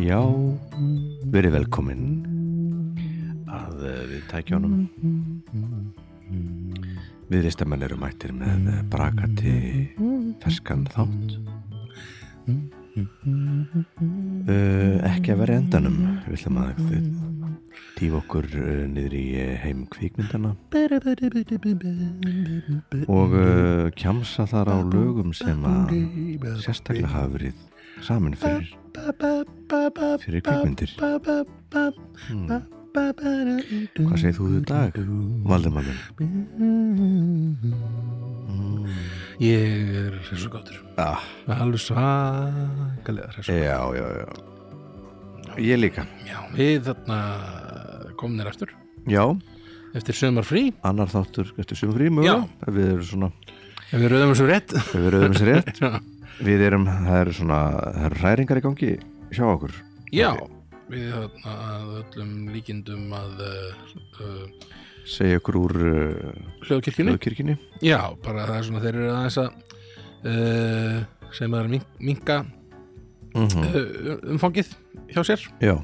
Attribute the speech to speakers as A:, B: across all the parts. A: Já, verið velkomin að eh, við tækjónum Við reistamenn eru mættir með eh, brakandi ferskan þátt uh, Ekki að vera í endanum Við ætlum að tífa okkur uh, niður í eh, heim kvikmyndana og uh, kjamsa þar á lögum sem að sérstaklega hafa verið samin fyrir fyrir kvikmyndir hmm. Hvað segir þú í dag, Valdemar minn? Mm.
B: Ég er hressur gáttur
A: Ah,
B: Alveg svakalega hressur
A: já, já, já Ég líka
B: Já, við þarna komnir aftur
A: Já,
B: Eftir sömar frí
A: annar þáttur eftir sumfrí mögulega Við erum svona,
B: Ef við rauðum þessu rétt
A: við erum sér rétt
B: Já,
A: Við erum, það eru svona, það eru hræringar í gangi Sjá okkur
B: Já við þarna að öllum líkindum að uh, uh,
A: Segja okkur úr uh,
B: hljóðkirkjunni
A: Ljóðkirkjunni
B: Já, bara það er svona þeir eru aðeins að uh, sem það er minka
A: mm
B: uh, umfangið hjá sér
A: Já,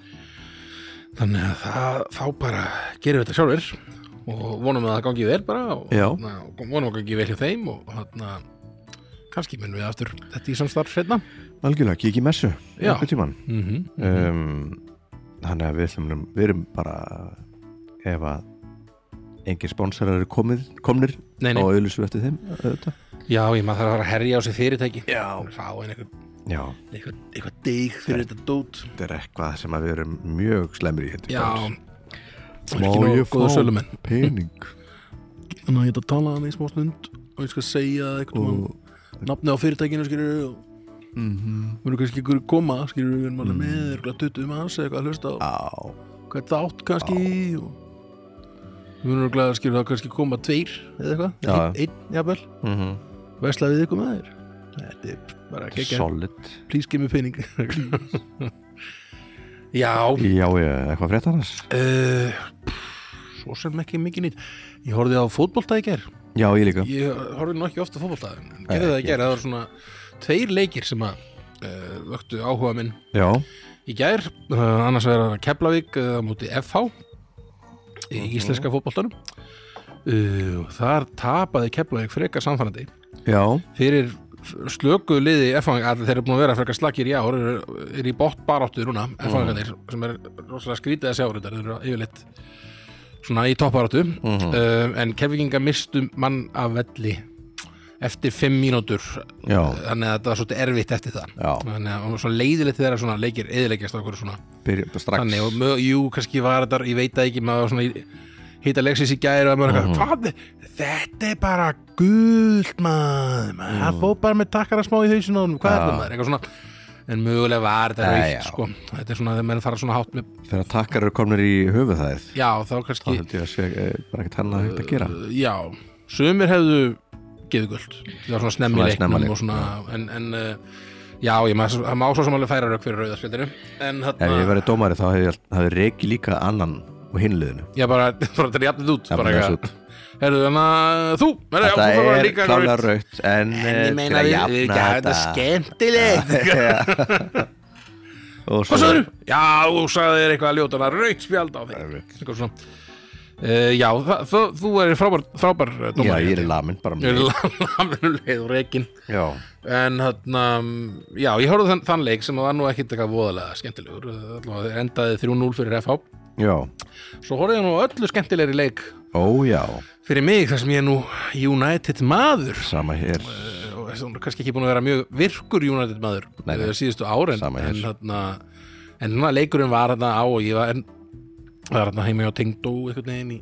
B: Þannig að það, þá bara gerum við þetta sjálfur og vonum að það gangi vel bara og
A: Já.
B: þarna, og vonum að gangi vel hjá þeim og þarna, kannski munum við aftur þetta í samstarf setna
A: algjörlega, kík í messu
B: Já.
A: einhvern tímann
B: mm -hmm.
A: um, Þannig að við, ætlum, við erum bara ef að engin sponsorar eru komið, komnir
B: Nei, nei,
A: og auðlýsum við eftir þeim auðvitað.
B: já, ég maður þarf að fara að herja á sér fyrirtæki
A: Já.
B: Fá einn eitthvað,
A: Já,
B: eitthvað, eitthvað dig fyrir þetta dót
A: þetta er eitthvað sem að við erum mjög slemri í hérna
B: Já,
A: Má
B: ekki nógu
A: ég
B: góður
A: fá
B: sölumenn.
A: pening
B: þannig að ég ætla að tala að það í smá stund og ég skal segja eitthvað
A: og
B: nafni á fyrirtækinu skilur og við erum kannski ykkur að koma skilur við erum alveg með eitthvað 20 manns eða eitthvað að hlusta á
A: á,
B: hvað þátt kannski og við munum glæða að skilja það kannski koma tveir eða eitthvað,
A: Já.
B: einn, einn jafnvel
A: mm -hmm.
B: Mhm. vesla við ykkur með þér þetta er bara geggja,
A: solid
B: please give me pening já
A: Já, ég, eitthvað frétt annars
B: uh, svo sem ekki mikið nýtt ég horfði á fótbolta í ger
A: Já, ég líka
B: ég horfði nú ekki ofta fótbolta en
A: Nei,
B: gerði það
A: ekki.
B: í ger, það var svona tveir leikir sem að uh, vöktu áhuga minn
A: Já,
B: í gær, uh, annars verður það Keflavík uh, á móti FH í íslenska fótboltanum uh, og þar tapaði Keflavík frekar samfærandi
A: já,
B: fyrir slökuðu liði FH allir þeir eru búin að vera frekar slakir í ár eru er í bótt baráttu núna FH-ingarnir sem er rosalega skrítið að sjá þetta þeir eru yfirleitt svona í topparáttu uh, en Keflavíkinga mistu mann af velli eftir fimm mínútur
A: Já.
B: þannig að það var svolítið erfitt eftir það
A: Já.
B: þannig að það var svo leiðilegt þegar svona leikir eðileggjast á okkur svona
A: byrja bara strax
B: Þannig, og mjög, jú, kannski var þetta, ég veit það ekki maður var svona í- hitta leksins í gæri og maður mm
A: Mhm.
B: hvað, þetta er bara gult maður maður
A: Mhm.
B: mm. fór bara með takkara smá í hausinu á honum, hvað er
A: Ja.
B: þetta maður, eitthvað svona en mögulega var þetta
A: Ja,
B: raukt,
A: já.
B: sko þetta er svona þegar menn fara svona hátt með
A: Þegar takkar eru komnir í höfuð það
B: já, þá
A: þá
B: kannski,
A: held ég að sé eh, bara ekkert hann að hægt að gera
B: já, sumir hefðu gefið gult, það var svona snemmi
A: Svona
B: í
A: snemma leik,
B: leiknum og svona, en, en uh, já, ég maður, það má svo sem alveg færa rauk fyrir rauðarspjaldinu, en
A: Ef ég
B: þarna
A: verið dómari þá hefði ég- hefði reiki líka annan og hinliðinu
B: Já, bara, bara þetta er jafnilegt út
A: Já,
B: bara
A: bara
B: eitthvað. Herðu, þannig að þú Herðu, já,
A: Þetta
B: þú fór
A: er
B: líka
A: klálega
B: rautt.
A: raut En,
B: En
A: eh,
B: ég meina,
A: til
B: við
A: að
B: við ekki
A: jafna
B: hafa þetta skemmtilegt
A: Já. Og
B: Hvað sagður? Já, þú sagði þér eitthvað að ljóta hana raut spjald á þig Eitthvað svona uh, Já, það, þú, þú er frábær, frábær eh,
A: Já,
B: dómari
A: ég er lamin bara
B: Ég
A: með
B: er laminnuleið og reikin
A: Já,
B: En þarna, já, ég horfði þann, þann leik sem var nú ekkit eitthvað voðalega skemmtilegur Eh, Allavega endaði 3-0 fyrir FH
A: já,
B: Svo horfði ég nú á öllu skemmtilegri leik
A: ó já
B: fyrir mig þar sem ég er nú United maður
A: Sama hér
B: og þess að hún er kannski ekki búin að vera mjög virkur United maður
A: Nei, nei.
B: eh, síðustu árin
A: Sama
B: en
A: hér.
B: þarna en þarna leikurinn var þarna á og ég var, en, var þarna heima hjá Tengdó einhvern veginn í,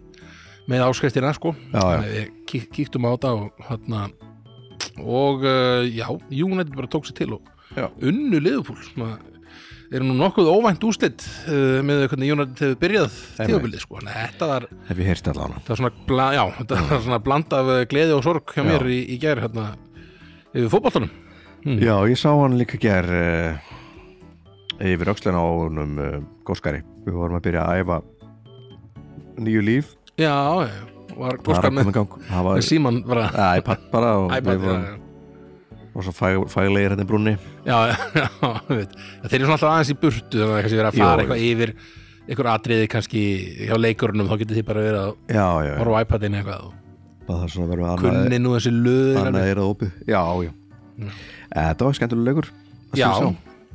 B: með áskriftina sko
A: Já, já.
B: Þannig að við kík, kíktum á þetta og þarna og uh, já, United bara tók sér til og
A: Já.
B: unnu liðupúl er nú nokkuð óvænt úslit uh, með hvernig United hefur byrjað
A: Einmitt.
B: tíðabilið sko, en þetta var
A: Hef ég heyrst allan
B: það var svona, bla, já, þetta var svona bland af eh, gleði og sorg hjá
A: Já.
B: mér í, í gær hérna, yfir fótboltanum Mm.
A: Já, ég sá hann líka ger uh, Yfir öxlina á honum uh, Góskari Við vorum að byrja að æfa Nýju líf
B: já, já, var
A: Það var
B: góskar
A: að
B: með,
A: koma í gang Það
B: með
A: var
B: síman var að
A: iPad bara og
B: æpa
A: við vorum
B: já,
A: og svo fag, faglegir hérna í brúnni
B: já, já, við veit þeir eru svona alltaf aðeins í burtu þannig að kannski vera að fara
A: Jú,
B: eitthvað yfir einhver atriði kannski hjá leikurinnum þá getur þið bara verið að
A: já, já, já.
B: horfa á iPadin eitthvað og
A: það er svona verður annað
B: kunni hérna? nú þessi lög alveg.
A: annað er að opið já, já, Eh, þetta var skemmtilega leikur að
B: já,
A: sjá.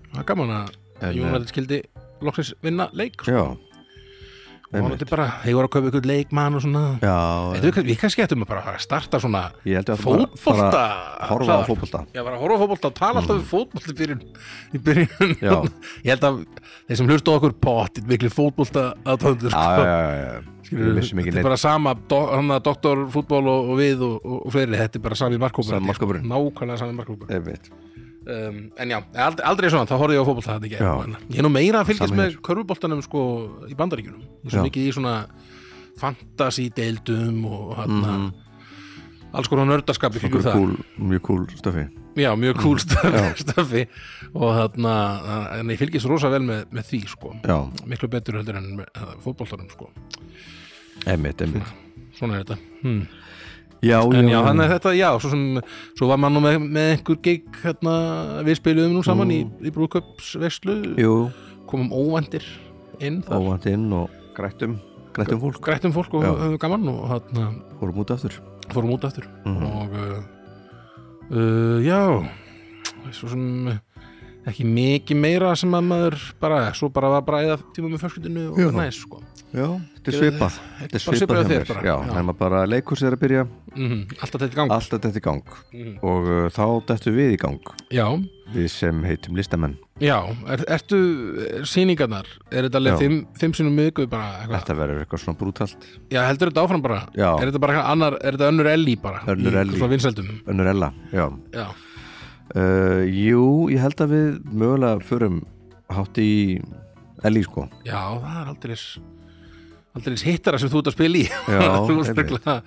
B: það er gaman að
A: En,
B: Jónaldur skildi loksins vinna leik
A: já,
B: og hann er bara, þeir voru að kaupa ykkur leikmann og svona
A: já
B: Þetta við, við kannski ættum að bara fara að starta svona
A: Ég held að bara-
B: fótbolta
A: bara horfa á
B: hlaðvarp.
A: fótbolta.
B: Já, bara horfa á fótbolta og tala alltaf um fótbolta í byrjun, í byrjun.
A: Já.
B: Ég held að þeir sem hlustu á okkur pottit miklu fótbolta aðtöndur
A: já, já, já, já, við missum ekki
B: sko. Þetta er
A: neitt
B: bara sama do, hann að doktorfútból og, og við og, og, og fleiri, þetta er bara sami markkópur
A: Sami markhópurinn.
B: Nákvæmlega sami markkópur
A: Einmitt.
B: um, En já, aldrei, aldrei svona, þá horfði ég á fótbolta þetta
A: Já.
B: ekki Ég er nú meira að fylgjast
A: Sami
B: með körfuboltanum sko í bandaríkjunum Ég er
A: Já.
B: svo mikið í svona fantasy-deildum og hann
A: Mhm.
B: alls konar nördaskap í kringum
A: Einhverju
B: það
A: kúl- mjög kúl stöfi
B: já, mjög cool
A: Mhm.
B: stöfi, stöfi. og þarna, en ég fylgist rosa vel með, með því sko
A: já,
B: miklu betur heldur en fótboltanum sko
A: einmitt, einmitt
B: svona er þetta hmm.
A: já,
B: en já, þannig að þetta, já, svo sem svo var mann nú með, með einhver gig hérna, við spiluðum nú saman
A: Mm.
B: í, í brúðköpsveslu,
A: jú,
B: komum óvandir inn þar,
A: óvænt inn og grættum grættum fólk,
B: grættum fólk og
A: Já.
B: höfum gaman og þarna,
A: vorum út aftur
B: fórum út aftur
A: Mhm.
B: og uh, uh, já svo sem eh, ekki mikið meira sem að maður bara, svo bara var bara eða tíma með fjölskyldinu og
A: Já.
B: næs sko
A: já, þetta er
B: Gerðu
A: svipað þetta er
B: bara svipað
A: svipað
B: hjá
A: hjá
B: þér
A: mér
B: bara.
A: já,
B: Já.
A: þannig að bara leikur sér að byrja
B: mm alltaf þetta í gang
A: alltaf þetta í gang
B: Mhm.
A: og uh, þá dættu við í gang
B: já,
A: við sem heitum listamenn
B: já, er, ertu er, sýningarnar, er þetta alveg
A: Já.
B: fimm, fimm sinum miðguð bara eitthvað,
A: þetta verður eitthvað svona brútalt
B: já heldur þetta áfram bara
A: Já.
B: er þetta bara eitthvað annar, er þetta önnur elli bara
A: Önnur
B: í
A: Ellý.
B: svona vinseldum
A: önnur ella, já
B: já,
A: uh, jú, ég held að við mögulega förum hátt í Elí sko
B: já, það er aldrei aldrei hittara sem þú ert að spila í
A: Já,
B: Þú ert
A: einmitt.
B: örugglega-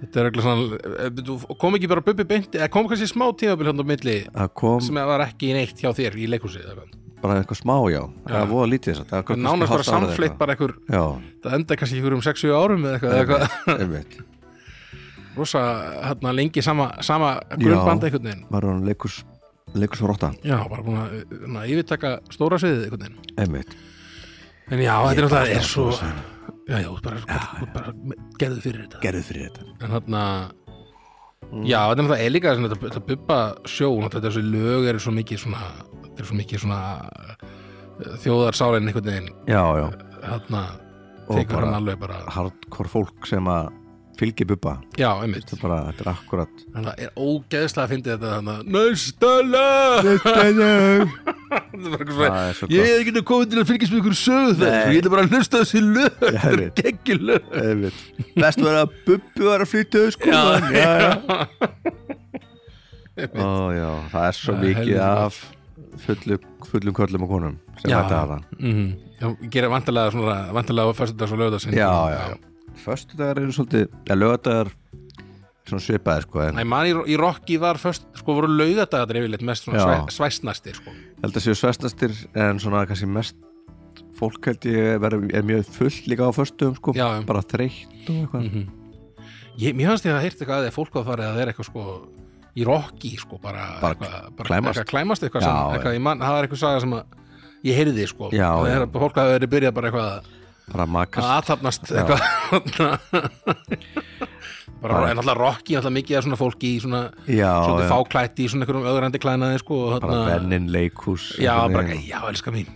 B: þetta er eitthvað svona eh, þú- kom ekki bara bubbi beinti, eða kom kannski smá tímabil hann á milli
A: það kom
B: sem var ekki neitt hjá þér í leikhúsi eða eitthvað.
A: bara eitthvað smá, já það var voða lítið þess að það var kannski
B: nánast bara
A: hálft ár eða
B: samfleitt
A: eitthvað.
B: bara einhver,
A: já,
B: það enda kannski einhver um 6-7 árum eða eitthvað, eða eitthvað
A: einmitt
B: rosa hérna lengi sama, sama grunnbanda einhvern veginn
A: maður var hann leikurs leikurs og rotta,
B: já, bara búin að hérna, yfirtaka stóra sviðið einhvern veginn
A: einmitt
B: en já, þetta er náttúrulega er svo
A: sko.
B: já, já, þú ert bara, já, já. bara gerðu fyrir þetta
A: gerðu fyrir þetta
B: en þarna já, þetta er náttúrulega er líka svona, þetta, þetta bubba sjó þetta er svo lög er svo mikið svona þetta er svo mikið svona eh, þjóðarsálinn einhvern veginn
A: já, já,
B: þarna
A: Og
B: tekur
A: bara-
B: hann alveg bara
A: hardcore fólk sem að fylgi bubba
B: já, einmitt
A: þetta er bara, þetta er akkurat
B: þannig að er ógeðslega að fyndi þetta þannig að næstala
A: það er svo
B: ég
A: gott
B: hef ekki komið til að fylgjast með ykkur sögð þess og ég ætla bara að hlusta á þessi lög þetta er
A: einmitt.
B: geggjur lög
A: einmitt. best var að bubbi var að flytja þau sko
B: Já,
A: já, já. Ó, já, það er
B: Það
A: svo
B: er
A: mikið
B: helviti
A: af fullu, fullum köllum og konum sem
B: Já.
A: þetta hafa
B: Mhm. Já, ég gerir vantilega svona vantilega á fyrstudags og lögðarsinn
A: já, já, já, föstudagar eru svolítið eða lögadagar svona svipaði sko en
B: Nei, mann í, í Rokki var först, sko voru laugadagar yfirleitt mest svona
A: Já.
B: svæ, svæsnastir sko.
A: held að séu svestastir en svona kannski mest fólk held ég vera, er mjög fullt líka á föstum sko,
B: Já, Mhm. já.
A: bara þreytt og eitthvað
B: ég, Mér fannst ég að heyrta eitthvað að þegar fólk var farið að það er eitthvað sko í Rokki sko bara,
A: Bara
B: eitthvað,
A: klæmast.
B: eitthvað, klæmast eitthvað, sem,
A: Já,
B: eitthvað ég man, það var eitthvað saga sem að ég heyrði sko
A: Já,
B: Það
A: já.
B: er að fólk hafa verið byrjað bara eitthvað að-
A: bara
B: að
A: makast
B: aðtapnast eitthvað bara en alltaf Rokki alltaf mikið af svona fólki í svona
A: já,
B: svona
A: já,
B: fáklætti í svona einhverjum öðrandi klænaði sko og
A: bara
B: þarna-
A: vennin leikhús
B: Já,
A: einhvern
B: bara,
A: veginn.
B: já, elska mín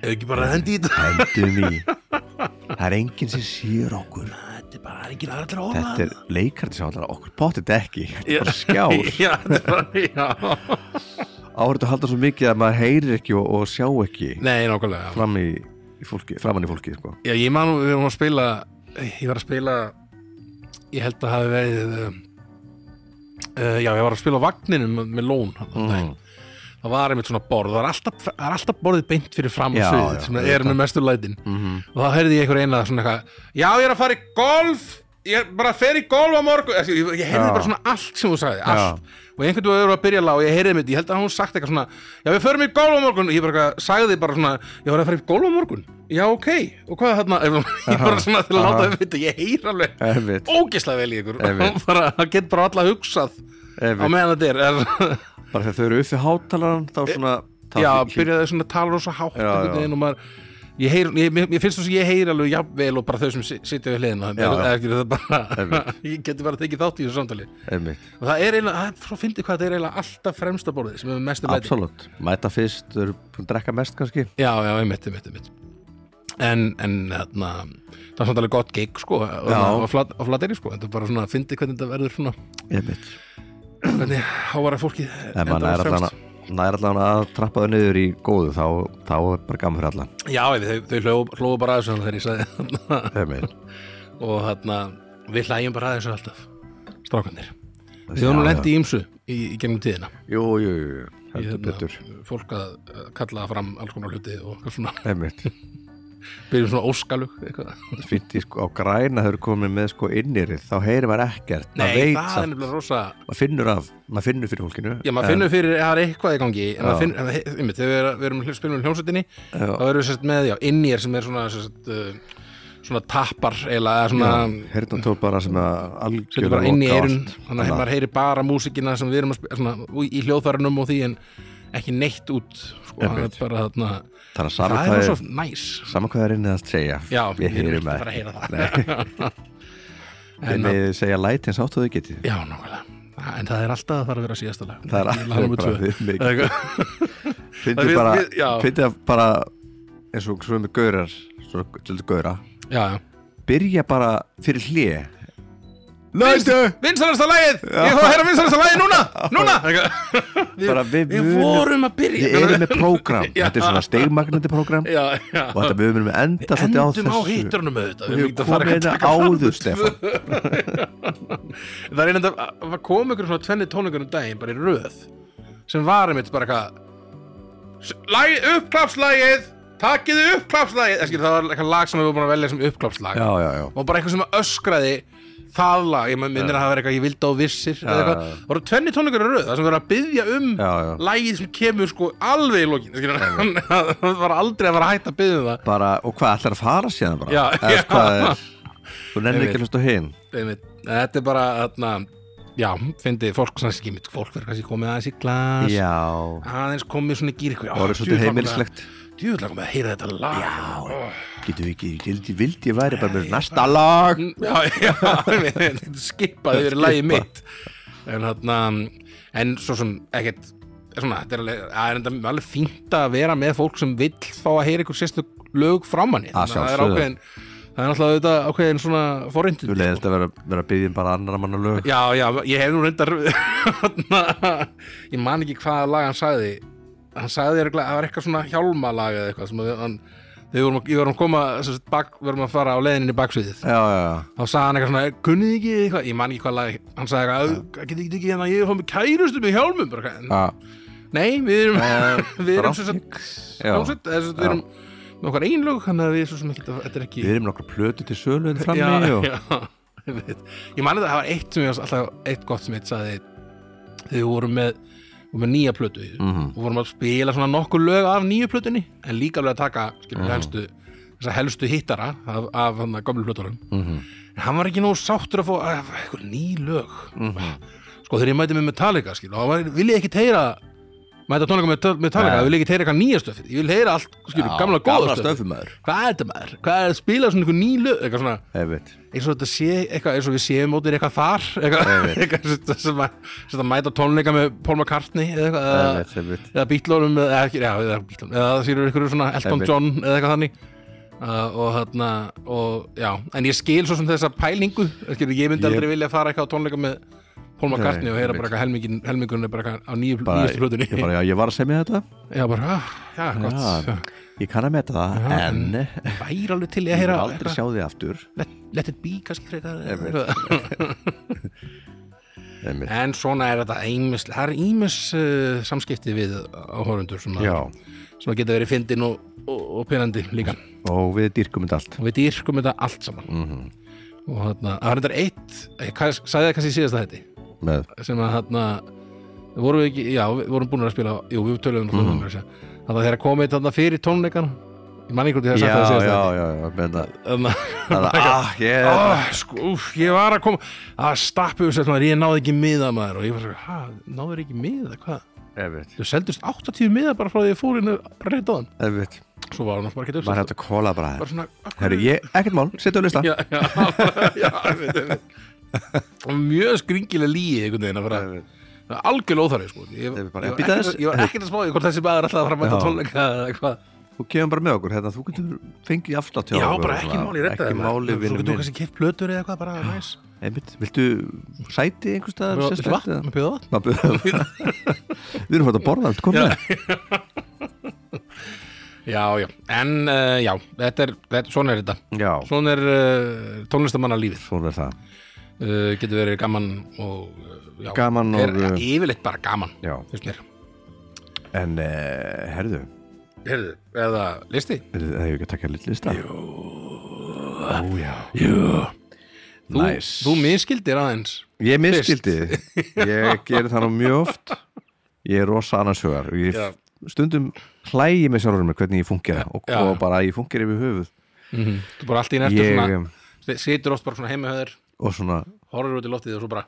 B: Ef ekki bara hendi í þetta
A: hendum í það er enginn sem sér okkur
B: Þetta er bara ekki aðra orða
A: þetta er leikart sem allar okkur potið ekki þetta er bara skjár
B: Já, þetta er bara, já
A: áhverju að halda svo mikið að maður heyrir ekki og, og sjá ekki
B: Nei, nákvæmlega
A: fram í, í fólki, framan í fólki sko.
B: Já, ég man, við erum að spila Ég var að spila Ég held að hafi verið uh, uh, Já, ég var að spila á vagninum með- með lón mm. Það var einmitt svona borð Það er alltaf, það er alltaf borðið beint fyrir fram
A: Já, já,
B: sviðið sem er með mestu lætin
A: Mhm.
B: og þá heyrði ég einhver eina svona eitthvað Já, ég er að fara í golf Ég er bara að fer í golf á morgun Ég, ég ég heyrði
A: Já.
B: bara svona allt sem hún sagði allt. Og einhvern veginn var að byrja lág og ég heyrði mitt Ég held að hún sagt eitthvað svona Já, við förum í golf á morgun Og ég bara eitthvað, sagði bara svona Ég var að fara í golf á morgun Já, ok Og hvað er þarna? Ég bara svona til að láta
A: aha.
B: þau vita Ég heyr alveg
A: Einmitt,
B: ógeðslega vel í ykkur
A: Einmitt.
B: Bara- Það get bara alla hugsað
A: einmitt.
B: Á meðan þetta er- er
A: bara þegar þau eru upp við hátalaran þá svona þá
B: já,
A: hlý-
B: byrjaði svona að tala rosa hátt
A: Já,
B: einhvern
A: já.
B: veginn og maður ég, heyr, ég, mér, mér finnst þess að ég heyri alveg jafnvel og bara þau sem sit- sitja við hliðina
A: Já, já.
B: eða ekki það bara
A: Einmitt.
B: ég geti bara tekið þátt í þessu samtali
A: einmitt,
B: og það er eiginlega, það er frá fyndi hvað það er eiginlega alltaf fremsta borðið sem er mestu bæti
A: absolutt mæta fyrst, þau eru búin að drekka mest kannski
B: já, já, einmitt, einmitt, einmitt en, en þarna það er samt alveg gott gig sko og,
A: Já.
B: og, flat, og flateri sko, þetta er bara svona fyndi hvernig þetta verður svona,
A: einmitt,
B: hvernig hávara fólkið
A: ef maður
B: endar
A: nær
B: fremst.
A: allan að- nær allan að trappa þau niður í góðu þá, þá er bara gaman fyrir allan
B: já, ég- þau, þau hlóðu- hlóðu bara að þessu þarna þegar ég sagði þarna
A: einmitt
B: og þarna við hlægjum bara aðeins alltaf strákanir við
A: Já,
B: höfum nú
A: já.
B: lendi í ímsu í, í gengum tíðina
A: jú, jú, jú, jú,
B: Í
A: heldur
B: hérna,
A: betur
B: fólk að að kalla fram alls konar hluti og eitthvað svona,
A: einmitt,
B: byrjum svona óskalug eitthvað.
A: fínt í sko á græna þau eru komin með sko innirið þá heyrir maður ekkert
B: nei,
A: maður veit
B: það er
A: samt,
B: nefnilega rosa
A: maður finnur af maður finnur fyrir fólkinu
B: já, maður finnur fyrir að það er eitthvað í gangi en
A: Já.
B: maður finnur, en það- einmitt, þegar við erum- við erum að spilum með hljómsveitinni
A: Já.
B: þá erum við sérst með, já, innýr sem er svona sérst, uh, svona tappar eða svona,
A: hérna tóð bara sem að
B: setur
A: algjörða
B: bara inn í eirun þannig að maður heyri bara músikina sem við erum að spila svona, í- í hljóðfærunum og því en ekki neitt út sko, það er
A: Einmitt.
B: bara þarna
A: það er
B: það
A: saman
B: er
A: hvað
B: svo
A: er
B: næs
A: saman hvað er innið að segja
B: já,
A: ég heyri
B: ekki
A: með
B: bara að heyra það en, uh,
A: en ég segja lætin sátt og þau geti
B: já, nákvæmlega en það er alltaf að það er að vera síðasta lag
A: það er
B: Lag
A: alltaf
B: númer
A: bara
B: tvö.
A: við mig
B: Eða eitthvað.
A: finnir
B: við-
A: bara
B: við- já.
A: finnir það bara eins og svo með gaurar svo svolítið gaura
B: já, já
A: byrja bara fyrir hlje lætu
B: Vinsalasta lagið, ég fór að heyra vinsalasta lagið núna Núna Eitthvað. Við-
A: Bara við
B: Við
A: munum-
B: vorum að byrja
A: við erum með prógram
B: Já.
A: þetta er svona stegmagnandi prógram
B: Já, já
A: og þetta við munum enda svolítið á þessu
B: Endum á hittunum auðvitað
A: við
B: erum ekki að fara eitthvað
A: komum hérna
B: að taka fram
A: áður,
B: úr
A: Stefán.
B: tvö. Það er einhvern veginn að koma ykkur svona tvenni tónleikur um daginn bara í röð sem var einmitt bara eitthvað S- Lagið, uppklapslægið Takið uppklapslægið Það skil, það var eitthvað lag sem við vorum búin að velja sem uppklapslag
A: já, já, já
B: og bara eitthvað sem öskraði það lag, ég minnir að það var eitthvað ég vildi á vissir eða
A: Já,
B: eitthvað,
A: já, já.
B: það voru tvenni tónleikur í röð það sem verður að byggja um
A: Já, já.
B: lagið sem kemur sko alveg í lokin skilur. það var aldrei að vera hægt að byggja um það
A: bara, og hvað ætlar að fara síðan bara
B: Já,
A: Eða
B: já.
A: hvað er, þú nennir
B: Ég
A: ekki að hlusta á hinn
B: Einmitt. Þetta er bara, þarna, já, fyndi fólk, kannski ekki mitt fólk verður kannski komið aðeins í glas,
A: já,
B: aðeins komið svona í gýr ykkur.
A: það er svolítið heimilislegt
B: Djúðlega komið að heyra þetta lag. Ah, Já.
A: getur við ekki, vildi, vildi ég væri bara með næsta lag
B: Já, já, einmitt, skipaði verið lagið mitt. En þarna, en svo sem ekkert, svona, þetta er alveg, það er enda alveg fínt að vera með fólk sem vill fá að heyra ykkur sérstu lög frá manni. Þannig að það er
A: Að sjálfsögðu.
B: ákveðin, það er alltaf auðvitað ákveðin svona forindin.
A: þú leiðist að vera, vera að byggja um bara annar manna lög
B: Já, já, ég hef nú reyndar þarna- ég man ekki hvaða lag hann sagði hann sagði örugglega- það var eitthvað svona hjálmalag eða eitthvað sem að hann, þegar við vorum, ég vorum að koma sem sagt, bak, við vorum að fara á leiðinni í baksviðið
A: já, já, já,
B: þá sagði hann eitthvað svona, kunnið þið ekki eitthvað ég man ekki hvað lag, hann sagði eitthvað getið þið ekki hérna, ég er fór með kærustu með hjálmum bara, eitthvað.
A: já.
B: nei, við erum
A: Eh,
B: við erum
A: rangt
B: sem sagt
A: Já.
B: hljómsveit, eða sem sagt, við erum með okkar einlög, þannig að við svo sem ekki þetta er ekki
A: við erum nokkur plötu til sölu en
B: já,
A: frammi og
B: já, ég veit. Ég man að það var eitt sem ég var alltaf eitt gott sem eitt sagði þegar við vorum með, vorum með nýja plötu
A: Mhm,
B: og vorum að spila svona nokkur lög af nýju plötunni en líka alveg að taka skilur, helstu, þessa helstu hittara af, af hann gamlu plötunum
A: Mhm.
B: en hann var ekki nóg sáttur að fá að, eitthvað ný lög
A: mhm.
B: sko þegar ég mæti mig með Metallica skilur, og hann var, vil ég ekki teyra mæta tónleika með Metallica,
A: Nei.
B: vil ég ekki teyra eitthvað nýja stöfið ég vil heyra allt, skilur, gamla góða stöfið
A: stöfumöður
B: hvað er þetta maður, hvað er að spila svona einhver ný lög, eitthvað svona
A: einmitt,
B: eins og þetta sé eitthvað, eins og við séum mótir eitthvað þar eitthvað,
A: Einmitt.
B: eitthvað sem- sem, að, sem að mæta tónleika með Paul McCartney eða
A: Eh,
B: eitthvað eða-
A: einmitt, einmitt
B: eða bítlónum eða, ekki- já, eða, bítlónum, eða það sýrur ykkur svona Elton
A: Einmitt.
B: John eða eitthvað þannig uh, og þarna og, já, en ég skil svo sem þessa pælingu skil, ég myndi
A: Ég-
B: aldrei vilja fara eitthvað á tónleika með Paul McCartney
A: Nei,
B: og heyra bara
A: einmitt.
B: eitthvað helmingin, helmingurinn er bara eitthvað á nýju,
A: bara,
B: nýjastu hlutunni
A: ég, bara, já, ég var að segja þetta
B: já, bara, ah, já, gott
A: já,
B: já.
A: ég kann að meta það
B: Já,
A: en
B: en-
A: ég
B: væri alveg til í að
A: vil
B: heyra
A: aldrei sjá því aftur
B: let, let it be kannski frekar eða
A: Einmitt.
B: eitthvað.
A: einmitt,
B: En svona er þetta ímis, það er ímis uh, samskipti við áhörundur sem,
A: já,
B: að- sem að geta verið fyndin og, og, og penandi líka.
A: og við dýrkum þetta allt
B: Og við dýrkum þetta allt saman.
A: mhm,
B: Og þarna, það er þetta eitt, ég kann- sagði það kannski síðast að þetta,
A: með,
B: sem að þarna, vorum við ekki, já, við vorum búin að spila, jú, við töluðum
A: Mhm.
B: mm -hmm. þannig að þeirra komið þarna fyrir tónleikan, ég man ekki hvort ég hef
A: já,
B: sagt það
A: já,
B: síðast að þetta.
A: já, já með það
B: Þannig
A: Það er ah, ég er
B: Ah, sko, úf, ég var að koma að stappu þess að ég náði ekki miða maður og ég var svo, hæ, náður ekki miða, hvað?
A: Efitt,
B: Þau seldust 80 miða bara frá því ég fór inn rétt á þann
A: efitt
B: Svo var hann alltaf bara ekki
A: Var hægt að kóla bara
B: Bara
A: þér
B: svona af hverju-
A: Herru, ég, ekkert mál, setja á lista
B: Já, já, já einmitt, einmitt. Og Mjög skringilega líi einhvern veginn að fara
A: Einmitt.
B: Það er algjörlega óþarfi sko Ég,
A: Nei,
B: ég,
A: við
B: var
A: bara, bíddu
B: ekkert
A: aðeins.
B: að- ég var ekkert að spá í hvort þessi maður er alltaf að fara að mæta
A: Já.
B: tónleika eða eitthvað
A: Þú kemur bara með okkur, hérna, þú getur fengið afslátt hjá
B: Já,
A: okkur
B: bara
A: og
B: ekki
A: svona.
B: máli redda
A: Ekki máli,
B: Svo
A: vinnur
B: getur þú
A: minn
B: kannski kipt plötur eða eitthvað bara næs
A: Einmitt, viltu sæti einhvers staðar
B: Viltu
A: sérstakt
B: vatn?
A: eða?
B: Má bjóða vatn?
A: Má bjóða Við erum fætt að borða allt, kom
B: Já.
A: með
B: Já, já, en uh, já, þetta er, þetta, svona er þetta
A: Já,
B: Svona er uh, tónlistamanna lífið
A: svona er það
B: uh, Getur verið gaman og uh, já,
A: Gaman og- eh,
B: er, ja, Yfirleitt bara gaman,
A: Já,
B: finnst mér
A: en eh, herðu,
B: Heyrðu, eða listi
A: er það ekki að taka litt lista? Jú Ó, já
B: Jú Þú,
A: Næs.
B: þú miskildir aðeins
A: Ég miskildi, ég geri það nú mjög oft Ég er rosa annarshugar og ég
B: Já.
A: stundum hlægi með sjálfur mér hvernig ég fungera og,
B: Já.
A: og bara að ég fungera yfir höfuð
B: Þú bara allt í næstu
A: Hmm. Ég um,
B: svona
A: em,
B: Situr oft bara svona heima höður
A: og svona
B: Horfur út í loftið og svo bara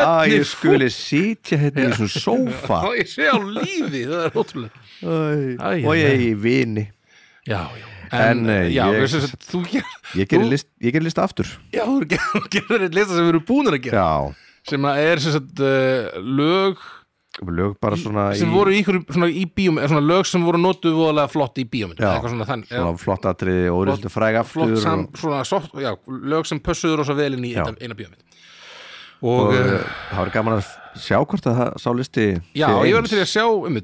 A: að ég skuli sitja hérna í svona sófa
B: Þá ég sé á lífi, það er ótrúlega Æ,
A: Æ, og ég er í vini
B: Já, já
A: En, eh,
B: já,
A: ég-
B: ég, sem, þú, ger,
A: Ég gerir
B: Þú-
A: list, ég geri list aftur
B: já, þú ger- gerir eitt lista sem við erum búinir að gera
A: Já,
B: sem að er sem sagt uh, lög
A: lög bara svona
B: sem
A: í
B: voru í ykkur svona í bíóm eða svona lög sem voru notuð voðalega flott í bíóm
A: Já.
B: eitthvað svona þann
A: svona flott atriði og rildu fræg aftur
B: flott
A: og,
B: sam, svona soft, já, lög sem pössuður og svo vel inn í
A: Já.
B: eina, eina bíómynd og,
A: og
B: og
A: eh, það var gaman að sjá hvort að það sá listi
B: Já,
A: sé
B: og ég verður
A: eins.
B: til að sjá um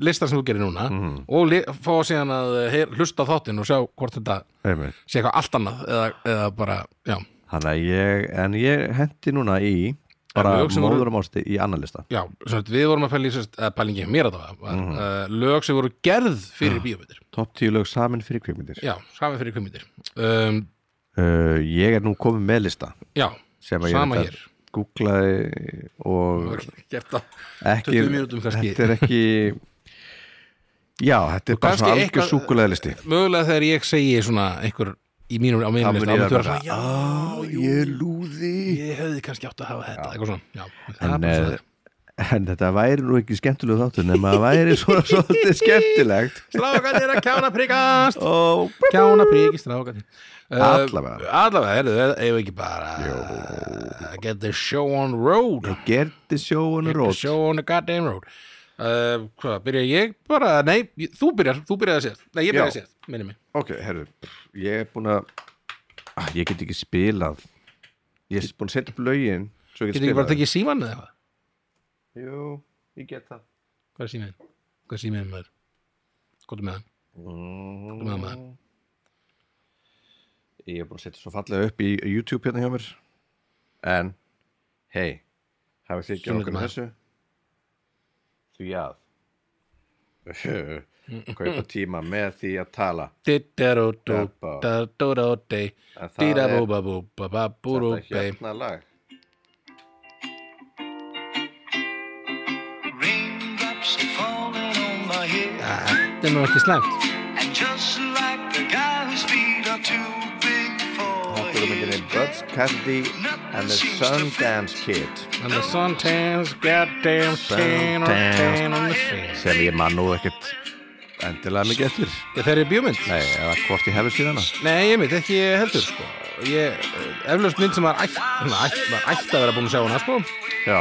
B: listar sem þú gerir núna
A: Mhm.
B: og li- fá síðan að eh, heyr, hlusta á þáttinn og sjá hvort þetta
A: Einmitt.
B: sé eitthvað allt annað eða, eða bara, já,
A: Þannig að ég, en ég hendi núna í bara
B: En lög sem voru-
A: móður og másti í annan lista
B: já sem sagt, við vorum að pæla í sérst, eða pælingi hjá mér að það var
A: Mhm.
B: mm. lög sem voru gerð fyrir mm. bíómyndir
A: Top 10 lög samin fyrir kvikmyndir
B: Já, saman fyrir kvimmyndir um,
A: uh, Ég er nú komin með lista
B: Já,
A: sem að
B: sama
A: ég
B: hér
A: googlaði og
B: Gert það
A: ekki
B: 20 mínútum kannski.
A: Þetta er ekki Já, þetta er bara
B: kannski
A: svona algjör
B: eitthvað-
A: súkulega listi
B: Mögulega þegar ég segi svona einhver í mínum, á mínum
A: Það
B: lista
A: mun ég
B: þá myndu
A: vera
B: vera
A: bara,
B: svona,
A: "Á,
B: já,
A: Ég er lúði
B: ég hefði kannski átt að hafa þetta eitthvað svona, já, það er
A: en,
B: bara
A: eh,
B: svona
A: en þetta væri nú ekki skemmtilega þáttur nema það væri svona svolítið skemmtilegt
B: Strákanir að kjána prikast
A: og
B: Kjána priki strákan
A: Allavega.
B: Allavega, heyrðu, ef ekki bara uh, Get the show on road
A: gerði sjóun
B: Get the
A: rót
B: show on the goddamn road uh, Hvað, byrja ég bara Nei, ég- þú byrjar, þú byrjaði að séð Nei, ég byrjaði að
A: Já.
B: séð, minni mig
A: Ok, herru, ég er búin að ah, Ég get ekki spilað Ég er búin að setja upp lögin Svo ég get
B: Getur ekki bara
A: spilað
B: að tekið síman eða eitthvað
A: þau. Jú, ég get það
B: Hvað er símaðin? Hvað er símaðin maður? Hvað er með hann?
A: mm.
B: með það, maður.
A: Ég er búin að setja svo fallega upp í YouTube hérna hjá mér En, hei Hafið þið ekki
B: Sunnudaginn
A: okkur með
B: maður.
A: þessu? Því að Kaupa tíma með því að tala
B: Dittarótó
A: Jabba.
B: Dittarótó
A: En það er þetta
B: Dýrabúbabúbabúrúbei
A: hérna lag
C: Raindrops are falling on my head.
B: Þetta er nú ekki slæmt
C: And just like the guy whose feet are too big for
A: Þetta er myndinni
C: his
A: Buds Cassidy and the Sundance Kid
B: And the suntans goddamn tan on
A: Suntans.
B: tan on the face
A: sem ég man nú ekkert endilega mikið eftir
B: Er þeirri bjómynd?
A: Nei, eða hvort ég hefur síðan hana
B: Nei, ég mynd, ekki heldur sko. Ég, eh, eflaust mynd sem maður ætt, svona, ætt, maður ætti að vera búin að sjá hana sko.
A: Já,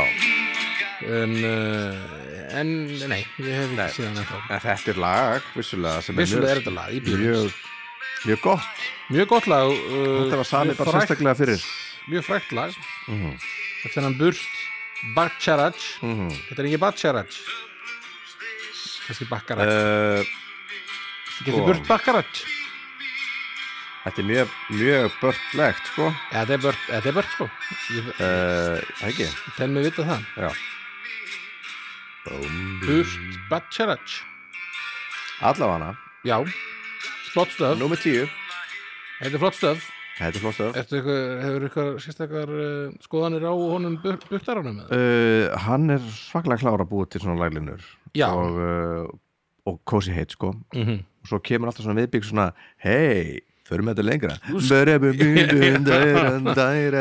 B: en, uh, en nei, ég hef ekki séð hana þá
A: en þetta er lag vissulega sem
B: Vissulega er
A: mjög,
B: þetta lag í bjómynd
A: mjög, mjög gott
B: Mjög gott lag uh,
A: Þetta var sami
B: mjög
A: bara
B: frægt-
A: sérstaklega fyrir
B: Mjög frækt lag mm -hmm. Eftir hann burt Bacharach Þetta er ekki Bacharach Þessi Bacharach uh,
A: uh,
B: Getur burt Bacharach
A: Þetta er mjög, mjög börnlegt sko uh,
B: Ja, Þetta er burt, þetta er burt sko Ég,
A: Eh, Ekki?
B: Tel mig vita það
A: Já
B: Burt Bacharach
A: Allafana,
B: Já, flott stöf
A: númer tíu
B: Þetta er flott stöf
A: Þetta er flott stöf
B: Ertu eitthvað, hefur eitthvað sérstakar uh, skoðanir á honum buktaranum eða?
A: uh, Hann er svaklega klára að búa til svona laglinur
B: Já.
A: og, uh, og kósi heitt sko
B: Mm -hmm.
A: og svo kemur alltaf svona viðbygg svona hei, förum þetta lengra Nú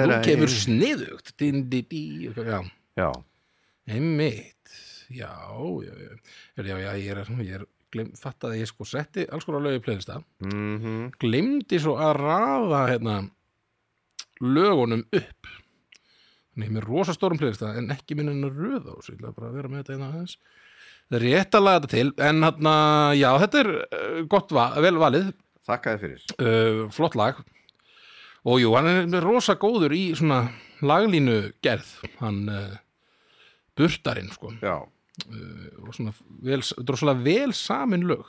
B: Nú kemur sniðugt Din, di, di, eitthvað, Já,
A: Já,
B: Einmitt, já, já, já, já, já, já ég er, ég er gleym, fatt að ég sko setti alls konar lög í playlista,
A: mm -hmm.
B: gleymdi svo að raða hérna lögunum upp. Þannig ég er með rosa stórum playlista en ekki minn en að röða og svo ég ætla bara að vera með þetta eina aðeins. Það er rétt að laga þetta til, en hérna, já, þetta er eh, gott, va vel valið,
A: Þakka þið fyrir
B: uh, flott lag og jú, hann er rosa góður í svona laglínu gerð hann uh, burtarinn sko
A: Já,
B: og svona vel, drossalega vel samin lög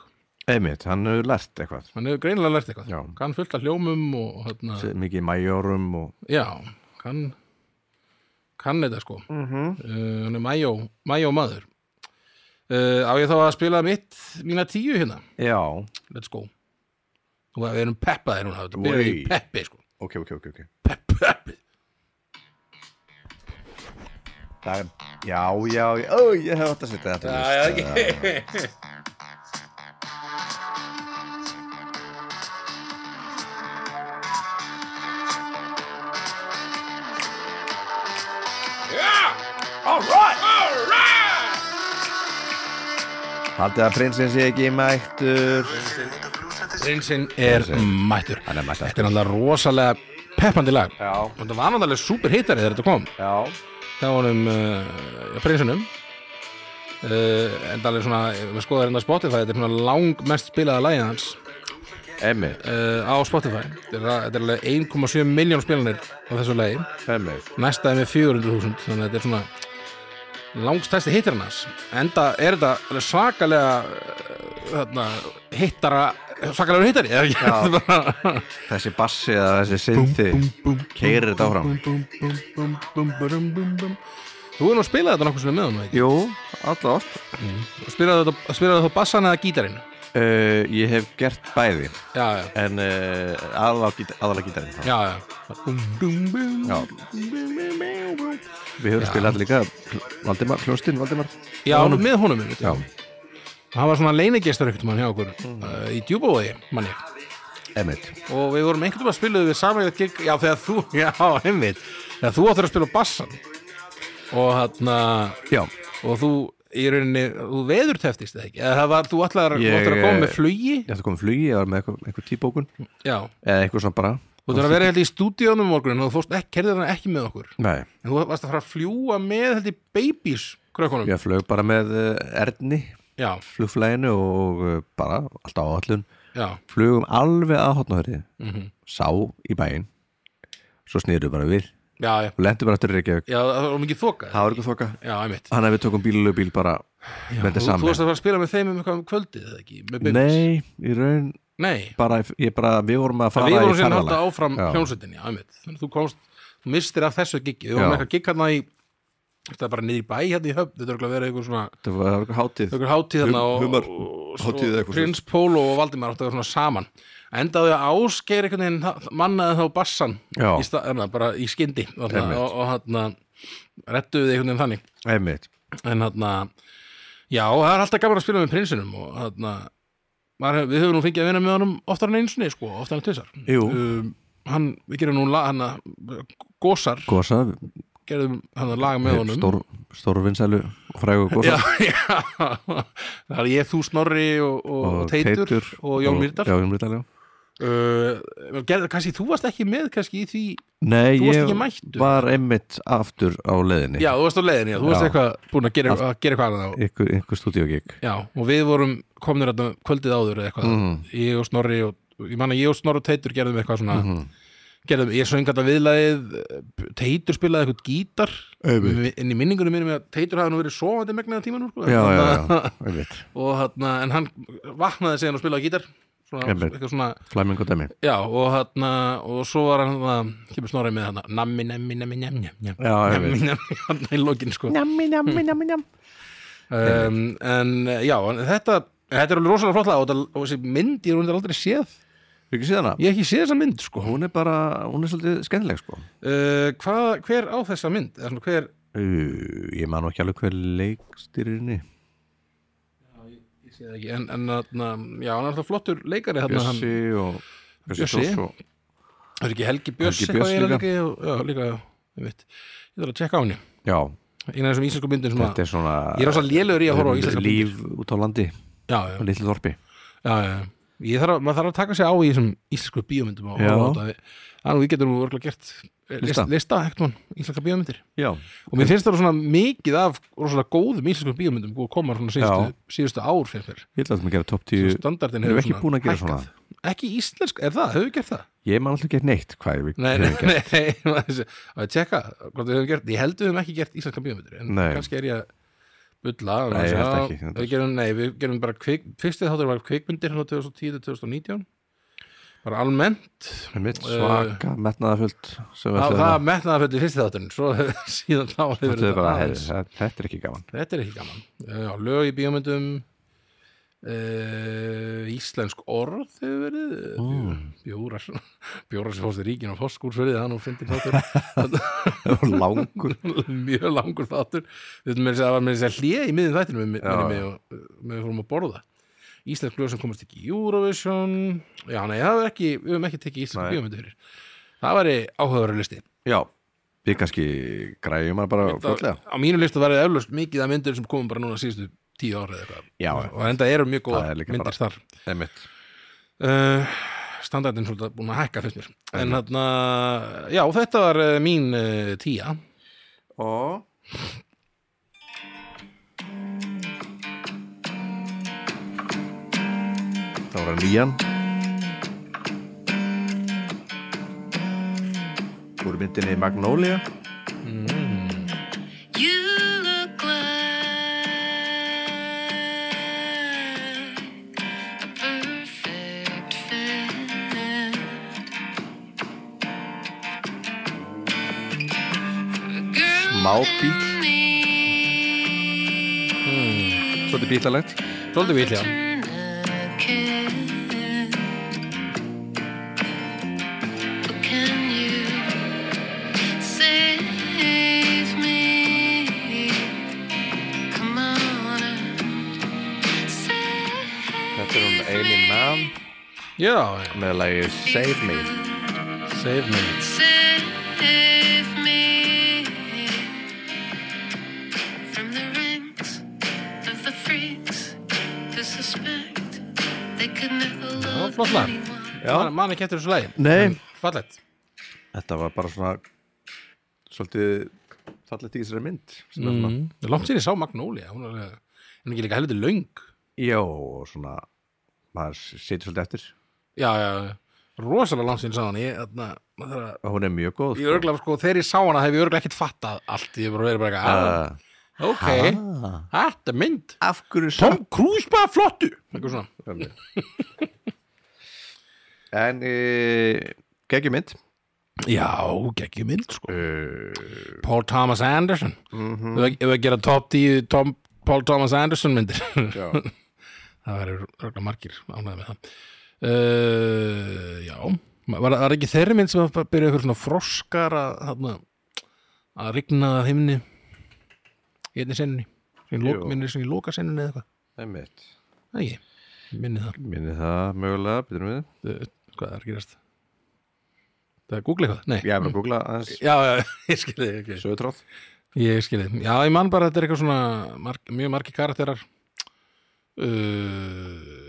A: einmitt, hann hefur lært eitthvað
B: hann hefur greinilega lært eitthvað
A: Já.
B: kann fullt af hljómum og hérna,
A: Mikið majórum og
B: já, kann kann þetta sko
A: Mhm.
B: uh, hann er majó, majó maður uh, á ég þá að spila mitt mína tíu hérna,
A: Já,
B: let's go og við erum peppaðir núna þetta byrjar í
A: Oj.
B: peppi sko
A: ok, ok, ok, ok
B: Pepp, peppi
A: Það er, já, já, já, ó, ég hef átt að setja þetta á lista. Haldið að prinsinn sé ekki mættur
B: Prinsinn er mættur
A: Hann er mættur.
B: Þetta er náttúrulega rosalega peppandi lag
A: Já,
B: og þetta var náttúrulega super hittari þegar þetta kom
A: já,
B: það var um uh, prinsinum uh, en það er svona við skoðum hérna Spotify, þetta er svona lang mest spilaða lagið hans
A: einmitt,
B: uh, á Spotify þetta er, þetta er alveg 1,7 miljón spilanir á þessu lagi
A: einmitt
B: næstaði með 400.000 þannig að þetta er svona langstæsti hittar hans enda er þetta alveg svakalega uh, þarna, hittara svakalega hittari eða ekki?
A: Já.
B: Þetta er bara-
A: Þessi bassi eða þessi synthi keirir þetta áfram
B: Þú er nú að spila þetta nokkuð sem með hann
A: Jú, alltaf oft
B: Spilaði þetta spilaði þá bassan eða gítarinn
A: uh, Ég hef gert bæði
B: Já, já,
A: En uh, aðalega gítarinn þá
B: já, já.
A: Já. Við höfum spilað líka Valdimar, hljóstinn Valdimar
B: Já, með honum einmitt.
A: Já,
B: Hann var svona leinigestur ekkert mann hjá okkur uh, Í djúbóði, mann ég
A: einmitt
B: Og við vorum einhvern veginn að spila við saman í þetta gig Já, þegar þú, já, einmitt Þegar þú áttur að spila bassan Og hann
A: Já,
B: Og þú, í rauninni, þú veður teftist eða ekki Eða það var, þú ætlar
A: Ég,
B: að koma
A: eh,
B: með flugi
A: ég ætti að koma í flugi, ég var með eitthvað, eitthvað tíbókun
B: Já,
A: Eða eitthvað svona bara
B: Þú þarf að vera held í stúdíónum morgun og þú fórst ekki, kerðir hana ekki með okkur
A: Nei,
B: en þú varst að fara að fljúa með held í babies krökkunum
A: ég flög bara með eh, Erni
B: já,
A: flugflæginu og eh, bara allt á allun
B: já,
A: flugum alveg að hotnahörði
B: Mhm.
A: sá í bæinn svo snýrðu bara við
B: já, já,
A: og lendu bara aftur í Reykjavík
B: já það var mikið þoka
A: það var eitthvað þoka
B: já, einmitt
A: þannig að við tókum bíl og bíl bara með þetta
B: þú, þú
A: saman
B: varst að fara að spila með þeim um eitthvað um kvöldið eða ekki, með babies
A: nei, í raun
B: Nei.
A: bara, ég bara, við vorum að fara
B: það við
A: í
B: vorum sér að halda
A: ferðalag
B: áfram
A: Já.
B: hljónsettin já, einmitt, þannig að þú komst þú mistir af þessu giggi, við vorum
A: Já.
B: eitthvað gigg hérna í þetta er bara niður í bæ hérna í höfn þetta er örugglega að vera eitthvað svona
A: það var eitthvað hátíð
B: einhver hátíð þarna
A: Hum-
B: og,
A: humar-
B: og,
A: hátíð eða
B: og,
A: eitthvað
B: prins Pólo og Valdimar áttu að vera svona saman endaði að áskeir einhvern veginn þa- mannaði þá bassan
A: Já.
B: í sta, erna, bara í skyndi og,
A: Einmitt.
B: og, og hann rettuði einhvern veginn þannig
A: einmitt,
B: en hann já, það er alltaf gaman að spila með prinsinum og hann við höfum nú fengið að vinna með honum oftar en einsinni sko, oftar en tvisar
A: jú,
B: um, hann, við gerum nú lag hann gósar,
A: gósa
B: gerðum hann lag með honum
A: stór, stórvinsælu og frægu gósa
B: já, já það er ég, þú, Snorri og, og, og Teitur, og Jón Myrdal
A: já,
B: uh,
A: Jón Myrdal, já
B: gerð, kannski, þú varst ekki með kannski í því,
A: Nei,
B: Þú varst
A: ég
B: ekki mættur.
A: var einmitt aftur á leiðinni
B: já, þú varst á leiðinni já, þú varst
A: Já.
B: eitthvað búin að gera, að gera eitthvað annað á-
A: einhver, einhver stúdíogig
B: já, og við vorum komnir þarna kvöldið áður eða eitthvað,
A: Mhm.
B: ég og Snorri og, ég man að ég og Snorri og Teitur gerðum eitthvað svona
A: Mhm.
B: gerðum, ég söng þetta viðlagið Teitur spilaði eitthvað gítar
A: Einmitt.
B: inn í minningunum mínum að Teitur hafði nú verið sofandi megnaða tímanum sko.
A: Já, já,
B: Þannig að-
A: já, einmitt
B: og hann, en hann vaknaði síðan og spilaði gítar svona,
A: Einmitt.
B: eitthvað svona,
A: Flæming og dæmi
B: já, og hann og svo var hann, það, kemur snorrið með hann nammi, nammi, nammi, nammi, nammi
A: Já, einmitt
B: nammi, nammi, hann í lokin sko um,
A: Nammi, nammi, nammi, nammi
B: en já, en þetta þetta er alveg rosalega flott lag og, þetta- og þessi mynd, ég er hún aldrei séð
A: Fyrir ekki síðan að
B: ég hef ekki séð þessa mynd sko uh,
A: Hún er bara, hún er svolítið skemmtileg sko
B: hva, hver á þessa mynd, eða svona hver
A: Uh, Ég man nú ekki alveg hver leikstýrinni
B: ég sé það ekki, en, en þarna, já, hann er alltaf flottur leikari þarna, hann,
A: Bjössi og
B: Bjössi.
A: Þórs og-
B: er ekki Helgi Björs
A: Helgi Björs
B: eitthvað eiginlega
A: líka.
B: líka, já, líka, ég veit ég þarf að tjekka á henni
A: Já,
B: eina af þessum íslensku myndum sem
A: Þetta
B: að
A: er svona
B: ég er rosa lélegur í að horfa á íslenska myndir
A: Líf út á landi,
B: já, já,
A: á litlu þorpi
B: já, já, já. Ég Þarf að, maður þarf að taka sig á í þessum íslensku bíómyndum og
A: Já.
B: horfa á þetta. þannig að við getum örgulega gert eh,
A: Lista.
B: list- lista ekkert mann, íslenska bíómyndir
A: Já,
B: og mér finnst það svona mikið af rosalega góðum íslensku bíómyndum og koma svona síðustu, síðustu ár fyrir mér
A: ég ætla að maður gera top
B: Svo
A: 10
B: standardin
A: erum
B: hefur
A: við ekki búin að gera svona?
B: ekki íslensk, er það, hefur við gert það?
A: Ég man alltaf ekki eitt neitt hvað við
B: Nei, nei,
A: höfum gert.
B: nei, nei, maður- að tjekka hvort við höfum gert, ég held við höfum ekki gert íslenska bíómyndir, en
A: Nei.
B: kannski er ég að bulla, en
A: Nei,
B: að
A: ég held
B: sjá-
A: ekki, þetta er-
B: við gerum, nei, við gerum bara kvik, fyrsti þáttur var kvikmyndir hérna 2010-2019 bara almennt
A: Einmitt, Svaka, metnaðafullt sem við
B: Eh, það,
A: ætlum
B: það
A: að-
B: metnaði fyrir fyrsti þátturinn svo síðan þá hefur
A: Þetta er bara,
B: aðeins-
A: heyrðu, það- þetta er ekki gaman
B: þetta er ekki gaman Eh, já, lög í bíómyndum Uh, íslensk orð hefur verið oh. bjóra bjóra sem fórst í ríkin og fórskúrsverið það er nú fyndin þáttur
A: Langur
B: mjög langur þáttur við veitum með þess að það var með þess að hlið í miðin þættinu með,
A: Já,
B: með, með, með, við fórum að borða Íslensk lög sem komast ekki í Eurovision já, nei, það var ekki við höfum ekki tekið íslensk
A: Nei.
B: bíómyndu fyrir það væri áhugaveru listi
A: Já, við kannski græjum að bara flotlega
B: á mínu listu var það eflaust mikið af myndir sem komum bara núna síðustu tíu ára eða eitthvað
A: Já, já.
B: og enda eru mjög góða
A: Það er líka
B: myndir þar
A: Einmitt.
B: uh, standardin svolítið búin að hækka fyrst mér en þarna, já, þetta var uh, mín uh, tía
A: Og Það var nýjan Úr myndinni Magnolia
D: You look like a perfect fit for a girl
A: Smá bíl,
D: in need.
A: svolítið bílalegt
B: svolítið við tía
D: Turn a kid. But can you save me? Come on and
A: Þetta er hún
D: save
A: Eileen Mann
B: já,
A: með lagið Save Me
B: save me
D: Save me from the rings of the freaks who suspect they could never love
B: flott lag.
D: anyone.
B: Man, man ekki eftir þessu lagi
A: Nei.
B: En Fallegt
A: Þetta var bara svona svolítið fallet í þessari mynd sem er svona,
B: mm. Langt sér ég sá Magnólia Hún er alveg- hún er ekki líka heldur löng
A: já, og svona maður situr svolítið eftir
B: Já, já, rosalega langt sér ég sá hann Ég, þarna, maður þarf að
A: og hún er mjög góð
B: Ég örgla, sko, þegar ég sá hana hef ég örgla ekkert fattað allt Ég hef bara verið bara eitthvað,
A: uh,
B: uh, ok,
A: Ah.
B: þetta er mynd
A: Af hverju
B: Tom Cruise bara flottu Eitthvað svona
A: Ömmu. En e, geggjum mynd
B: Já, geggjum mynd, sko
A: uh,
B: Paul Thomas Anderson Ef við- ef við gera top 10 Tom, Paul Thomas Anderson myndir það verður örgulega margir ánæði með það uh, já var, var ekki þeirri mynd sem að byrja ykkur svona froskar að, þarna, að rigna að himni í einni senunni sem lók,
A: Jú.
B: minnir sem í loka senunni eða eitthvað
A: Einmitt
B: Það ekki, minni það
A: Minni það mögulega, byrjum við
B: Uh, hvað er að gerast það er að googla eitthvað, nei
A: Ég hef bara að googla aðeins
B: já, já, ég skilði ekki
A: Söðutróð
B: Ég skilði, já ég man bara að þetta er eitthvað svona marg, mjög margi karakterar uh,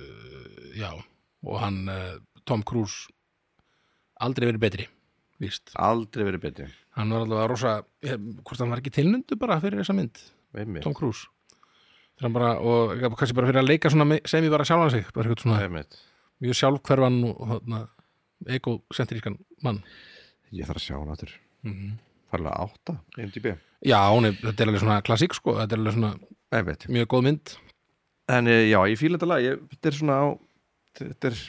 B: Já og hann uh, Tom Cruise aldrei verið betri víst,
A: Aldrei verið betri
B: hann var allavega rosa ég, hvort hann var ekki tilnundu bara fyrir þessa mynd
A: Einmitt,
B: Tom Cruise þegar hann bara, og ja, kannski bara fyrir að leika svona me- sem ég bara sjálfan sig, bara eitthvað svona
A: Einmitt.
B: mjög sjálfhverfan og þarna egocentrískan mann
A: Ég þarf að sjá hann áttur
B: Mhm.
A: Farlega átta, MDB
B: Já, hún er, þetta er alveg svona klassík sko, þetta er alveg svona
A: Einmitt
B: mjög góð mynd
A: En e, já, ég fíla þetta lag ég, Þetta er svona á Þetta er,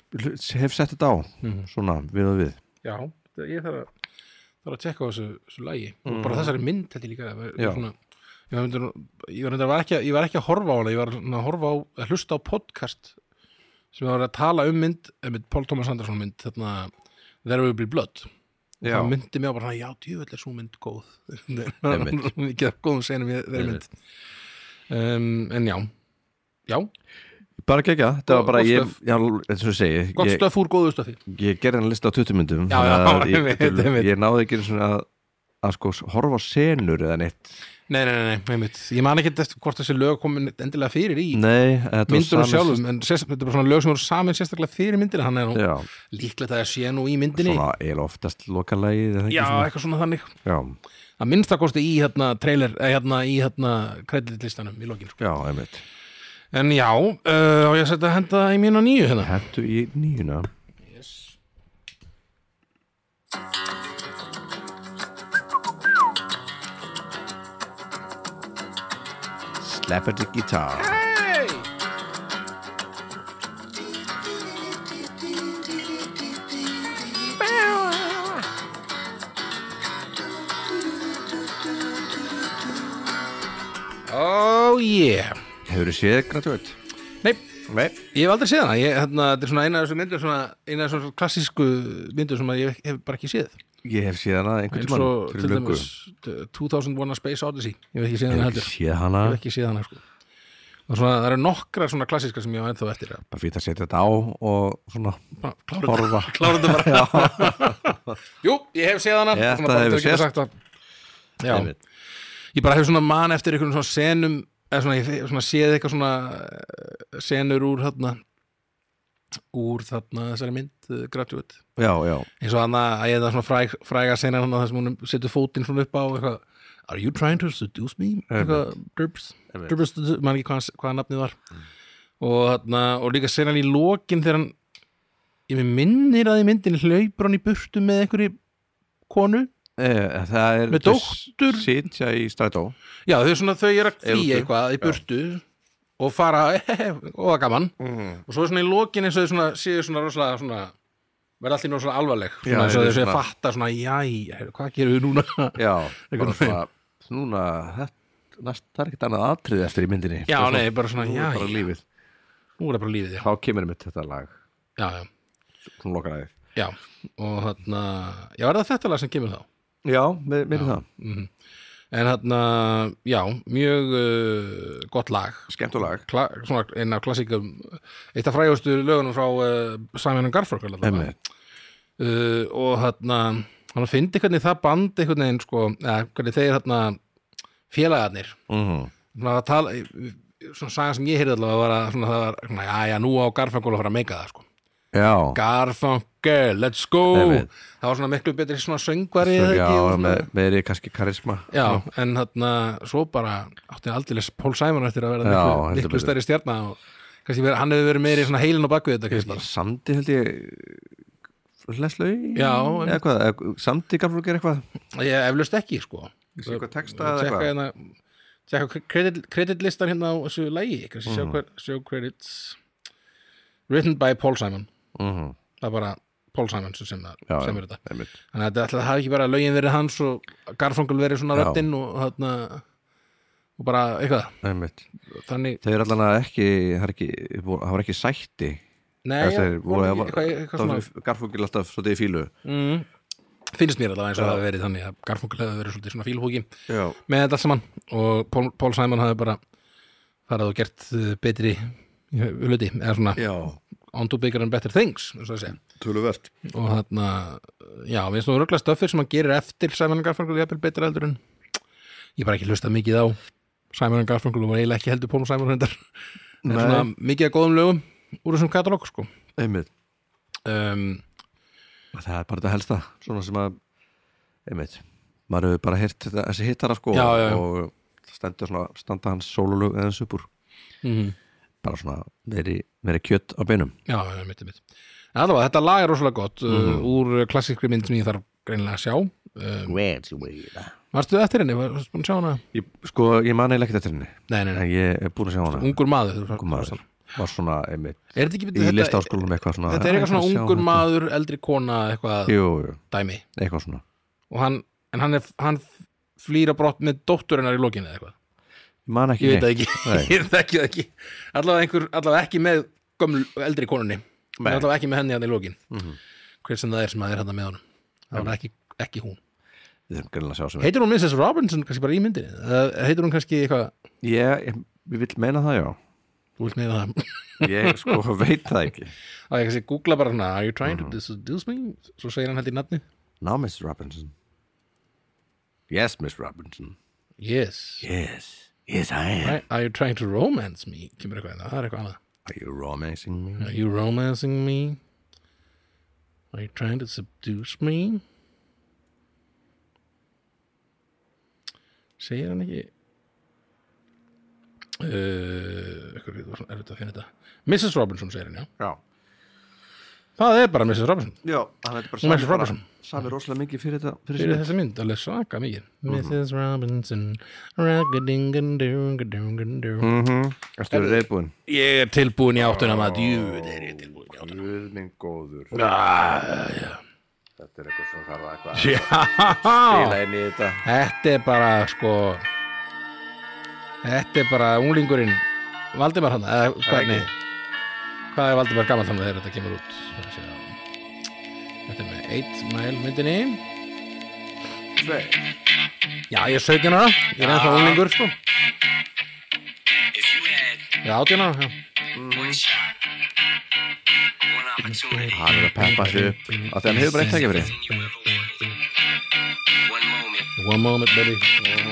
A: hef sett þetta á
B: Mhm.
A: Svona, við og við
B: Já, þetta- ég þarf að Mhm. þarf að tjekka á þessu, þessu lægi og bara þessari mynd held ég líka að-
A: Já.
B: svona, ég, var myndur, ég, var, reyndar- var ekki, að- ég var ekki að horfa á hana ég var svona að horfa á, að hlusta á podcast sem var að tala um mynd einmitt Paul Thomas Anderson mynd þarna, There Will Be Blood og
A: Já.
B: það myndi mér bara, já, djúvel er svo mynd góð
A: Einmitt.
B: ekki að góðum senum í þeirri mynd um, en já já,
A: Bara gegja, þetta var
B: Og-
A: bara
B: og
A: ég,
B: stöf.
A: já, eins og ég segi
B: gott
A: ég,
B: stöf úr góðu stöfi
A: Ég gerði hann lista á 20 myndum
B: Já, já,
A: þannig að
B: einmitt,
A: ég,
B: einmitt.
A: ég náði ekki svona að að sko horfa á senur eða neitt
B: Nei, nei, nei, nei, einmitt. ég man ekki eftir hvort þessi lög komin endilega fyrir í
A: Nei, þetta var
B: myndunum
A: samið-
B: sjálfum, en sérst, þetta er bara svona lög sem eru samin sérstaklega fyrir myndina, hann er nú
A: Já,
B: líklegt að það sé nú í myndinni
A: svona eiginlega oftast lokalægið eða ekki
B: Já,
A: svona.
B: eitthvað svona þannig
A: já,
B: að minnstakosti í hérna trailer, eða hérna í hérna kreditlistanum í lokin, sko
A: já, einmitt
B: En já, uh, á ég að setja henda í mínu nýju hérna
A: Hættu í nýjuna Slap at the guitar
B: Oh yeah
A: Hefurðu séð Graduate?
B: Nei,
A: Nei
B: ég hef aldrei séð hana ég, hérna, Þetta er svona eina af þessum myndum svona, eina af þessum klassísku myndum sem að ég hef bara ekki séð
A: Ég hef séð hana einhvern
B: eins
A: tímann
B: og til
A: fyrir löngu.
B: dæmis uh, 2001 A Space Odyssey ég hef ekki séð
A: Ég
B: hana heldur
A: hef ekki
B: ég
A: séð hana
B: hef ekki séð hana sko og svona, það eru nokkra svona klassískar sem ég á ennþá eftir að
A: Bara fyrir að setja þetta á og svona
B: bara klára þetta
A: horfa
B: klára þetta bara jú, ég hef séð hana
A: Þetta
B: svona bara
A: hefur
B: til að geta
A: sést.
B: sagt að- já, ég bara hef svona man eftir einhvern svona senum eða svona, ég hef svona séð eitthvað svona eh, senur úr þarna úr þarna þessari mynd eh, Graduate
A: Já, já
B: eins og hann að ég er það svona fræg, fræga senar hann að þessum hún setur fótinn svona upp á eitthvað Are you trying to seduce me? Eitthvað, Durbs,
A: Einmitt.
B: Durbs, maður ekki hvað, hvað nafnið var og, þarna, og líka senan í lokin þegar hann ég mig minnir að í myndin hlaupur hann í burtu með einhverju konu
A: Eh, Það er
B: Með dóttur.
A: Sitja í strætó
B: já þau, svona, þau er að því
A: Eru-
B: eitthvað í burtu og fara og það gaman
A: Mm.
B: og svo er svona í lokin eins og þau svona, séu svona rosalega svona verða allir svona alvarleg
A: Já,
B: svona, eins og þau
A: eru
B: séu að
A: svona-
B: fatta svona jæja, hvað gerum við núna
A: Já, bara
B: Einhvern
A: svona Núna, þetta, næst, það er ekkert annað atrið eftir í myndinni
B: Já,
A: Það er
B: nei, bara svona,
A: nú
B: já,
A: er bara lífið
B: nú er það bara lífið, já.
A: Þá kemur einmitt þetta lag
B: Já, já,
A: Svona lokalæðið
B: já. Og þarna, já, er það þetta lag sem kemur þá?
A: Já, með,
B: um
A: með það
B: En þarna, já, mjög uh, gott lag.
A: Skemmt og lag
B: Kla, svona einn af klassíkum, eitt af frægustu lögunum frá uh, Simon Garfork, alveg.
A: Einmitt
B: Uh, og þarna, hann fyndi hvernig það band einhvern veginn, sko, eða hvernig þeir þarna félagarnir,
A: Mhm.
B: svona að tala, svona sagan sem ég heyrði allavega var að, svona, það var, svona, já, já, nú á Garfork að fara að meika það, sko.
A: Já
B: Garfunkel, let's go
A: Einmitt.
B: það var svona miklu betri svona söngvari eða
A: Svo-
B: ekki,
A: Já,
B: og svona-
A: með, með er kannski karisma
B: já en þarna svo bara átti aldrei Paul Simon eftir að vera
A: Já,
B: miklu,
A: heldur
B: miklu
A: betur.
B: stærri stjarnar og kannski verið, hann hefur verið meiri svona heilin á bakvið þetta kannski
A: Samdi held ég Leslög
B: Já,
A: Eða
B: einmitt.
A: hvað, eða- samdi gafur að gera eitthvað
B: ég eflaust ekki sko
A: Ég sé eitthvað texta eða
B: tjekka hérna
A: eitthvað.
B: tjekka kredit, kreditlistan hérna á þessu lægi kannski
A: Mhm.
B: sjá, hver, sjá credits written by Paul Simon
A: Mhm.
B: það er bara Paul Simon sem, sem,
A: Já,
B: sem er þetta
A: einmitt.
B: Þannig að þetta ætlaði að hafa ekki bara lögin verið hans og Garfunkel verið svona
A: Já.
B: röddinn og, þarna, og bara eitthvað
A: Einmitt.
B: Þannig,
A: Þau eru allan að ekki Það er ekki, voru- það var ekki sætti
B: nei,
A: Eða
B: já,
A: þeir voru-
B: voru
A: það
B: ekki-
A: var-
B: eitthvað, eitthvað svona
A: þá var Garfungil alltaf svolítið í fílu
B: mm, finnst mér allavega eins og það hafi verið þannig að Garfunkel hefði verið svolítið svona fílhóki
A: Já,
B: með þetta allt saman og Paul, Paul Simon hafi bara farað og gert uh, betri hluti, eða svona
A: já
B: on to bigger and better things eins og það segja
A: Töluvert
B: og þarna, já, við erum svona rögglega stöffir sem hann gerir eftir Simon Garfunkel jafnvel betra heldur en ég hef bara ekki hlusta mikið á Simon Garfunkel og var eiginlega ekki heldur Paul Simon hendar en
A: Nei.
B: svona mikið að góðum lögum úr þessum katalóg sko
A: Einmitt
B: um,
A: Það er bara þetta helsta Svona sem að Einmitt Maður hefur bara heyrt þetta- þessi hittara sko
B: Já, já, já.
A: Og það stendur svona Standa hans sólulög eða upp úr
B: mm,
A: Bara svona Veri, veri kjött á beinum
B: já, já, mitt, mitt en allavega, þetta lag er rosalega gott uh, úr klassískri mynd sem ég þarf greinilega að sjá um, Varstu eftir henni? Var- Varstu búin að sjá hana?
A: ég, Sko, ég man eiginlega ekkert eftir henni
B: Nei, nei,
A: En
B: nei,
A: ég er búin að sjá hana
B: ungur maður
A: Ungur maður Var svona einmitt
B: Er þetta ekki
A: Í
B: þetta,
A: listaháskólanum eitthvað svona
B: þetta er eitthvað svona
A: að sjá
B: ungur
A: þetta.
B: maður, eldri kona eitthvað
A: Jú, jú
B: dæmi
A: Eitthvað svona
B: og hann, en hann, er, hann flýr á brott með dótturinnar í lokinu eða eitthvað
A: Ég man ekki
B: ég veit það
A: neitt.
B: ekki,
A: Nei.
B: ég þekki það ekki allavega, einhver, allavega ekki með gömlu, eldri konunni, Nei. Mhm.
A: Nei.
B: allavega ekki með henni hann í lokin hver sem það er sem að er hann með honum það var ekki, ekki hún
A: Við þurfum greinlega að sjá sem
B: heitir hún Mrs. Robinson kannski bara í myndinni Eða heitir hún kannski eitthvað,
A: Ég, ég, ég vil meina það, já
B: þú vilt með það
A: Ég sko veit það ekki
B: að ég kannski googla bara hana, are you trying to seduce me svo segir hann held í nafni
A: Now Mrs. Robinson Yes, Miss Robinson
B: Yes
A: Yes, yes I am
B: Why Are you trying to romance me? Kemur eitthvað en það er eitthvað annað
A: Are you romancing me?
B: Are you romancing me? Are you trying to seduce me? Segir hann ekki uh, ykkur, er þetta að finna þetta Mrs. Robinson segir hann, já
A: Já,
B: Það er bara Mrs. Robinson
A: já hann er bara
B: Hún er
A: sami
B: svo Robinson.
A: bara- sami rosalega mikið fyrir þetta fyrir
B: Fyrir
A: þetta
B: þessa mynd, alveg svaka mikið Mrs. Robinson Ragadingadungadungadungadung
A: Ertu verið reyðbúin?
B: Ég er tilbúin í áttuna maður Jú, er ég tilbúin í áttuna
A: Guð minn góður Þetta er eitthvað sem þarf að eitthvað
B: Já
A: Fíla inn í þetta
B: Þetta er bara sko Þetta er bara unglingurinn Valdimar hann eða,
A: ekki.
B: hvað, nei, hvað er Valdimar gammal hann þegar þetta kemur út Það er að segja, Þetta er með 1 mæl myndinni
A: Nei,
B: Já, ég er 17 ára, ég er ennþá unglingur sko
E: If you had
B: Ég er 18 ára, já
E: one shot, one opportunity,
A: Hann er að peppa sig upp af því hann hefur bara eitt tækifæri
E: everything you ever wanted, one moment
B: One moment, baby,
E: that you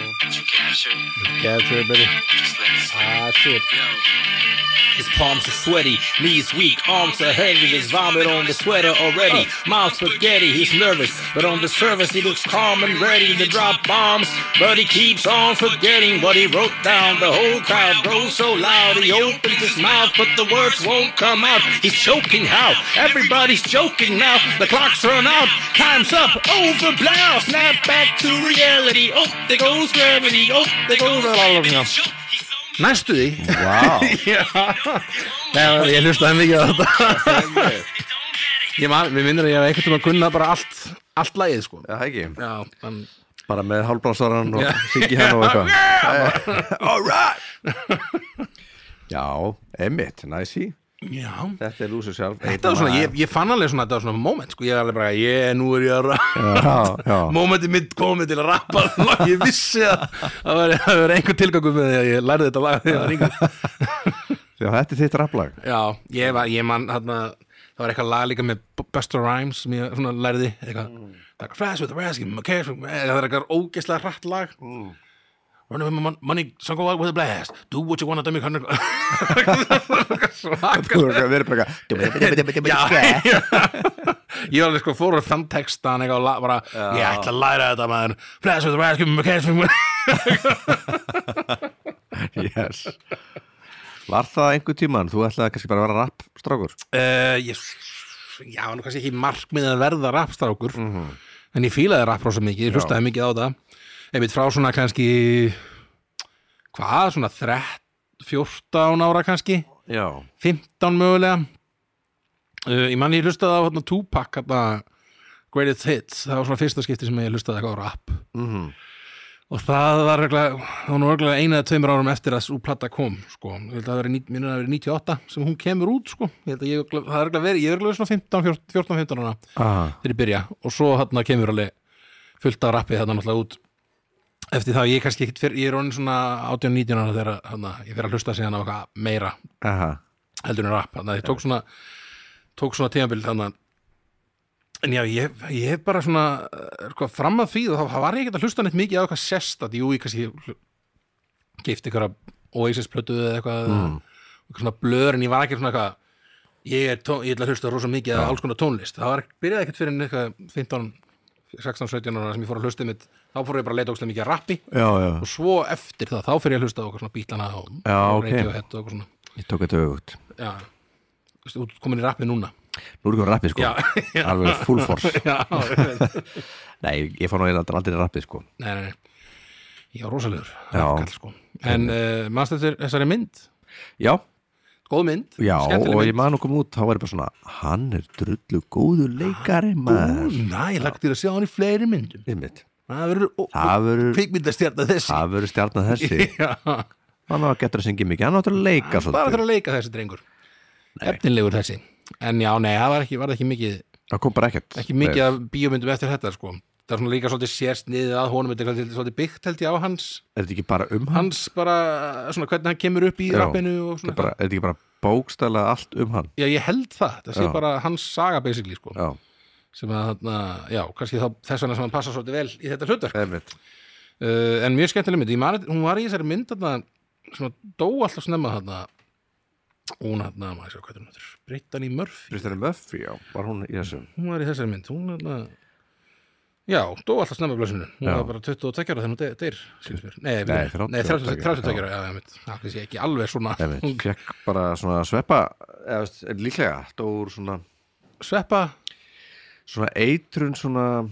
E: captured,
B: capture it, baby
E: just let it slide.
B: Ah, shit
F: His palms are sweaty, knees weak, arms are heavy. There's vomit on the sweater already. Mom's spaghetti, he's nervous, but on the surface he looks calm and ready to drop bombs. But he keeps on forgetting what he wrote down. The whole crowd grows so loud. He opens his mouth, but the words won't come out. He's choking out. Everybody's joking now. The clock's run out. Time's up. Over blow. Snap back to reality. Oh, there goes gravity. Oh, there goes all of them.
B: Næstu því
A: Vá,
B: Nei, ég hlustaði mikið á þetta Ég man, við minnir að ég hef einhvern tímann kunnað bara allt Allt lagið, sko
A: það ekki
B: Já, en
A: Bara með hálfbrásaran og syngi hann og eitthvað Alright Já, Emmett, næsi
B: Já,
A: Þetta er lúsið sjálf
B: þetta var svona, ég, ég fann alveg svona, þetta var svona moment, sko, ég er alveg bara, ég, nú er ég að rappa,
A: Já, já
B: momentið mitt komið til að rappa, lag, ég vissi að það var, það var einhver tilgangu með því að ég lærði þetta lag þegar ég var yngur.
A: Já, þetta er þitt rapplag
B: Já, ég var, ég man, þarna, það var eitthvað lag líka með B- Busta Rhymes sem ég svona lærði, eitthvað, like, Flash with the Raskin, okay, Eh, það er eitthvað ógeðslega hratt lag. Run away my mon- money, so go out with a blast Do what you wanna, dummy kind Svaka
A: Þú erum verið bara eitthvað
B: Já, já. ég var alveg sko fór úr þann textan eitthvað og la- bara, ég ætla að læra þetta maður flash with the rescue me, catch me
A: Yes Var það einhver tíman? Þú ætlaði kannski bara að vera rappstrákur
B: uh, ég, já, nú kannski ekki markmið að verða rapstrákur en ég fílaði rapp rosa mikið, ég hlustaði mikið á þetta einmitt frá svona kannski hvað, svona 13 14 ára kannski
A: Já
B: 15 mögulega uh, ég mann ég hlustaði á hérna, Tupac hérna, Greatest Hits það var svona fyrsta skipti sem ég hlustaði eitthvað á rap -hmm. og það var reglega, það var nú örgulega eina eða tveimur árum eftir að svo plata kom sko. ég held að það veri, minnur að það veri 98 sem hún kemur út sko. ég held að ég, það er örgulega verið ég er örgulega svona 15, 14, 14 15 ára
A: ah.
B: þegar ég byrja og svo hérna kemur alveg fullt af rappi þarna náttúrulega út eftir það ég er kannski ekkit fyrir, ég er orðin svona 18-19 ára þegar hérna, ég fyrir að hlusta síðan á eitthvað meira
A: Aha
B: heldur en rap þannig að ég tók svona tók svona tímabil þannig að en já, ég, ég hef bara svona eh, sko, fram að því og þá var ég ekkert að hlusta neitt mikið á eitthvað sérstætt, jú, ég kannski hl- keypti einhverja Oasis-plötu eða eitthvað, mm. eitthvað svona blör en ég var ekki svona eitthvað ég er, tón, ég er að hlusta rosa mikið að alls konar tónlist það var, byrjaði ekkert fyrir en eitthvað 15, 16, 17 ára sem ég fór að hlusta mitt, þá fór ég bara að leita ókslega mikið að rappi
A: Já, já
B: og svo eftir það, þá fyrir ég að hlusta á okkur svona bílana og,
A: Já,
B: og
A: ok.
B: Radiohead og okkur svona
A: Ég tók þetta auðvögt
B: já, þú ert komin í rappið núna
A: Nú er ekki á rappi sko
B: Já, já.
A: Alveg full force
B: já, ég veit.
A: Nei, ég fann á eina aldrei rappi sko
B: nei, nei, nei ég var rosalegur
A: Já.
B: kall, sko. en uh, mannst þetta þessari mynd
A: Já,
B: góð mynd,
A: já
B: skemmtileg
A: og ég
B: mynd
A: man okkur út Þá var ég bara svona Hann er drullu góður leikari maður
B: næ, ég lagt þér að sjá hann í fleiri myndum
A: Einmitt.
B: það verður
A: Það verður
B: kvikmyndastjarna þessi
A: Það verður stjarnan þessi
B: já,
A: Hann var getur að syngja mikið Hann áttur að leika
B: bara
A: svolítið
B: þarf að leika þessi drengur efnilegur þessi en já, nei, það var ekki, var ekki mikið
A: Það kom bara ekkert
B: ekki mikið af bíómyndum eftir þetta sko. það er svona líka svolítið sérst niður að honum þetta er svolítið- svolítið byggt held ég á hans
A: Er þetta ekki bara um hann?
B: hans bara, svona hvernig hann kemur upp í
A: Já.
B: rappinu og
A: Þetta
B: svona
A: er bara- er þetta ekki bara bókstæla allt um hann?
B: Já, ég held það, það sé
A: Já.
B: bara hans saga basically, sko,
A: Já,
B: sem að þarna, já, kannski þá þess vegna sem hann passa svolítið vel í þetta hlutverk
A: einmitt
B: uh, en mjög skemmtileg mynd Ég man, hún var í þessari mynd þarna sem dó alltaf snemma þarna hún þarna, maður sjá hvað er hún heitir, Brittany Murphy
A: Kristjana Möffi, já, var hún í þessum
B: hún var í þessari mynd hún þarna já, dó alltaf snemma blössinu hún
A: Já.
B: var bara 22 ára þegar hún de- deyr skilst mér. nei,
A: Nei,
B: við- nei 32
A: 32
B: 32 ára já, já, mitt. það finnst ég ekki alveg svona
A: Ef við fekk bara svona sveppa eða veist, líklega, stór svona
B: sveppa
A: svona eitrun svona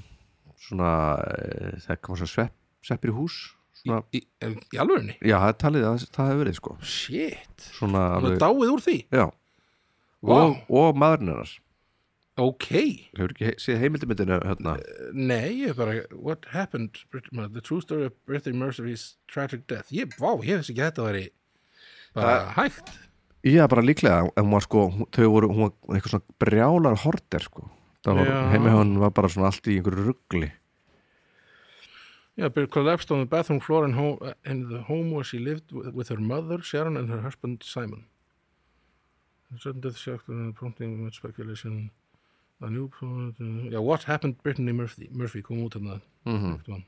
A: svona, eh, það kom svona svepp, sveppir í hús svona,
B: í, í, í alvegurinni
A: já, það er talið að það hefur verið sko
B: shit,
A: svona
B: hún er
A: alveg,
B: dáið úr því
A: já
B: Vá.
A: og, og maðurinn hennar
B: ok,
A: hefur ekki he- séð heimildamindinu hérna
B: nei, ég er bara what happened, Brit- the true story of Brittany Murphy's tragic death ég, vá, ég finnst ekki að þetta væri bara hægt
A: Eh, já, bara líklega, en hún var sko hún- þau voru, hún var eitthvað svona brjálar horter sko, það var,
B: Já.
A: heimi hann var bara svona allt í einhverju ruggli
B: Yeah, but collapsed on the bathroom floor in, home, in the home where she lived with, with her mother, Sharon, and her husband, Simon. A sudden death shocked and prompting much speculation. A new product, uh, yeah, what happened Brittany Murphy, Murphy kom út hérna.
A: Mhm.
B: Mm -hmm.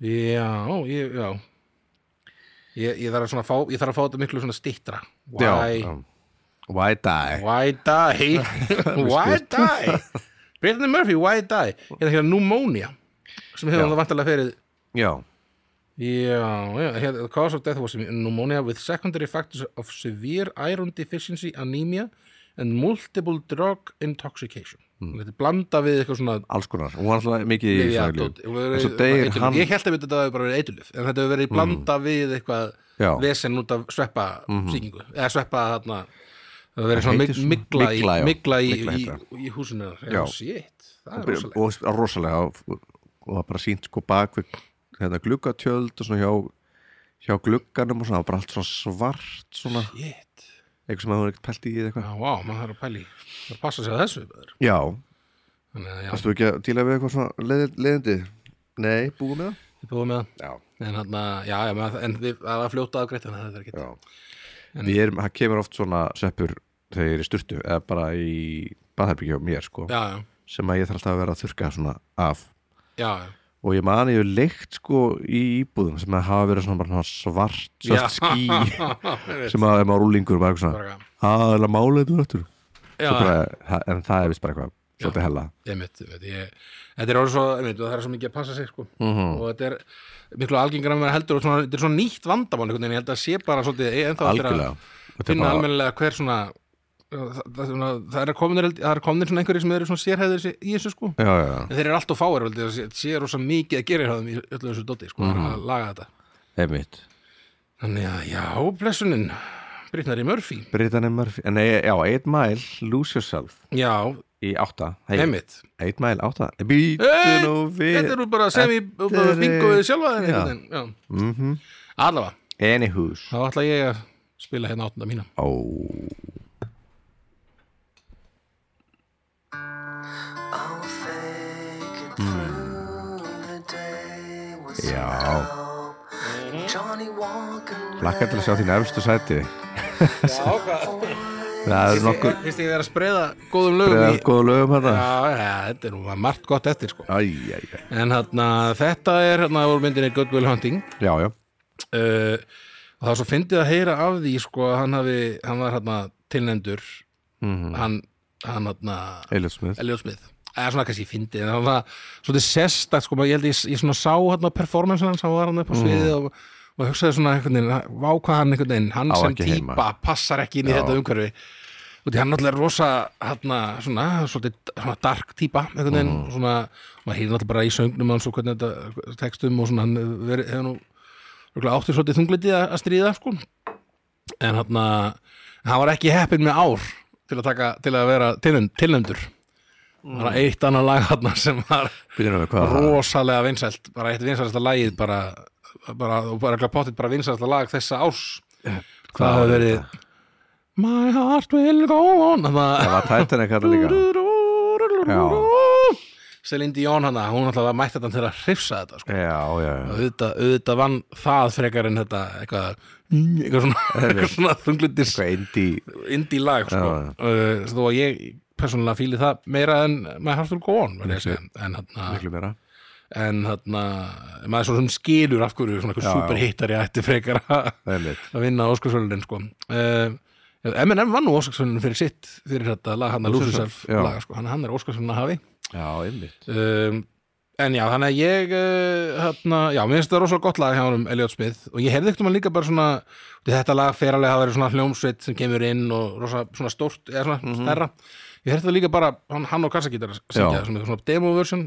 B: Já, ó, ég, já. Ég, ég þarf að svona fá, ég þarf að fá þetta miklu svona stittra. Why,
A: já, why die
B: why die? why die? Brittany Murphy, why die? Hérna hérna pneumonia, sem hefur
A: Já.
B: hann það vantarlega ferið
A: já,
B: Já, já, here, the cause of death was pneumonia with secondary factors of severe iron deficiency, anemia and multiple drug intoxication. Mm. Þetta er blanda við eitthvað svona
A: alls konar, hún var alltaf mikið Hmm. í
B: lyfja-
A: svona
B: dót-
A: lyfjum.
B: verið-
A: en svo deyr
B: eiturlyf.
A: hann Hmm.
B: Ég held að þetta hafi bara verið eitulif en þetta hefur verið blanda við eitthvað
A: Já. Mhm.
B: vesen út af sveppa sýkingu eða sveppa þarna það hefur verið
A: Það
B: svona mig-
A: heitir svona-
B: migla í,
A: mygla, já.
B: migla í, í,
A: Mygla heitir
B: í, í húsinu hennar.
A: Já.
B: Já, shit, það er rosalega
A: og rosalega og og það bara sínt sko bak við hérna gluggatjöld og svona hjá hjá glugganum og svona, það var bara allt svona svart svona,
B: Shit,
A: eitthvað sem það var ekkert pælt í eða eitthvað
B: já, vá, maður þarf að pæli það er að passa sig að þessu maður.
A: já,
B: Þannig að já,
A: varstu ekki að díla við eitthvað svona leið- leiðindi, nei, búið með það
B: við búum með það
A: já,
B: En hann að, já, já, maður- en við, það var fljóta afgreitt en það er ekki
A: já við erum, það kemur oft svona sveppur þegar ég er í sturtu, eða bara í baðherbyggja á mér sko,
B: Já, já,
A: sem að ég þarf alltaf að vera að þurrka svona af
B: já, já.
A: og ég man ég hef leikt sko í íbúðum sem að hafa verið svona bara svona svart, svart ský sem að ef maður rúlingur og bara eitthvað
B: Bara
A: svona aðalega málið þú öttur
B: Já, já,
A: en það er vist bara eitthvað svolítið hella
B: einmitt, einmitt ég, Þetta er orðið svo, einmitt, það er svo mikið að passa sig sko.
A: Mhm.
B: og þetta er miklu algengra með heldur og svona, þetta er svona nýtt vandamál einhvern veginn, ég held að sé bara svolítið eh, ennþá eftir
A: algjörlega
B: að
A: Þetta er
B: finna
A: bara-
B: almennilega hver svona það, það, svona, það er komin það er komin svona einhverjir sem eru svona sérhæðir í í þessu sko
A: já, já,
B: en þeir eru alltaf fáir, veldi, það sé- sé rosa mikið að gera hjá þeim í öllu þessu dóti, sko,
A: Mhm.
B: að laga þetta
A: já, einmitt
B: Þannig að, já, blessunin Brittnari Murphy,
A: Britannia Murphy, nei, já, 8 Mile Lose Yourself
B: já,
A: í 8
B: einmitt
A: 8 Mile 8 Býtu
B: Hey,
A: nú við
B: Þetta eru bara sem ég bara
A: er-
B: bingo við sjálfa þér
A: Já.
B: einhvern veginn, já. Mhm. Allavega,
A: Anyhows
B: þá ætla ég að spila hérna áttunda mína
A: Ó, já Lakka til að sjá þín efstu sæti Það eru nokkur
B: Fyrst ég verið að spreða góðum lögum
A: Það
B: í
A: góða lögum hérna
B: Já, já, þetta er nú margt gott eftir sko
A: Æ, æ, æ.
B: En hérna, þetta er hérna úr myndinni Good Will Hunting
A: Já, já,
B: uh, og það er svo fyndið að heyra af því sko að hann hafi, hann var hérna tilnendur hann, hann hérna
A: Elliot Smith
B: Elliot Smith eða svona kannski fyndið en það var það svolítið sérstakt sko, maður- ég held ég, ég svona sá hérna performance hans, hann var hann
A: Mm.
B: upp á sviði og, og hugsaði svona einhvern veginn, vá hvað hann einhvern veginn, hann
A: Á
B: sem
A: ekki
B: típa
A: heima.
B: passar ekki inn í
A: Já.
B: þetta umhverfi og því hann náttúrulega er rosa hérna, svona, svolítið svona dark típa einhvern veginn, og svona, maður hýrði náttúrulega bara í söngnum hans og hvernig þetta textum og svona, hann hefur verið- hefur nú örugglega átti svolítið þunglitið að að stríða sko en hann hann var ekki heppin með ár til að, taka, til að vera tilnefnd- tilnefndur það var eitt annað lag hann sem var
A: Byrjum við hvað það
B: rosalega vinsælt bara eitt vinsælsta lagið bara, bara, og bara ekki pottit bara vinsælsta lag þessa árs
A: Hvað
B: það hefur
A: var
B: verið My heart will go on
A: Það var Titanic hérna líka
B: Celine Dion hana, hún alltaf var mætt þetta til að hrifsa þetta sko.
A: Já, já,
B: Og
A: já
B: auðvitað, auðvitað vann það frekar en þetta eitthvað, eitthvað svona, eitthvað svona þunglindis
A: Eitthvað indie
B: indie lag sko.
A: Já,
B: uh, þó að ég persónulega fíli það meira en My Heart Will Go On verð ég að segja. en, hann,
A: Miklu meira
B: en þarna, maður er svona sem skilur af hverju svona
A: Já,
B: eitthvað
A: já.
B: superhittari ætti frekar að
A: Einmitt.
B: að vinna Óskarsvölunin sko. uh, M&M vann nú Óskarsvölunin fyrir sitt fyrir þetta lag, hann að
A: Lose
B: Lose Yourself
A: Yourself, já.
B: laga, sko. hann, hann er Óskarsvölunin að hafi
A: Já, einmitt
B: um, en já, þannig að ég uh, hérna, já, mér finnst þetta rosalega gott lag hjá honum Elliot Smith og ég heyrði ekkert um hann líka bara svona þetta lag fer alveg að vera svona hljómsveit sem kemur inn og rosa svona stórt eða svona stærra, ég heyrði þetta líka bara hann, hann og kassagítar
A: Mhm. Já.
B: syngja, svona, svona demo version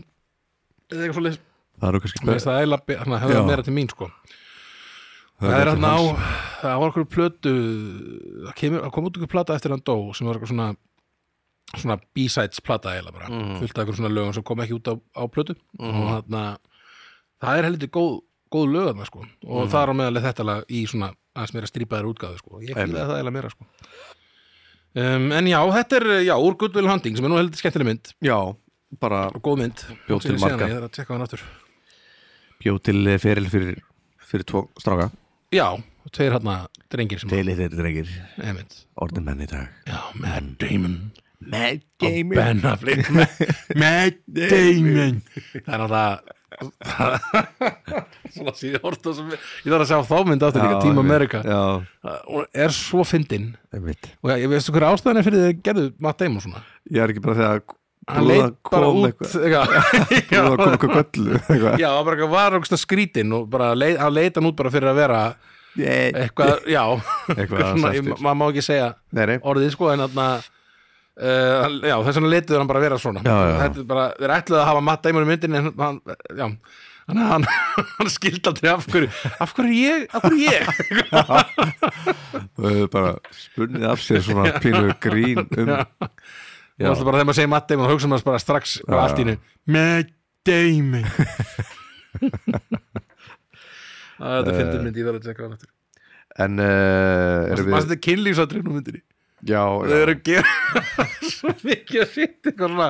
B: eða eitthvað svolítið,
A: Það eru kannski
B: mér finnst það eila þannig að
A: Já.
B: höfða meira til mín sko
A: er
B: Það er
A: til
B: hann á,
A: hans.
B: það var okkur plötu það, kemur, það kom út okkur plata eftir hann dó sem var eitthvað svona svona B-sides plata eiginlega bara
A: Mhm.
B: fullt af einhverjum svona lögum sem kom ekki út á, á plötu og þarna það er heldur góð, góð lög þarna sko og
A: Mhm.
B: það er á meðalið þetta lag í svona aðeins meira strípaðar útgáðu sko ég fylgði það eiginlega meira sko um, en já, þetta er, já, úr Good Will Hunting sem er nú heldur skemmtileg mynd
A: Já, bara
B: og góð mynd
A: Bjó til
B: Sér- sér hana,
A: marga.
B: ég þarf að tjekka hann aftur
A: bjó til eh, feril fyrir, fyrir tvo stráka
B: já, tveir hérna drengir sem
A: Deilir þeirri drengir,
B: Nei, mynd.
A: orðin menn í dag
B: já, Matt Damon
A: Mad
B: Damon. Ben Affleck Matt Damon Það er náttúrulega Svona síðan orta sem Ég þarf að sjá þá mynd aftur líka, Team America
A: Já,
B: Hún er svo fyndin
A: einmitt
B: Og ég, ég veistu hverja ástæðan er fyrir þeir gerðu Matt Damon svona
A: Ég er ekki bara þegar
B: Hann leit bara út eitthvað. Já,
A: Búið að koma eitthvað göllu eitthvað.
B: já, hann bara eitthvað var okkur skrítin og bara leit, hann leit hann út bara fyrir að vera
A: Nei,
B: eitthvað, já
A: Eitthvað aðeins
B: svona, ég-
A: eftir.
B: maður má ekki segja
A: Nei, nei
B: orðið sko en þarna Uh, já, þess vegna letuður hann bara vera svona
A: Já, já, já.
B: Þetta er bara, þeir ætluðu að hafa matta í mjög myndin en hann, já hann, hann, hann skildi aldrei af hverju af hverju ég, af hverju ég
A: Þau hefur bara spunnið af sér svona pínu grín um
B: og alltaf bara þegar maður segir Matt Damon og hugsa maður bara strax bara
A: Já,
B: allt í hennu Matt Damon Æ, Þetta finnir myndi, ég verður að tjekka hann eftir
A: En uh, Eh, erum
B: Maður
A: við
B: þetta er kynlífsadrifn á myndinni
A: Já,
B: Þau
A: já,
B: eru að gera svo mikið að sýtt eitthvað svona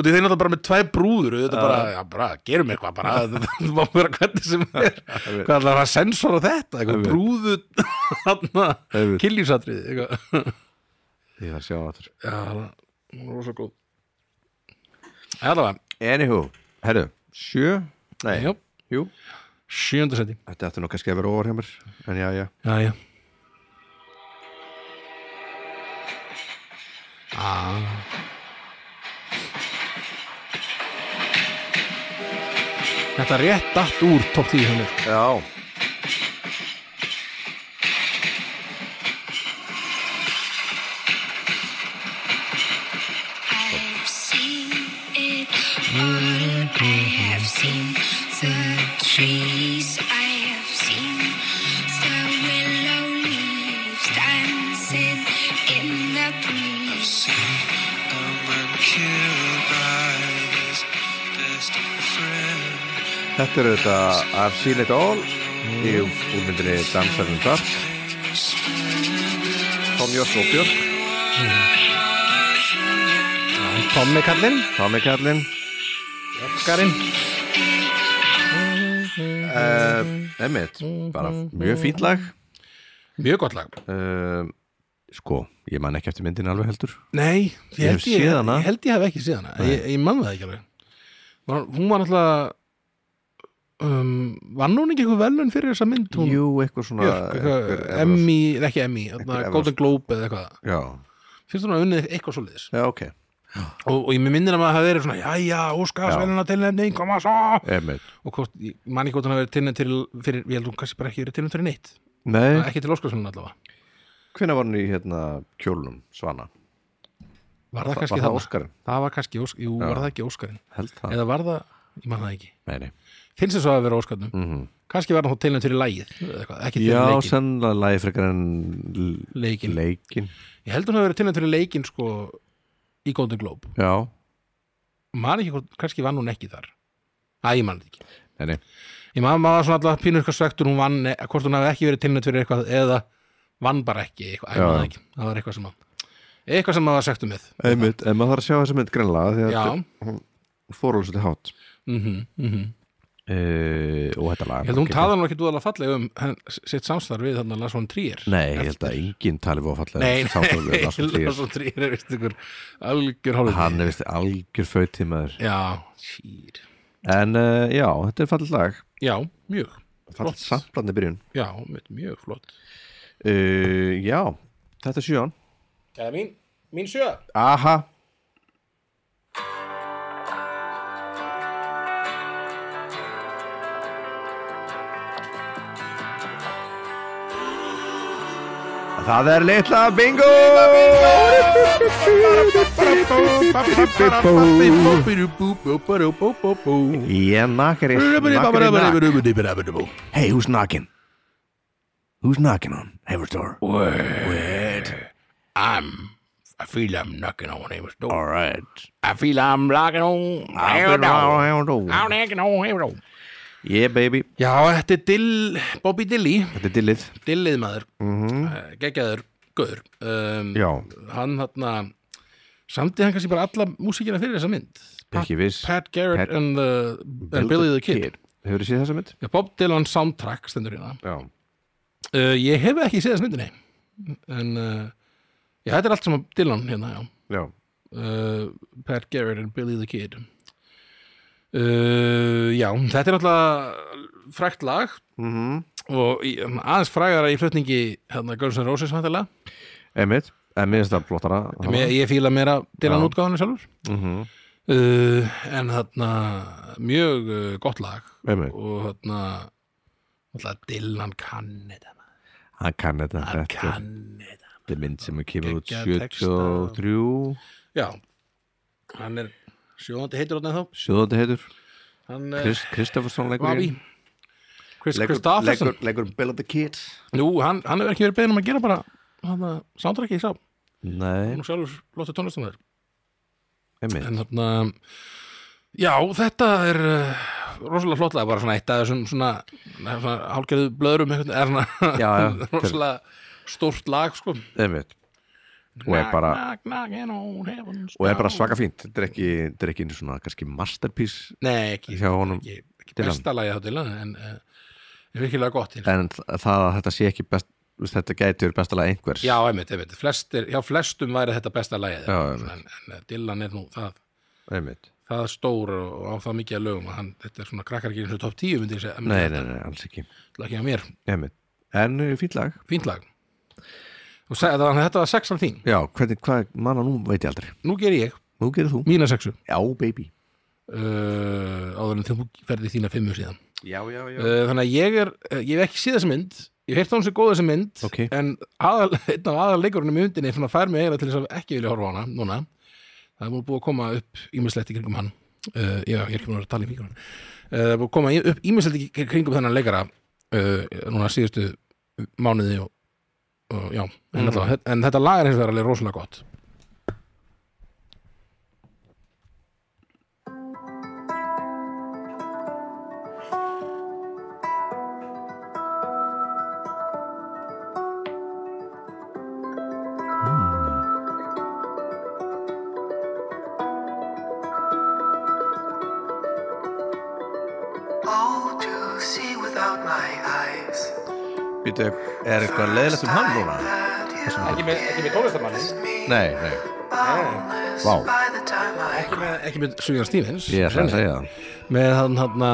B: Útið þeir náttúrulega bara með tvæ brúður Þetta bara, já bara, gerum eitthvað bara Þetta má vera hvernig sem er Hvað ætlar að sensora þetta? Eitthvað
A: Einmitt.
B: brúðu þarna
A: Einmitt.
B: Killífsatrið Eitthvað
A: ég þarf að sjá aftur
B: Já, hana, hún er rosa góð Það var,
A: Anywho, herru, sjö Nei,
B: já,
A: jú
B: sjönda seti
A: Þetta ætti nú kannski að vera ofar hjá mér En já, já
B: Já, já Ah. Þetta rétt allt úr top 10 hann er
A: Já
D: I've seen it all. I have seen the trees. I have seen the willow leaves dancing in the breeze.
A: Þetta eru þetta I've seen it all Í um úrmyndinni Dansarinn Dark Tom Jórs og Björk
B: Tommy kallinn,
A: Tommy Kallinn
B: Garinn
A: uh, Emmitt, bara mjög fínt lag
B: Mjög gott lag
A: uh, Sko, ég man ekki eftir myndin alveg heldur
B: Nei,
A: Ég hef
B: ég held ég,
A: séð
B: ég,
A: hana.
B: held ég hef ekki séð hana ég, ég man það ekki alveg var, Hún var náttúrulega um, Vann hún ekki eitthvað velun fyrir þessa mynd hún
A: Jú, eitthvað svona
B: Björk, eitthvað,
A: einhver-
B: Emmy, eða ekki Emmy
A: Einhver
B: þarna
A: Evrópsk.
B: Golden Globe eða eitthvað
A: Já,
B: Fyrst hún að unnið eitthvað svo liðis
A: já, ok
B: og, og ég með minnir að maður hafi verið svona jæja,
A: Já.
B: óskarsveluna tilnefning, koma svo
A: Emmitt
B: og hvort, ég man ekki hvort hann hafi verið tilnefnd til fyrir, ég held hún kannski bara ekki verið tilnefnd fyrir neitt
A: Nei,
B: ekki til óskarsveluna allavega
A: hvenær var hann í hérna kjólnum Svana?
B: var það
A: var
B: kannski
A: það
B: þarna?
A: Óskarinn?
B: það var kannski, Ósk- jú,
A: Já.
B: var það ekki óskarinn
A: Held það
B: eða var það, ég man það ekki
A: Nei, nei
B: finnst þess að hafa verið óskarnum,
A: mm -hmm.
B: kannski var hann þá tilnefnd fyrir lægið eða eitthvað, ekki fyrir
A: Já,
B: leikin
A: sennilega lagi frekar en
B: Leikinn.
A: leikin.
B: ég held hún hafi verið tilnefnd fyrir leikin sko, í Golden Globe,
A: Já,
B: man ekki hvort, kannski vann hún ekki þar að ég man þetta ekki
A: nei, nei
B: Ég maður maður svona alltaf pínur eitthvað svektur hún vann, eh, hvort hún hafi ekki verið tilnætt fyrir eitthvað eða vann bara ekki, eitthvað,
A: Já.
B: æfum það ekki það var eitthvað sem að eitthvað sem maður var svektur með
A: Einmitt, en maður þarf að sjá þessa mynd greinlega því að
B: Já.
A: þetta- hún fór alveg svolítið hát
B: mm
A: uh, og þetta lag
B: Ég held að hún talar nú ekki dúðalega fallega um henn, sitt samstarf við þannig að Lars von Trier
A: Nei, ég held að enginn tali fóð fallega
B: Nei, nei,
A: Lars von Trier.
B: Lars von Trier er vist ykkur algjör hálfur
A: Hann er vist algjör fötið maður
B: Já, sýr
A: En uh, já, þetta er fallit lag
B: Já, mjög, Flott.
A: Fallit samtlandi byrjun
B: já, mitt mjög flott
A: uh, Já, þetta er sjöan
B: Það er mín, mín sjö
A: Aha Það er litla bingo! Ég nakar í Hey, who's knocking? Who's knocking on Heaven's door?
B: I'm I feel I'm knocking on Amy's door.
A: All right.
B: I feel I'm knocking on Amy's door. I'm
A: Alright.
B: knocking on Amy's door.
A: Yeah, baby.
B: Já, þetta er Dill, Bobby Dilly,
A: Þetta er dillið.
B: Dillið maður, mm -hmm. geggjaður, guður. Um,
A: Já.
B: Hann hann samtið hann kannski bara alla músíkina fyrir þessa mynd. Pat,
A: Ekki viss.
B: Pat Garrett
A: Pat-
B: and, the, and Billy the Kid.
A: Hefur þið séð þessa mynd?
B: Já, Bob Dylan soundtrack stendur hérna.
A: Já.
B: Uh, ég hef ekki séð þess myndinni, en uh, já, þetta er allt sem Dylan hérna, já.
A: Já.
B: uh, Pat Garrett and Billy the Kid uh, Já, þetta er náttúrulega frækt lag
A: Mhm.
B: -hmm. og í- um, aðeins frægara í flutningi hérna Guns N' Roses hættilega
A: Emmett. En mér finnst það flottara.
B: ég, ég fíla meira Dylan
A: Já.
B: útgáðinu sjálfur
A: Mhm.
B: uh, en þarna mjög uh, gott lag
A: Einmitt.
B: og þarna náttúrulega Dylan kann þetta maður.
A: Hann kann þetta.
B: hann
A: Þetta er-
B: kann þetta
A: þetta er mynd sem er kemur út
B: Geggjaður texta.
A: 73.
B: Já, hann er sjóðandi heitur hann þá
A: Sjóðandi heitur.
B: hann eh, er
A: Krist, Kristoffersson leikur í
B: Bobby
A: henni.
B: Chris
A: Leikur-
B: Kristofferson
A: leikur- Leikur Bill of the Kid.
B: Nú, hann, hann hefur ekki verið beðin um að gera bara hann að soundtracki í sá hann
A: Nei,
B: er sjálfur flottu tónlistamæður
A: Emmett.
B: en þarna já, þetta er uh, rosalega flottlega bara svona eitt af þessum svona, svona, svona hálgerðu blöðrum einhvern, er svona
A: Já, já.
B: rosalega stórt lag sko
A: Emmett. Og er bara,
B: knock, knock, knock, on heaven's
A: og er bara
B: door.
A: svaka fínt. Þetta er ekki, þetta er ekki einu svona, kannski masterpiece
B: Nei, ekki,
A: hjá honum.
B: ekki, ekki
A: Dylan.
B: besta lagið á Dylan en uh, er virkilega gott hins.
A: En þ- það að þetta sé ekki best, þú veist, þetta gætur bestalega einhvers.
B: Já, einmitt, einmitt, flestir, já, flestum væri þetta besta lagið
A: Já,
B: en,
A: einmitt.
B: en eh, Dylan er nú það
A: Emmett.
B: það stór og og á það mikið að lögum að hann, þetta er svona krakkar ekki eins og top 10 myndi ég segja, en
A: Nei,
B: þetta
A: nei, nei, alls ekki.
B: er ekki að mér,
A: Emmett. En uh, fínt lag.
B: fínt lag og seg, þannig að þetta var sexan þín,
A: Já, hvernig, hvað, manna nú veit ég aldrei.
B: nú ger ég
A: Nú gerir þú.
B: mína sexu
A: Já, baby.
B: uh, áður en þú ferði þína fimmu síðan
A: Já, já, já.
B: uh, þannig að ég er, eh, ég hef ekki síð þessa mynd ég hef heirt á hún sem góð þessa mynd
A: Ok.
B: en aðal, einn af aðal leikurinn í myndinni svona fær mig eiginlega til þess að ekki vilja horfa á hana núna, það er búið að koma upp ímislegt í kringum hann uh, já, ég er ekki búin að vera að tala í mikrofonin uh, það er búið að koma í- upp ímislegt í kr- kringum þennan leikara uh, núna síðustu mánuði og, og já, en,
A: Mm.
B: allavega, en þetta lag er hins vegar alveg rosalega gott
C: Oh, to see without my eyes.
A: Býtu, er eitthvað leðilegt um hann núna?
B: ekki með, ekki með tónlistamanni
A: Nei, nei. Vá,
C: By the time I
B: ekki með, ekki með Sugan Stevens
A: ég ætla að
B: Svenni.
A: segja það.
B: með hann, hann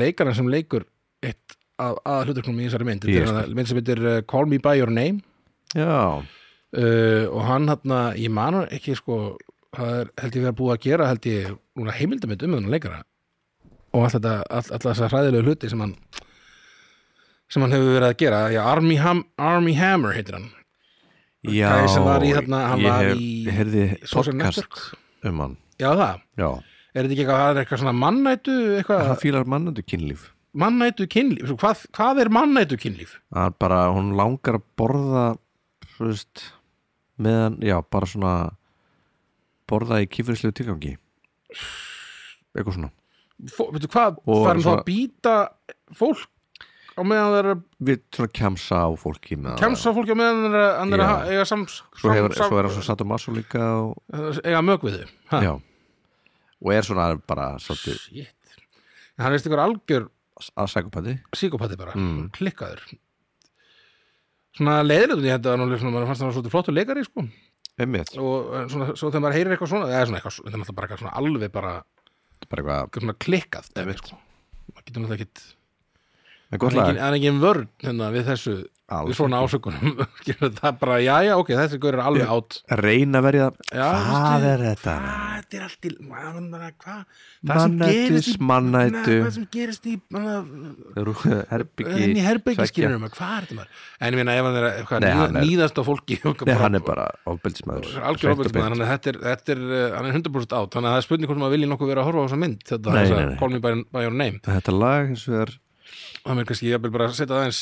B: leikarinn sem leikur eitt af aða hlutarknum í þessari mynd
A: Ég
B: þetta er hann- mynd sem heitir uh, Call Me By Your Name
A: Já,
B: uh, og hann hann, ég man ekki sko, það er, held ég verið að búa að gera held ég, núna heimildamönd um hann leikara og allt þetta, all, alltaf þessar hræðilegu hluti sem hann sem hann hefur verið að gera já, Army, Ham, Army Hammer heitir hann
A: já.
B: Gæi sem var í þarna, hann
A: ég
B: var
A: hef-
B: í-
A: Ég heyrði
B: Social
A: podcast
B: Network.
A: um hann.
B: já það,
A: Já.
B: er þetta ekki eitthvað, það er eitthvað svona mannætu
A: Hann
B: eitthvað,
A: fílar mannandi kynlíf.
B: mannætu kynlíf Svo hvað, hvað er mannætu kynlíf?
A: Hann bara, hún langar að borða, þú veist, meðan, já, bara svona, borða í kýfurislegu tilgangi. Eitthvað svona.
B: Fó- veitu hvað,
A: Og
B: farum þá
A: svona-
B: að býta fólk á meðan það er að
A: Við svona kemsa á fólki með
B: kemsa fólk á meðan það er að- hann er að
A: Já.
B: ha- eiga sams,
A: Svo,
B: sam-
A: hefur,
B: sam-
A: svo er hann svo satt um aðsó líka og,
B: eiga mög við þau ha,
A: já. Og er svona bara svolítið
B: shit. En hann er eitthvað algjör
A: að sækupæti.
B: psíkopati bara,
A: Mm.
B: klikkaður svona leiðilegt ég þetta var nú svona, maður fannst það svona flottu leikari sko.
A: Einmitt.
B: og eh, svona, svo þegar maður heyrir eitthvað svona það er svona eitthvað, þetta er náttúrulega bara eitthvað svona alveg bara
A: bara eitthvað
B: eitthvað svona klikkað dæmi, sko. maður getur náttúrulega ekkit
A: Það er gott
B: það er engin-
A: lag
B: það er engin vörn hérna, við þessu
A: Alls
B: við svona ásökunum það er bara, já, já, ok, þessi gaur er alveg átt
A: Reina að verja
B: Já,
A: Hvað
B: veistu-
A: er þetta?
B: Hvað, þetta er allt í maður, maður, hvað?
A: Mannætus, mannætu.
B: Hvað sem gerist í maður,
A: Rú- Herbyggi
B: henni hérna herbergi
A: tveggja.
B: skilur maður, hvað er þetta maður? En ég meina, ef hann er eitthvað
A: Nei,
B: níða-
A: hann er-
B: níðast á fólki og
A: Nei, hann er bara ofbeldismæður
B: algjör ofbeldismæður, þannig að þetta er, þetta er uh, hann er 100% átt, þannig að það er spurning hvort maður vilji nokkuð vera að horfa á þessa mynd, þetta
A: Nei,
B: þessa
A: nei, nei.
B: Call Me by, by Your Name
A: Þetta lag hins vegar
B: það er kannski, ég vil bara setja það eins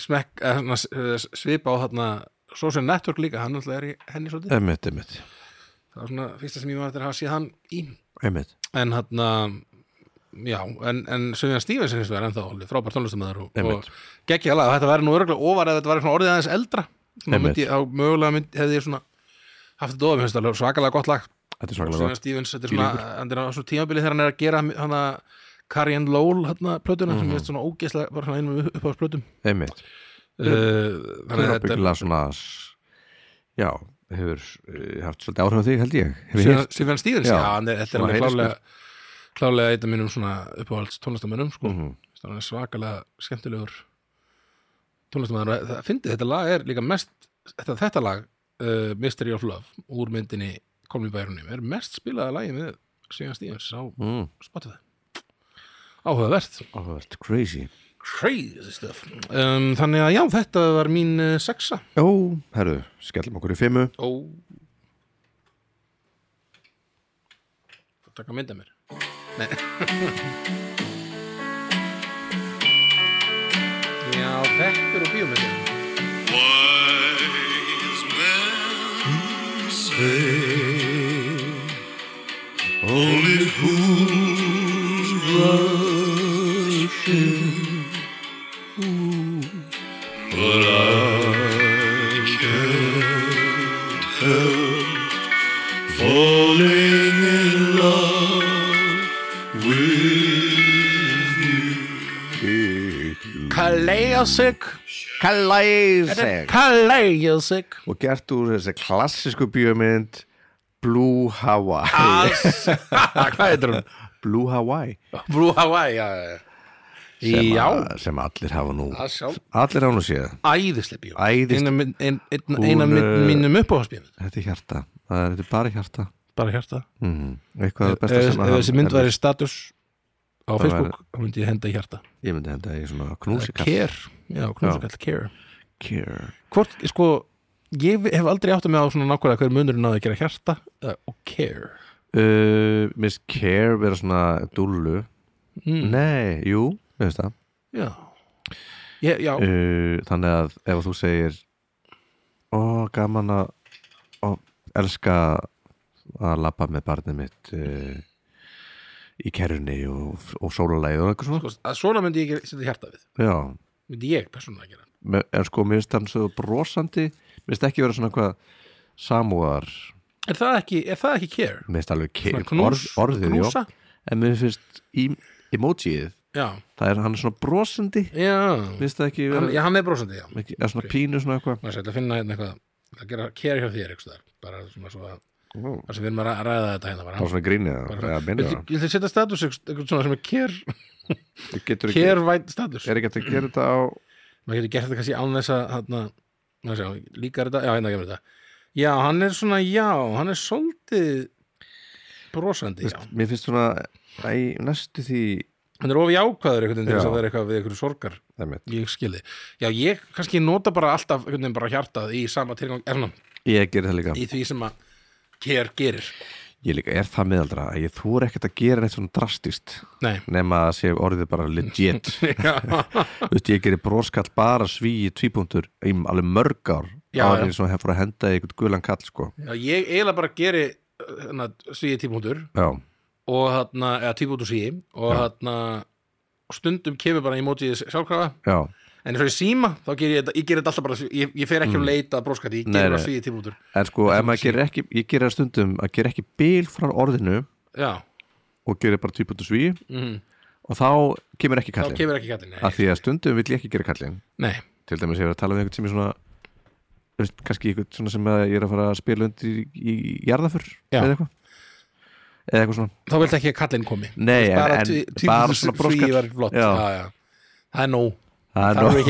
B: smekk, eh, svona, eh, svipa á þarna Social Network líka, hann alltaf er í henni svolítið,
A: Einmitt, einmitt
B: það var svona fyrsta sem ég var eftir að hafa séð hann í,
A: Einmitt
B: en hann já, en, en Söðjan Stevens hins vegar ennþá, alveg frábær tónlistamæður og,
A: Einmitt.
B: og geggja alveg, þetta væri nú örgulega ofar eða þetta væri svona orðið aðeins eldra Svona
A: Einmitt.
B: myndi, ég- þá mögulega myndi, hefði ég svona haft þetta ofið, finnst alveg svakalega gott lag
A: Þetta er svakalega
B: Söðjan Stevens, þetta er svona, hann er á svona tímabili þegar hann er að gera hann að Carrie and Lowell, hann að plötuna
A: Mhm.
B: sem ég veist svona ógeðslega, bara svona einum upp á plötum
A: gott Einmitt
B: Uh, þannig
A: Þú
B: að
A: er
B: þetta
A: byggilega svona s- Já, hefur eh, haft svolítið áhrif á þig held ég Hefur
B: Sifjan-
A: heyrt-
B: Sifjan Stevens,
A: Já,
B: já, hann er, þetta er
A: svona
B: alveg
A: heiðursbjörn.
B: klálega klálega eitt af mínum svona uppáhalds tónlistamönnum sko.
A: Mhm.
B: mm -hmm. svakalega skemmtilegur tónlistamönnur það fyndi, þetta lag er líka mest þetta, þetta lag, uh, Mystery of Love úr myndinni Kolmi Bærunum er mest spilaða lagi með Sifjan Stevens á
A: Mm,
B: Spotify áhugavert
A: Áhugavert, crazy
B: crazy stuff um, þannig að já, þetta var mín uh, sexa
A: Jó, herru, skellum okkur í fimmu
B: Ó Þú taka mynd af mér Nei Já, þetta eru bíómyndin
C: Wise men say only fools rush in, but I can't help falling in love with you.
B: Kalleasik
A: Kalæseg
B: Kalleasik
A: Og gert úr þessi klassísku bíómynd Blue Hawaii
B: Alls Hvað heitir hún?
A: Blue Hawaii
B: Blue Hawaii, já, já, já
A: sem,
B: Já,
A: að, sem allir hafa nú
B: að sjá
A: Allir hafa nú séð
B: Æðislega bíó
A: Æðist,
B: Eina mynd- ein- ein-
A: Hún,
B: Eina mynd
A: eh,
B: mínum uppáhaldsbíómynd
A: þetta er hjarta Það er, þetta er bara hjarta
B: Bara hjarta
A: mm. Eitthvað
B: Ef
A: er besta
B: ef
A: sem að
B: eh, þessi mynd væri status á
A: væri-
B: Facebook, þá myndi ég henda í hjarta
A: Ég myndi henda í svona knúsikall
B: Care, já, knúsikall Care
A: Care
B: Hvort, sko, ég hef aldrei átt að með á svona nákvæmlega hver munurinn á því að gera hjarta uh, og Care
A: uh, Miss Care vera svona dullu
B: Mm.
A: Nei, jú, við veist það
B: Já, ég, já
A: uh, Þannig að ef þú segir Ó, gaman að ó, Elska að labba með barnið mitt uh, Í kerrunni og, og sólulægi og eitthvað svona
B: sko, að svona myndi ég gera- setja hjarta við
A: Já,
B: myndi ég persónulega gera
A: Me- en sko mér finnst hann svo brosandi Mér finnst ekki vera svona hvað Samúar,
B: Er það ekki, er það ekki Care?
A: mér finnst alveg ke-
B: Svona knús,
A: Eh, orð, orðið,
B: knúsa?
A: já En mér finnst í, emojiið
B: Já,
A: Það er hann er svona brosandi
B: já
A: Mér finnst það ekki
B: hann,
A: vera
B: Já, hann er brosandi, já
A: ekki- eða svona pínu svona eitthvað
B: Maður sætti að finna hérna eitthvað að gera Care hjá þér, eitthvað bara svona svo að,
A: Ó.
B: það sem við erum að ræ- ræða þetta hérna bara
A: Bara svona grínið
B: Bara
A: eða
B: svona,
A: minnið
B: Viltu viltu setja status eitthvað svona sem er care,
A: það Getur ekki-
B: care vænt status
A: er ekki hægt að gera þetta á
B: maður getur gert þetta kannski án þess að hérna, maður sjá, líkar þetta, já hérna kemur þetta já, hann er svona, já, hann er svolítið brosandi, já
A: mér finnst svona æ, næstu því
B: hann er ofið jákvæður einhvern veginn til þess
A: Já.
B: að vera eitthvað við einhverju sorgar
A: Einmitt.
B: ég skilði, já ég kannski nota bara alltaf einhvern veginn bara hjartað í sama tilgang erna,
A: ég ger það líka
B: í því sem að care gerir,
A: ég líka er það miðaldra að ég þúr ekkert að gera neitt svona drastist
B: nei
A: nema að sé orðið bara legit
B: já,
A: Þú veist, ég gerir broskall bara svíi tvípunktur í alveg mörg ár
B: Já,
A: árið
B: já.
A: svona hefur að henda í eitthvað gulan kall sko.
B: já, ég eiginlega bara geri hérna, svíði tímúndur
A: já,
B: og þarna, eða tímúndur svíði og þarna stundum kemur bara emojiðið sjálfkrafa
A: já,
B: En eins og ég síma, þá ger ég þetta, ég ger þetta alltaf bara, ég, ég fer ekki um leita að bróskati, ég
A: Mm. Nei,
B: ger bara
A: nei.
B: svíði tímútur.
A: en sko ef maður gerir ekki, ég gerir það stundum að gerir ekki bil frá orðinu
B: Já,
A: og gerir bara tvípunktur svíi
B: mm,
A: og þá kemur ekki
B: þá
A: kallin
B: kemur ekki kallin, nei.
A: að því að stundum vill ég ekki gera kallin
B: Nei,
A: til dæmis ég er að tala við einhvern sem er svona þú veist, kannski einhvern svona sem að ég er að fara að spila undir í, í jarðafur
B: Já.
A: eða eitthvað eða eitthvað svona
B: þá vilt ekki að kallinn komi
A: Nei, en,
B: bara,
A: en,
B: tví, tví,
A: bara svona
B: frí
A: broskar
B: var flott
A: Já.
B: já. Já, það er nóg
A: Það er
B: Það er
A: nóg.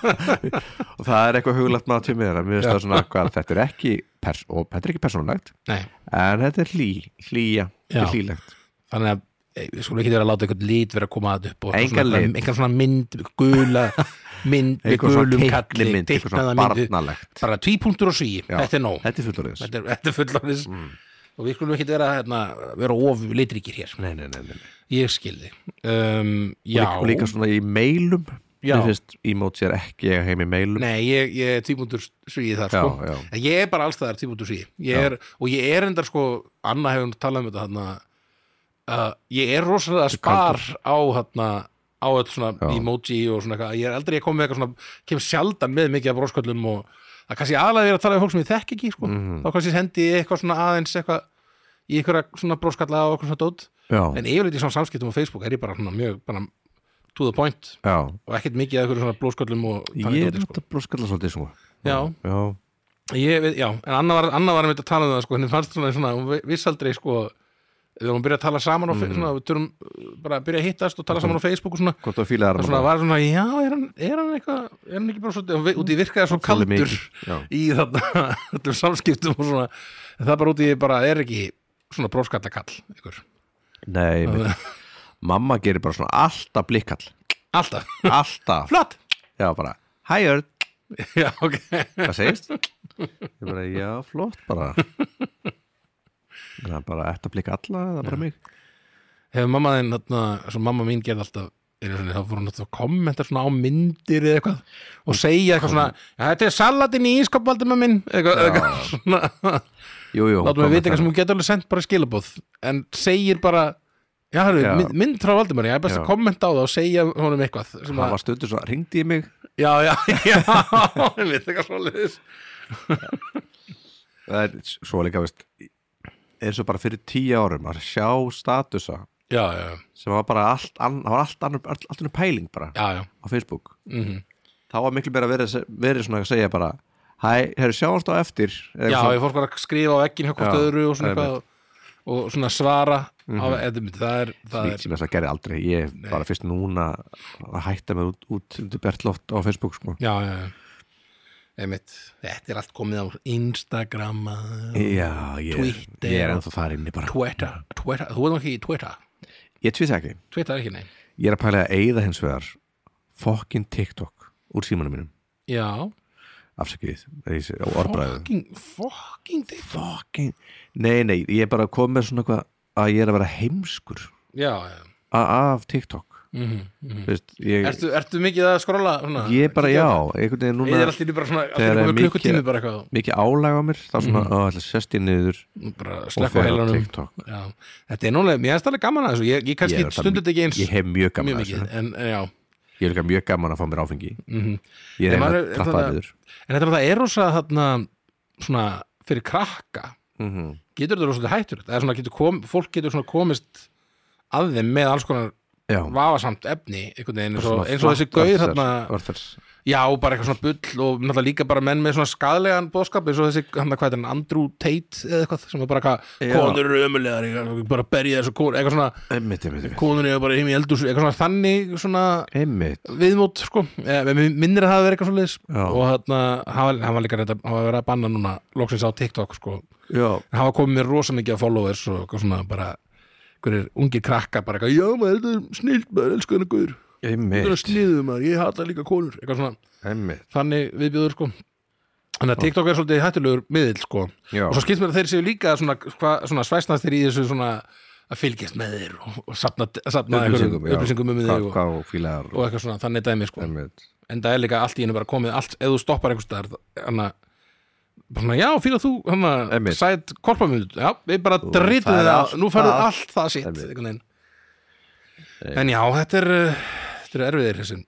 B: ekki
A: og það er eitthvað huglegt maður til mér að mér finnst
B: Já.
A: það svona hvað þetta er ekki pers og þetta er ekki persónulegt
B: Nei,
A: en þetta er hlý, hlýja þetta er
B: Já.
A: hlýlegt
B: þannig að eh, við skulum ekki vera að láta einhvern lít vera að koma að upp og
A: Engan
B: svona-
A: lit.
B: engan svona mynd, gula mynd með
A: Einhver svona
B: gulum kalli
A: teiknimynd, einhver svona
B: teiknaða mynd,
A: barnalegt.
B: bara tvípunktur og sví þetta er nóg,
A: þetta er fullorðis
B: þetta er, þetta er fullorðis
A: Mm.
B: og við skulum ekki vera, hérna, vera of litrikir hér,
A: nei, nei, nei, nei. nei.
B: ég skilði um, já,
A: Líka, líka svona í mailum
B: Já.
A: mér finnst emoji er ekki eiga heim í mailum
B: Nei, ég, ég er tvíbúndur svíði þar
A: Já,
B: sko.
A: já.
B: En Ég er bara alls þar tvíbúndur svíði ég er, Og ég er endar sko Anna hefur talað um þetta þarna, uh, Ég er rosalega spar á þarna, á öll svona
A: Já.
B: emoji og svona eitthvað Ég er aldrei að koma með eitthvað svona kem sjaldan með mikið af brosköllum og það kannski aðlega er að tala um fólk sem ég þekki ekki sko.
A: Mhm.
B: þá kannski sendi ég eitthvað svona aðeins eitthvað í einhverja svona broskalla og eitthvað svona dót
A: já,
B: en yfirleitt í svona samskiptum á Facebook er ég bara svona mjög bara to the point
A: já
B: og ekkert mikið að eitthvað svona blósköllum og þannig
A: ég er
B: dóti, sko.
A: þetta broskalla svolítið svona
B: Já,
A: já,
B: Ég veit, já, en Anna var, Anna var einmitt að tala um það sko, henni fannst svona, svona hún vi- vissi aldrei sko, við vorum að byrja að tala saman á,
A: Mhm.
B: mm. svona, við törum bara að byrja að hittast og tala saman á Facebook og svona,
A: hvort þú fílaðar
B: það svona var svona, já, er hann, er hann eitthvað er hann ekki bara svona, og vi- út í virkaði svo
A: Svolítið
B: kaldur
A: mikið, já.
B: í þarna, öllum samskiptum og svona en það bara út í, bara er ekki svona bróskallakall, ykkur,
A: nei, mér- mamma gerir bara svona alltaf blikkall
B: alltaf
A: alltaf,
B: flott,
A: já bara hæ Örn,
B: já, ok
A: hvað segist? ég bara, já, flott bara það er bara ætti að blika alla eða bara mig
B: hefur mamma þinn, þarna, sem mamma mín gerði alltaf einu sinni, þá fór hún alltaf að kommenta svona á myndir eða eitthvað og segja eitthvað svona, "Ja, þetta er salatinn í ískapvaldum minn, eitthvað, eitthvað svona
A: jú, jú, hérna.
B: látum við vita eitthvað sem hún getur alveg sendt bara skilabóð en segir bara já, hörru,
A: Já.
B: mynd, mynd frá Valdimari, ég er best
A: Já.
B: að kommenta á það og segja honum eitthvað sem að,
A: hann var stundur svo, ringdi ég mig
B: já, já, já við eitthvað svoleiðis
A: það er s- svo líka, veist eins og bara fyrir tíu árum að sjá statusa
B: já, já,
A: sem var bara allt, ann, það var allt annur, allt, allt annur pæling bara
B: já, já,
A: á Facebook mm
B: Mhm.
A: þá var miklu meira verið, verið svona að segja bara hæ, hefur sjáumst á eftir eða
B: já,
A: eitthvað
B: ég fór bara að skrifa á ekkin hjá hvort
A: Já,
B: öðru og svona
A: einmitt. Mhm.
B: eitthvað og, og svona svara á, eða, það er, það
A: Nýtt
B: er
A: sem þess að gerði aldrei, ég er bara fyrst núna að hætta með út, út undir Bertloft á Facebook sko.
B: já, já, já Einmitt. þetta er allt komið á Instagram maður.
A: Já, ég,
B: Twitter.
A: ég er ennþá þar inni bara
B: Twitter, Twitter, þú veitum ekki í Twitter
A: Ég tvita ekki,
B: Twitter er ekki neinn
A: ég er að pæla að eigða hins vegar fokkin TikTok úr símanum mínum
B: já,
A: afsakið, þessi orðbræðu
B: fucking, fucking þig
A: Fokkin, nei nei, ég er bara að koma með svona eitthvað að ég er að vera heimskur
B: já, já, Mhm.
A: a- af TikTok mm Veist, ég,
B: ertu, ertu mikið að skrolla svona,
A: ég bara já einhvern veginn
B: ég
A: núna
B: er alltaf bara svona,
A: Þegar
B: alltaf
A: er
B: komið
A: mikið-
B: klukkutími bara eitthvað
A: mikið álag á mér, þá svona mm. að sest ég niður
B: bara að
A: og
B: slekka Mhm. á
A: fer á
B: heilanum
A: TikTok
B: já, þetta er núlega, mér er stærlega gaman að þessu ég, ég kannski
A: Ég er bara-
B: stundum þetta ekki eins
A: Ég hef mjög gaman
B: mjög
A: að þessu
B: mikið, en en já
A: Ég er líka mjög gaman að fá mér áfengi
B: Mhm.
A: Ég
B: Nei,
A: er
B: maður
A: að
B: er-
A: trappa
B: þetta-
A: það niður
B: en þetta er það er rosa þarna svona fyrir krakka
A: mm
B: getur þetta rosalega hættur það er svona, getur kom, fólk getur svona komist að þeim með alls konar
A: Já
B: vafasamt efni einhvern veginn eins og,
A: Svona
B: eins og þessi
A: flatt
B: gauð
A: orðfærs-
B: þarna
A: orðfærs.
B: já, bara eitthvað svona bull og náttúrulega líka bara menn með svona skadlegan bóðskap eins og þessi, hann hvað er hann, Andrew Tate eða eitthvað, sem er bara eitthvað,
A: Já.
B: konur eru ömulegar ég- bara berja þessu konur, eitthvað svona
A: Einmitt, einmitt, einmitt.
B: konur eru bara heim í eldús, eitthvað svona þannig svona
A: einmitt
B: viðmót, sko, Eh, mig minnir að það hafa verið eitthvað svoleiðis
A: Já.
B: og þarna, hann var- hann var líka reynda, hann var verið að banna núna loksins á TikTok, sko
A: Já,
B: hann var komið mér rosa mikið að followers og eitthvað svona bara hverjir ungir krakka bara eitthvað, já maður, þetta er snilt maður, elsku hennar guður þetta er
A: einmitt,
B: sniðum maður, ég hata líka konur eitthvað svona,
A: einmitt
B: þannig viðbjóður sko þannig að TikTok er svolítið hættulegur miðill sko,
A: Já.
B: og svo skilst mér að þeir séu líka svona, hva, svona svæsnast þeir í þessu svona að fylgjast með þeir og, og sapna, sapna einhverjum
A: Upplýsingum, já.
B: upplýsingum um
A: Hvað-
B: þig og,
A: Hvað og fílaðar
B: og eitthvað svona, þannig dæmi sko
A: Einmitt
B: en það er líka allt í hennu bara komið allt, ef þú stoppar einhvers staðar hann að bara svona, já, fíla þú hann að
A: Einmitt.
B: sæt korpamund já, við bara drítum
A: það er
B: það,
A: allt
B: nú færðu
A: það.
B: allt það sitt
A: Einmitt.
B: einhvern veginn. en já, þetta er uh, þetta er erfiðir þessi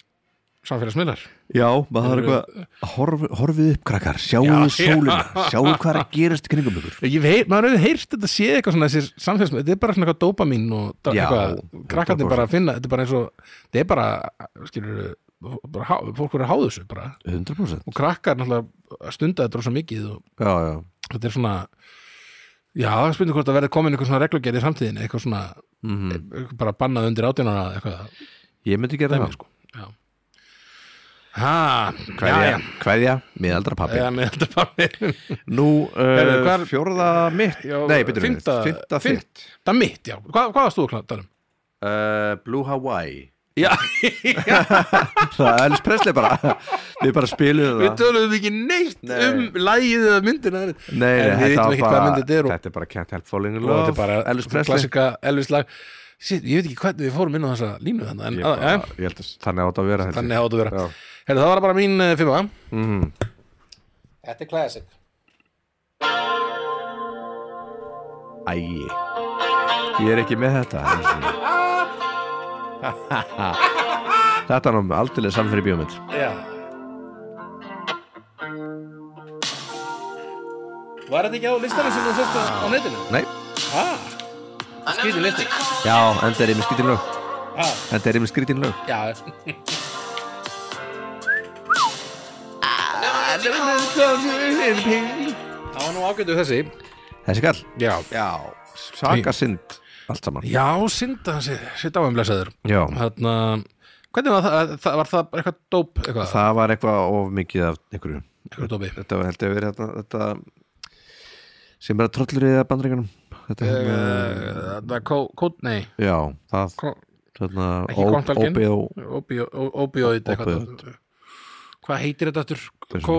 B: samfélagsmiðlar
A: Já, maður þarf eitthvað horf, Horfið upp krakkar, sjáuðu sólina Sjáuðu hvað er að gerast í kringum ykkur
B: ég veit, maður hefur heyrt þetta sé eitthvað svona þessir samfélagsmiðlar, þetta er bara svona eitthvað dópamín og dra-
A: Já,
B: eitthvað, krakkandi
A: 100%.
B: bara að finna þetta er bara eins og, þetta er bara skilur, bara, há- fólk verður að háðu þessu bara
A: 100%
B: og krakkar náttúrulega stunda þetta rosa mikið og
A: Já, já,
B: þetta er svona Já, það spurning hvort að verði komin eitthvað svona reglugerð í framtíðinni, eitthvað svona
A: Mhm.
B: e, eitthvað bara bannað undir átjónara eitthvað,
A: Ég myndi gera
B: dæmi,
A: það
B: sko. Já. Ha, já,
A: Kveðja,
B: já.
A: kveðja miðaldra pappi
B: Já, með þetta pappi.
A: Nú,
B: Heyrðu,
A: uh,
B: hvar-
A: fjórða mitt
B: Já,
A: Nei, betur við,
B: fimmta-
A: fymta
B: fimm-
A: þitt
B: Það mitt, já. Hva, hvað varst þú að tala um?
A: uh, Blue Hawaii
B: Já,
A: Það er Elvis Presley bara Við bara spilum
B: við
A: það
B: tölum ekki neitt
A: Nei.
B: um lagið eða myndina. Nei,
A: Nei, nei,
B: en við
A: þetta
B: vitum
A: var
B: ekki hvað
A: bara,
B: myndið er og,
A: þetta er bara Can't Help Falling in
B: og þetta
A: Love
B: er bara
A: Elvis Presley
B: klassika Elvis lag. Sitt, ég veit ekki hvernig við fórum inn á þessa línu þannig, en
A: Ég,
B: að,
A: bara,
B: ja,
A: ég held að þannig átt að vera held ég.
B: þannig áttu að vera.
A: Já. Mhm.
B: Herðu, það var bara mín uh, fimm að. Þetta er classic.
A: Æi Ég er ekki með þetta einu sinni. Þetta er nú aldrei saman fyrir bíómynd
B: Já. Var þetta ekki á listanum sem þú sérst á netinu?
A: Nei,
B: Ah, skýtin listi.
A: já, enda er ég með skrítin lög
B: Ah,
A: Enda er ég með skrítin lög
B: já. Það var nú ágættu þessi.
A: Þessi kall
B: Já.
A: Já, saka synd Allt saman
B: Já, synda hans, sitt á um blessaður.
A: Já,
B: Þarna, hvernig var það, það, var það bara eitthvað dóp, eitthvað,
A: það var eitthvað of mikið af einhverju
B: eitthvað dópi?
A: Þetta var held ég að vera þetta, þetta sem bara trollur í bandreikunum Þetta
B: Eh,
A: hérna
B: Það var kó, kó, nei,
A: Já, það
B: kó,
A: þarna,
B: ekki kontalgin.
A: óbjó
B: Óbíó- ó- óbíóið
A: Óbíóið.
B: eitthvað hvað heitir þetta aftur
A: er
B: kó,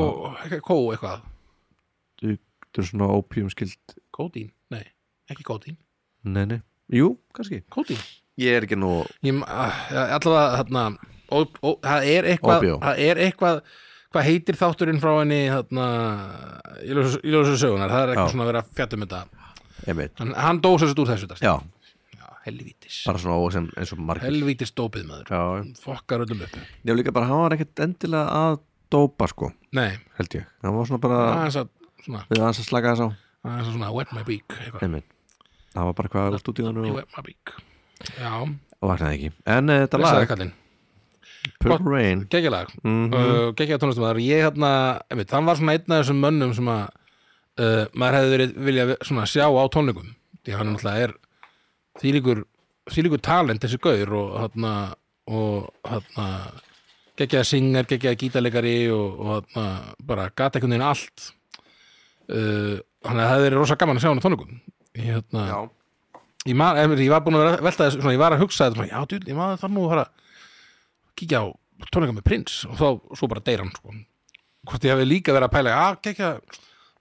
B: kó eitthvað
A: Þetta er svona óbjómskild
B: kódín, nei, ekki kódín
A: Nei, nei, jú, kannski
B: kódín,
A: Ég er ekki nú
B: ég, ma- ah, allavega þarna, ó, ó, það er eitthvað
A: Óbíó.
B: það er eitthvað hvað heitir þátturinn frá henni þarna, í ljósu sögunar það er
A: Já.
B: eitthvað svona að vera fjattum þetta
A: einmitt
B: hann, hann dósa þessu úr þessu þetta
A: Já,
B: Já, helvítis,
A: bara svona ósem, eins og margir
B: helvítis dópið maður
A: Já, já.
B: fokkar öllum upp
A: ég var líka bara, hann var ekkert endilega að dópa sko,
B: nei,
A: held ég Hann var svona bara,
B: aðeins að svona,
A: við aðeins að slaka þess á
B: aðeins að svona wet my beak eitthvað
A: Einmitt Það var bara hvað á stúdíðanu
B: Ég
A: og
B: veit maður bík Já,
A: og vaknaði ekki En uh, þetta
B: blessaði
A: lag,
B: kallinn gott.
A: Purple Rain
B: Gekkjalag, mm -hmm. uh, gekkjaða tónlistamæður Ég hérna, einmitt, hann var svona einn af þessum mönnum sem að uh, maður hefði verið vilja svona sjá á tónleikum því hann náttúrulega er þýlíkur, þýlíkur talent þessi gaur og hérna og hérna gekkjaða syngar, gekkjaða gítarleikari og, og hérna bara gata einhvern veginn allt uh, hann hefði verið rosa gaman að sjá hann á tónleikum Ég, hérna,
A: Já,
B: ég, man, em, ég var búin að vera að velta þessu svona, ég var að hugsa þetta, svona, já, djúl, ég maður þarf nú að fara að kíkja á tónleika með prins og þá svo bara deyra hann sko. hvort ég hefði líka verið að pæla "Ah, að kíkja,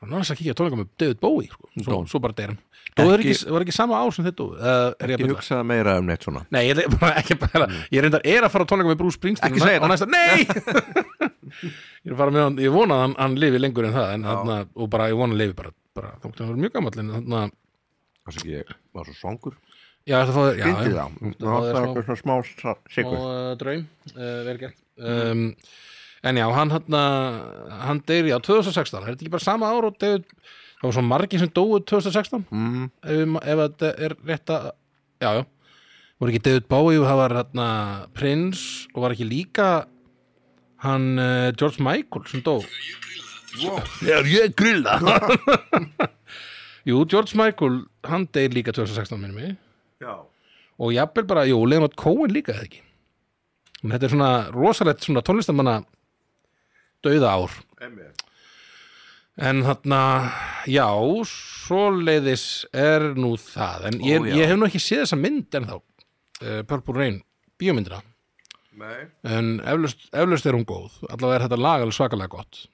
B: náttúrulega að kíkja á tónleika með David Bowie, sko. svo,
A: Dó.
B: svo bara deyra hann það var
A: Ekki-
B: ekki, var ekki sama ár sem þetta uh, er ég
A: ég
B: að byrja
A: hugsaði meira um neitt svona
B: Nei, ég er bara ekki að pæla Ég reyndar er að fara á tónleika með Bruce Springsteen
A: Mm.
B: á
A: Ekki
B: næ-
A: segja
B: á næsta, Nei! ég er að fara með hann, ég vona að hann, hann lifi lengur en það en, þarna, og bara, ég vona að hann lifi bara, bara þá getur hann verið mjög gamall en þarna,
A: Þess að ég var svo svangur
B: já, þetta fóður já,
A: Fyndi
B: já.
A: þá, það var
B: smá-
A: eitthvað svona smá sa- sigur Mm.
B: og draum uh, verið gert um, en já, hann hann, uh, hann deyri á 2016 er þetta ekki bara sama ár og deyri það var svo margir sem dóu 2016
A: Mm,
B: ef, ma- ef þetta er rétt að já, já, voru ekki David Bowie og það var hann prins og var ekki líka hann uh, George Michael sem dó þegar ég grilla jú, George Michael hann deyri líka 2016 minnum mig
A: Já
B: og jafnvel bara, jú, Leonard Cohen líka eða ekki en þetta er svona rosalegt svona tónlistamanna dauða ár en þarna, já svoleiðis er nú það en ég,
A: Ó, já.
B: ég hef nú ekki séð þessa mynd en þá Purple Rain, bíómyndina
A: Nei
B: en eflaust, eflaust er hún góð allavega er þetta lag alveg svakalega gott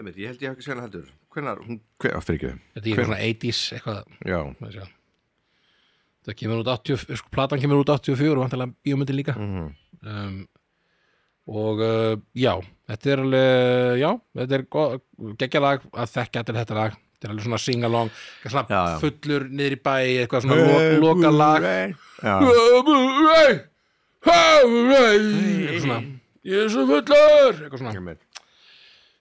A: Einmitt, ég held ég hef ekki séð hana heldur Hvenær, hún, hver, fyrir ekki
B: þetta er eitthvað svona 80s eitthvað
A: Já,
B: maður sjá. það kemur út 80, sko, platan kemur út 84 og vantilega bíómyndin líka
A: Mhm.
B: um, og uh, já þetta er alveg, já þetta er gott- geggjað lag að þekkja til þetta lag þetta er alveg svona sing-along eitthvað svona
A: Já, já.
B: fullur niður í bæ eitthvað svona lo loka lag
A: Já,
B: eitthvað svona ég er svo fullur eitthvað svona
A: einmitt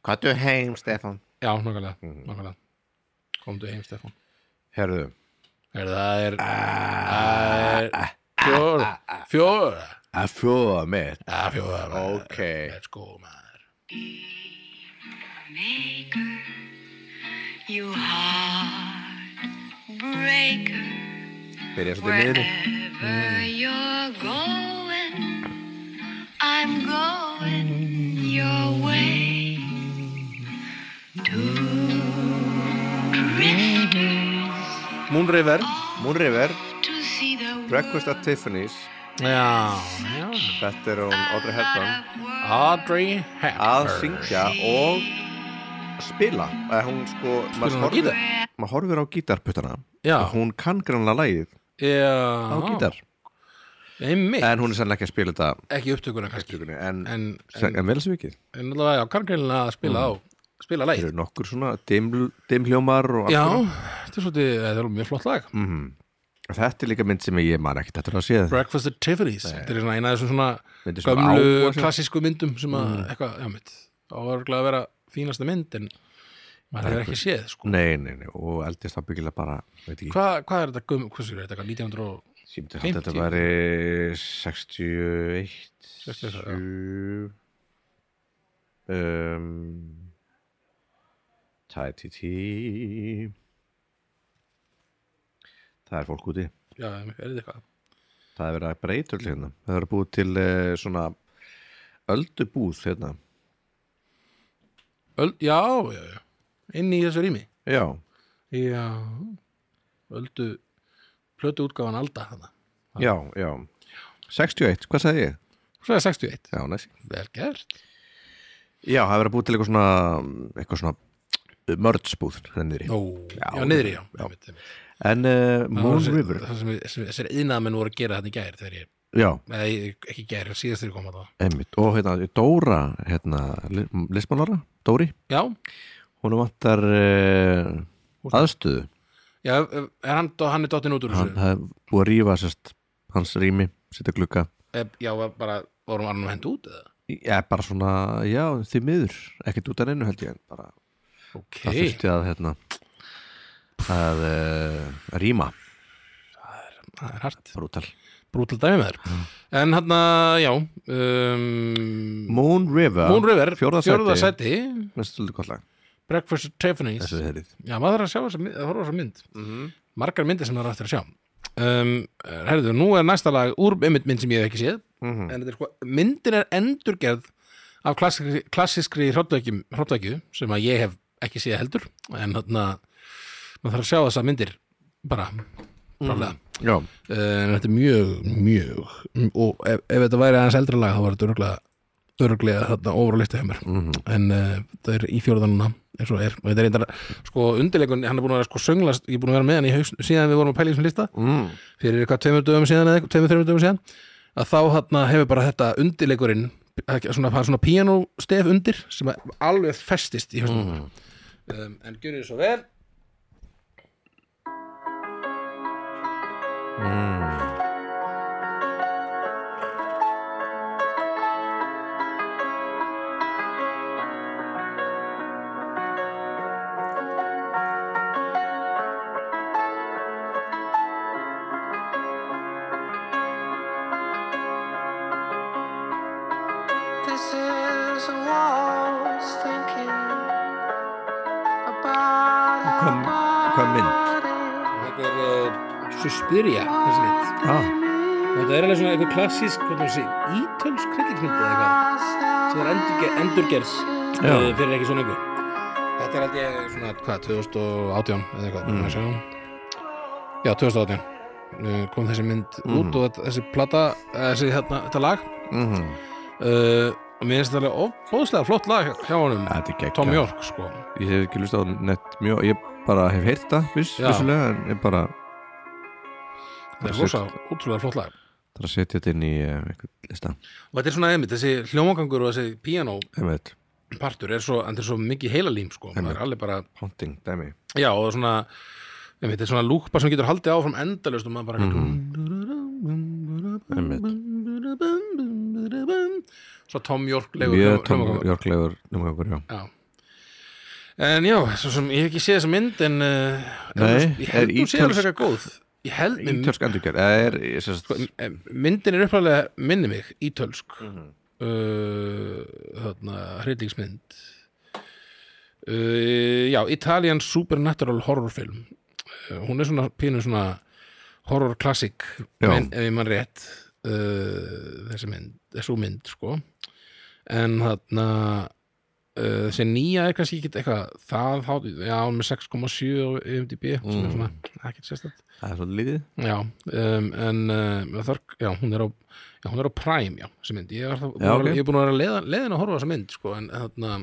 A: Hvað er heim, Stefan?
B: já, nákvæmlega,
A: Mhm.
B: nákvæmlega. komdu heim Stefán
A: Herðu
B: Er það er,
A: Ah,
B: það er fjóra, fjóra,
A: Að fjóða mitt
B: að fjóra, maður.
A: Ok.
B: let's go, maður.
D: You hard breaker.
A: Byrja svolítið niður
D: Wherever you're going, I'm going your way.
A: Moonriver Moonriver,
D: To see the
A: Breakfast at Tiffany's
B: Já, já.
A: Þetta er hún Audrey Hepburn
B: Audrey
A: að
B: Hepburn
A: syngja og spila að hún sko maður
B: hún á
A: horfir,
B: gítar?
A: maður horfir á gítarputtana
B: Já.
A: og hún kann grannlega lagið á
B: Já,
A: gítar
B: einmitt
A: en hún er sannlega ekki að spila þetta
B: Ekki upptökuna kannski
A: tökunni, en, en,
B: En, en,
A: en, vel sem ekki
B: en allavega, já, kargreinlega að
A: Mm.
B: spila á Spila lægir
A: eru nokkur svona diml- dimhljómar og alls
B: Já,
A: konar.
B: þetta er svolítið, þetta er mjög flott lag
A: Mm. Og þetta er líka mynd sem ég man ekkert þetta er að sé það
B: Breakfast at Tiffany's Þetta er svona eina af þessum svona
A: Eh. Myndir sem Mm.
B: gömlu
A: á- og-
B: klassísku myndum sem að eitthvað, já mitt á örgulega að vera fínasta mynd en maður hefur ekki séð sko.
A: nei, nei, nei, og eldist það byggilega bara veit ekki,
B: Hva, Hvað er þetta gömlu, hversu er þetta eitthvað 1900 og
A: ég myndi halda að þetta
B: 50?
A: væri 61
B: 61,
A: 7 um, tæti tí það er fólk úti
B: já, er þetta eitthvað
A: það er verið að breyta öll hérna það er búið til uh, svona öldubúð hérna
B: Öld, Já, já, já Inni í þessu rými
A: já,
B: Já Öldu plötu útgáfan Alda hana.
A: já, já 61, hvað sagði ég?
B: Svo er 61
A: Já, næs
B: Vel gert
A: Já, það er verið að búið til eitthvað svona eh, eitthvað svona mördsbúð hennir
B: Ó, já,
A: Já.
B: niðri, já, einmitt, einmitt.
A: hérna En uh,
B: Það var
A: Moon
B: þessi-
A: River
B: það sem sem- Þessir yðnaðamenn voru að gera þetta í gær þegar ég
A: Já,
B: Nei, ekki gær, síðast þegar ég kom að það
A: einmitt Og hérna, Dóra, hérna Lismanóra, Dóri
B: Já,
A: Hún vantar uh, aðstöðu
B: já er hann, hann er dottinn út úr
A: Hann
B: þessu
A: hafði búið að rífa sérst hans rými, setja glugga
B: Eh, Já, var bara, vorum hann hend út eða?
A: Já, bara svona, já, því miður ekkert út af neinu held ég en bara
B: Ok,
A: það þurfti að hérna að uh, rýma
B: það er hart
A: brútal
B: Brútal dæmi með
A: Mm.
B: þér En hann, já um,
A: Moon River,
B: Moon River,
A: fjórða sæti, sæti.
B: sæti
A: Næstu svolítið gott lag
B: Breakfast at Tiffany's
A: þessu þeirrið
B: Já, maður þarf að sjá þessa mynd, að horfa á þessa mynd
A: Mhm.
B: Margar myndir sem maður er aftur að sjá um, Herðu, nú er næsta lag úr einmitt mynd sem ég hef ekki séð
A: Mhm.
B: en þetta er sko, myndin er endurgerð af klassískri, klassískri hróttækju sem að ég hef ekki séð heldur en þarna maður þarf að sjá þessa myndir bara
A: Mhm.
B: rálega
A: Já,
B: Eh, en þetta er mjög, mjög og ef, ef þetta væri aðeins eldra lag þá var þetta öruglega öruglega þarna ofur á listu hjá mér en uh, það er í fjórðanuna eins og er og þetta er einnig sko undirleikun hann er búin að vera sko sönglast ég er búin að vera með hann í haus síðan við vorum að pæla í þessum lista mm. fyrir eitthvað tveimur dögum síðan eða tveimur, tveimur dögum síðan að þá þarna hefur bara þetta undirleikurinn það er svona, það er svona píanóstef undir sem að alveg festist í hausnum mm. um, en gjörðu þið svo vel
C: This is a waltz thinking about
A: Hvað, hvað mynd?
B: þetta er uh, Suspiria þessi mynd
A: Ah,
B: Og Þetta er alveg svona eitthvað klassísk, hvernig það sé, ítölsk krillikmynd eða eitthvað sem var endurger, endurgerð
A: Já.
B: eh, fyrir ekki svona einhver Þetta er aldrei svona, hvað, 2018 eða eitthvað, mm. sjá Já, 2018 Eh, kom þessi mynd
A: Mm.
B: út og þetta- þessi plata, eh, þessi hérna, þetta lag
A: mhm.
B: uh, og mér finnst þetta alveg ofbóðslega flott lag hjá- hjá honum
A: Þetta er geggjað.
B: Tom York, sko
A: Ég hef ekki lust á nett mjög Ég bara hef heyrt það, viss,
B: Já.
A: vissulega En ég bara
B: Þetta er
A: Bara
B: rosa, útrúlega flott lag
A: þarf að setja þetta inn í eh, einhvern lista
B: og þetta er svona einmitt, þessi hljómagangur og þessi piano
A: Einmitt,
B: partur er svo, en þetta er svo mikið heilalím sko, maður
A: Einmitt.
B: er alveg bara
A: haunting, dæmi
B: Já, og svona ég veit, þetta er svona lúkpa sem getur haldið áfram endalaust og maður bara
A: Mhm.
B: Svo Tom York legur
A: Mjög Tom Jörglegur numgangur, já
B: Já En já, svo sem ég hef ekki séð þessa mynd en uh,
A: Nei,
B: ég
A: er
B: held hún sé alveg
A: ítölsk-
B: frekar góð Ég held
A: Ítjörsk endurgerð, eða er ég sem sagt-
B: Eh, myndin er upphæðlega minni mig ítölsk uh, þarna hryllingsmynd uh, já, Italian Supernatural Horror Film Eh, hún er svona pínu svona horror classic
A: Já.
B: minn, ef ég mann rétt uh, þessi mynd, þessu mynd sko en þarna uh, þessi nýja er kannski ekki eitthvað það hátt, já, hún er með 6,7 á IMDb, sem er svona ekki sérstætt,
A: það er svolítið lítið
B: já um, en uh, þar, já, hún er á já, hún er á Prime, já, þessi mynd ég er, það,
A: Já, ok.
B: ég er búin að vera leiðin, leiðin að horfa á þessa mynd sko, en þarna,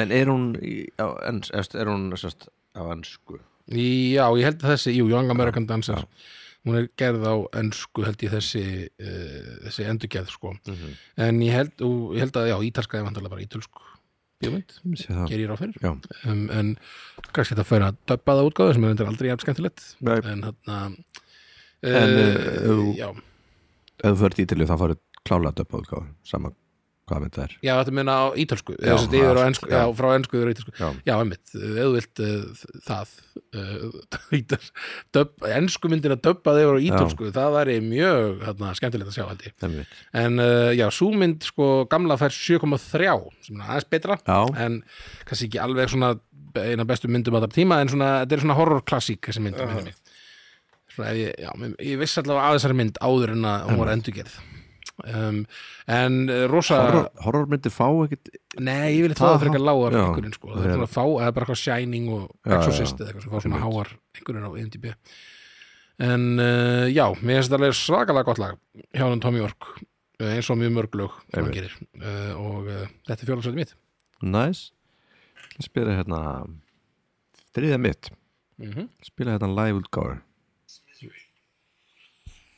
A: En er hún, í- á, ens, efst- er hún sest, á ennsku?
B: Já, ég held að þessi, jú, Young American Dancer hún er gerð á önsku held ég þessi, uh, þessi endurgerð sko,
A: Mhm.
B: en ég held, og, ég held að já, ítalska er vantarlega bara ítölsk bíómynd,
A: Sé það.
B: ger ég ráð fyrir
A: Já.
B: um, en kannski þetta fyrir að döbbaða útgáðu sem er reyndar aldrei jafn skemmtilegt
A: Nei.
B: en þarna
A: En, eh,
B: uh,
A: þú-
B: já,
A: Ef þú fyrir ítalið þá farið klálega döpa útgáð sama hvað með það er
B: já, þetta meina á ítölsku
A: Já,
B: já, þessi, yfir á
A: það-
B: ensku,
A: já.
B: já, frá ensku yfir á ítölsku
A: Já,
B: Já, einmitt, ef þú vilt uh, það uh, ítal- döbb- ensku myndin að döbba þeir á ítölsku, það væri mjög þarna, skemmtilegt að sjá held ég
A: einmitt.
B: en uh, já, sú mynd sko gamla fær 7,3 sem er aðeins betra
A: Já.
B: en kannski ekki alveg svona eina bestu myndum að það tíma en svona, þetta er svona horrorklassík þessi mynd uh. svona ef ég, já, mér- ég viss allavega að þessari mynd áður en að hún var endurgerð um, en uh, rosa
A: Horror, horrormyndir fá ekkit
B: Nei, ég vil það
A: Aha.
B: fyrir eitthvað lágar
A: Já.
B: einhverjum sko, það
A: Já.
B: er svona fá, eða bara eitthvað Shining og
A: Já,
B: Exorcist
A: já,
B: eða eitthvað sem fá svona háar einhverjum á IMDb En uh, já, mér finnst þetta alveg svakalega gott lag hjá hann Tommy York eh, eins og mjög mörg lög sem hann gerir uh, og uh, þetta er fjólagsvæti mitt
A: Næs Ég spila hérna þriðja mitt Spila hérna live útgáð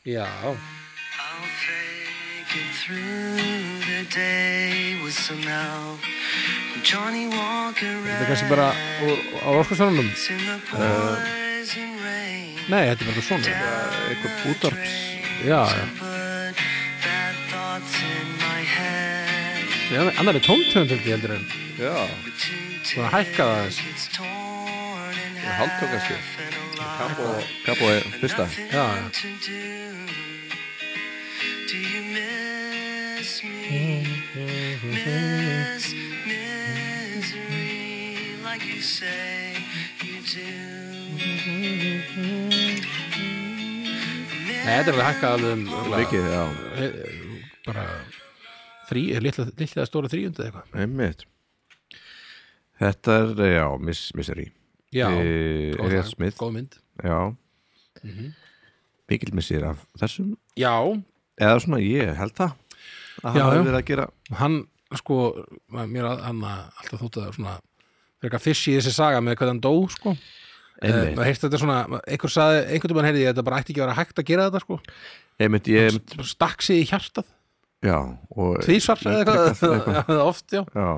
B: Já,
C: I'll fake it through the day with some help. Johnny Walker
B: þetta er kannski bara úr- á orkursvörunum
C: rats in the poison rain.
B: Nei, þetta er bara eitthvað svona
A: Eitthvað útvarps
B: Já, já,
C: Put bad thoughts in my head.
B: já annar er tóntönd held ég heldur en
A: Já,
B: svona hækka það aðeins
C: It's torn in
A: haldtók kannski
C: half and a lot
A: Kappo, kappo er fyrsta
B: Já, já,
C: to do. Do you miss me? Miss misery like you say you do.
B: Nei, þetta er alveg hækkað alveg um örugglega-
A: Mikið, já,
B: bara þrý, er litla, litla eða stóra þrýjöndu eða eitthvað
A: einmitt Þetta er, já, Miss Misery
B: já,
A: Eh,
B: góð
A: Elliot
B: lag,
A: Smith.
B: góð mynd
A: Já Mhm. Mikill missir af þessum
B: já,
A: Eða svona, ég held það Að hann
B: Já,
A: hafi
B: já.
A: verið að gera
B: hann sko mér að hann að- alltaf þótt að svona frekar fishy í þessi saga með hvernig hann dó sko Eh,
A: Einmitt,
B: maður heyrst þetta svona, einhver saði, einhvern tímann heyrði ég að þetta bara ætti ekki að vera hægt að gera þetta sko
A: einmitt, ég einmitt,
B: Bara stakk sig í hjartað,
A: Já, og
B: tvísvar eða Eh, eitthvað,
A: Ítrekað, eitthvað.
B: eða oft, já
A: Já,